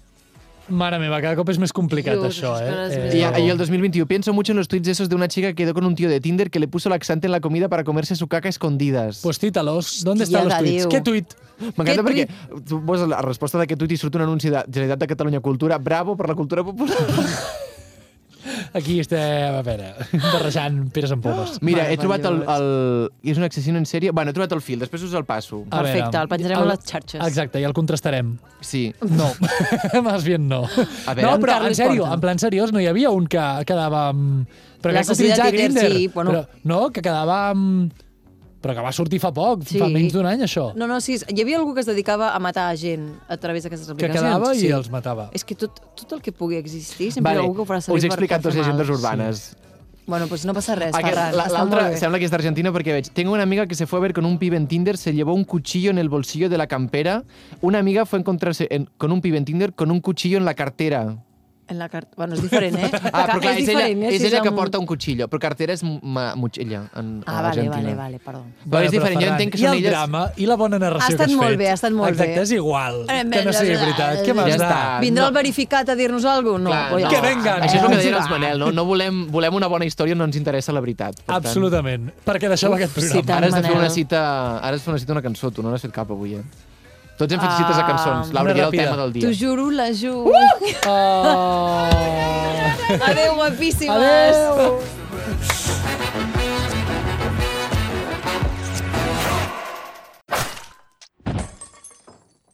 [SPEAKER 3] Mare meva, cada cop és més complicat,
[SPEAKER 2] Dios,
[SPEAKER 3] això,
[SPEAKER 2] això és
[SPEAKER 3] eh?
[SPEAKER 2] més
[SPEAKER 1] Y, a-
[SPEAKER 2] Claro.
[SPEAKER 1] y el 2021, pienso mucho en los tweets esos de una chica que quedó con un tío de Tinder que le puso laxante en la comida para comerse su caca a escondidas.
[SPEAKER 3] Pues títalos. ¿Dónde están los
[SPEAKER 2] de
[SPEAKER 3] tuits?
[SPEAKER 2] Déu.
[SPEAKER 3] ¿Qué tuit?
[SPEAKER 1] M'encanta perquè tu poses la resposta d'aquest tuit i surt un anunci de Generalitat de Catalunya Cultura, bravo per la cultura popular.
[SPEAKER 3] Aquí estem, a veure, barrejant peres amb pomes.
[SPEAKER 1] Mira, he trobat el, el... És una accessió en sèrie? Bueno, he trobat el fil, després us el passo.
[SPEAKER 3] A veure,
[SPEAKER 2] Perfecte, el penjarem a les xarxes.
[SPEAKER 3] Exacte, i el contrastarem.
[SPEAKER 1] Sí.
[SPEAKER 3] No, més bien no.
[SPEAKER 1] A veure.
[SPEAKER 3] no,
[SPEAKER 1] En
[SPEAKER 3] però en
[SPEAKER 2] Carles
[SPEAKER 3] sèrio,
[SPEAKER 2] Porta.
[SPEAKER 3] en plan seriós, no hi havia un que quedava amb... Però
[SPEAKER 2] La
[SPEAKER 3] crec que
[SPEAKER 2] Cecília
[SPEAKER 3] utilitzava
[SPEAKER 2] Tinder,
[SPEAKER 3] Tinder.
[SPEAKER 2] sí, bueno.
[SPEAKER 3] però, no, que quedava amb... Però que va sortir fa poc,
[SPEAKER 2] Sí.
[SPEAKER 3] fa menys d'un any,
[SPEAKER 1] Oh.
[SPEAKER 3] això.
[SPEAKER 2] No, no, sí, hi havia algú que es dedicava a matar a gent a través d'aquestes
[SPEAKER 3] que
[SPEAKER 2] aplicacions.
[SPEAKER 3] quedava
[SPEAKER 2] sí.
[SPEAKER 3] i els matava.
[SPEAKER 2] És que tot, tot el que pugui existir, sempre hi ha algú que ho farà servir
[SPEAKER 1] us he explicat
[SPEAKER 2] per,
[SPEAKER 1] dos
[SPEAKER 2] per fer mal.
[SPEAKER 1] llegendes urbanes.
[SPEAKER 2] Bueno, doncs no passa res,
[SPEAKER 1] Aquest-
[SPEAKER 2] Ferran.
[SPEAKER 1] la-
[SPEAKER 2] està molt
[SPEAKER 1] L'altra
[SPEAKER 2] bé.
[SPEAKER 1] sembla que és d'Argentina perquè veig Tengo una amiga que se fue a ver con un pibe en Tinder se llevó un cuchillo en el bolsillo de la campera una amiga fue a encontrarse en- con un pibe en Tinder con un cuchillo en la cartera
[SPEAKER 2] En la carta... Bueno, és diferent, eh?
[SPEAKER 1] Ah, però clar, és,
[SPEAKER 2] és,
[SPEAKER 1] ella,
[SPEAKER 2] diferent, eh?
[SPEAKER 1] és
[SPEAKER 2] Si
[SPEAKER 1] ella que
[SPEAKER 2] amb-
[SPEAKER 1] porta un cuchillo, però cartera és ma, motxilla en
[SPEAKER 2] Ah,
[SPEAKER 1] a
[SPEAKER 2] vale,
[SPEAKER 1] Argentina.
[SPEAKER 2] vale, vale, perdó.
[SPEAKER 1] Però és diferent, jo
[SPEAKER 3] Ferran,
[SPEAKER 1] entenc que
[SPEAKER 3] i
[SPEAKER 1] són
[SPEAKER 3] el
[SPEAKER 1] elles...
[SPEAKER 3] drama i la bona narració
[SPEAKER 2] Ha estat
[SPEAKER 3] que has
[SPEAKER 2] molt
[SPEAKER 3] fet.
[SPEAKER 2] bé, ha estat molt
[SPEAKER 3] Exacte,
[SPEAKER 2] bé.
[SPEAKER 3] és igual.
[SPEAKER 2] Eh,
[SPEAKER 3] Que no sigui
[SPEAKER 2] eh,
[SPEAKER 3] veritat. Què
[SPEAKER 2] eh,
[SPEAKER 3] m'has
[SPEAKER 1] Ja
[SPEAKER 3] de...
[SPEAKER 1] està.
[SPEAKER 2] Vindrà el verificat a dir-nos alguna
[SPEAKER 1] Ah,
[SPEAKER 2] cosa?
[SPEAKER 1] Clar,
[SPEAKER 2] No. oi,
[SPEAKER 1] no.
[SPEAKER 3] Que vengan.
[SPEAKER 1] Això és el que deien
[SPEAKER 2] Eh,
[SPEAKER 1] els Manel, no? No volem, volem una bona història, no ens interessa la veritat. Per tant,
[SPEAKER 3] Absolutament. Perquè deixeu aquest
[SPEAKER 2] sí,
[SPEAKER 3] programa.
[SPEAKER 2] tant.
[SPEAKER 1] Ara has de fer
[SPEAKER 2] Manel.
[SPEAKER 1] una cita, ara has de fer una cita a una cançó, tu no n'has fet cap avui, eh? Tots hem fet cites a cançons,
[SPEAKER 2] Ah,
[SPEAKER 1] Laura,
[SPEAKER 3] una
[SPEAKER 1] que era el
[SPEAKER 3] ràpida.
[SPEAKER 1] tema del dia.
[SPEAKER 2] T'ho juro, la ju... Uh!
[SPEAKER 3] Oh.
[SPEAKER 2] Adéu, guapíssimes!
[SPEAKER 3] Adéu!
[SPEAKER 8] Shake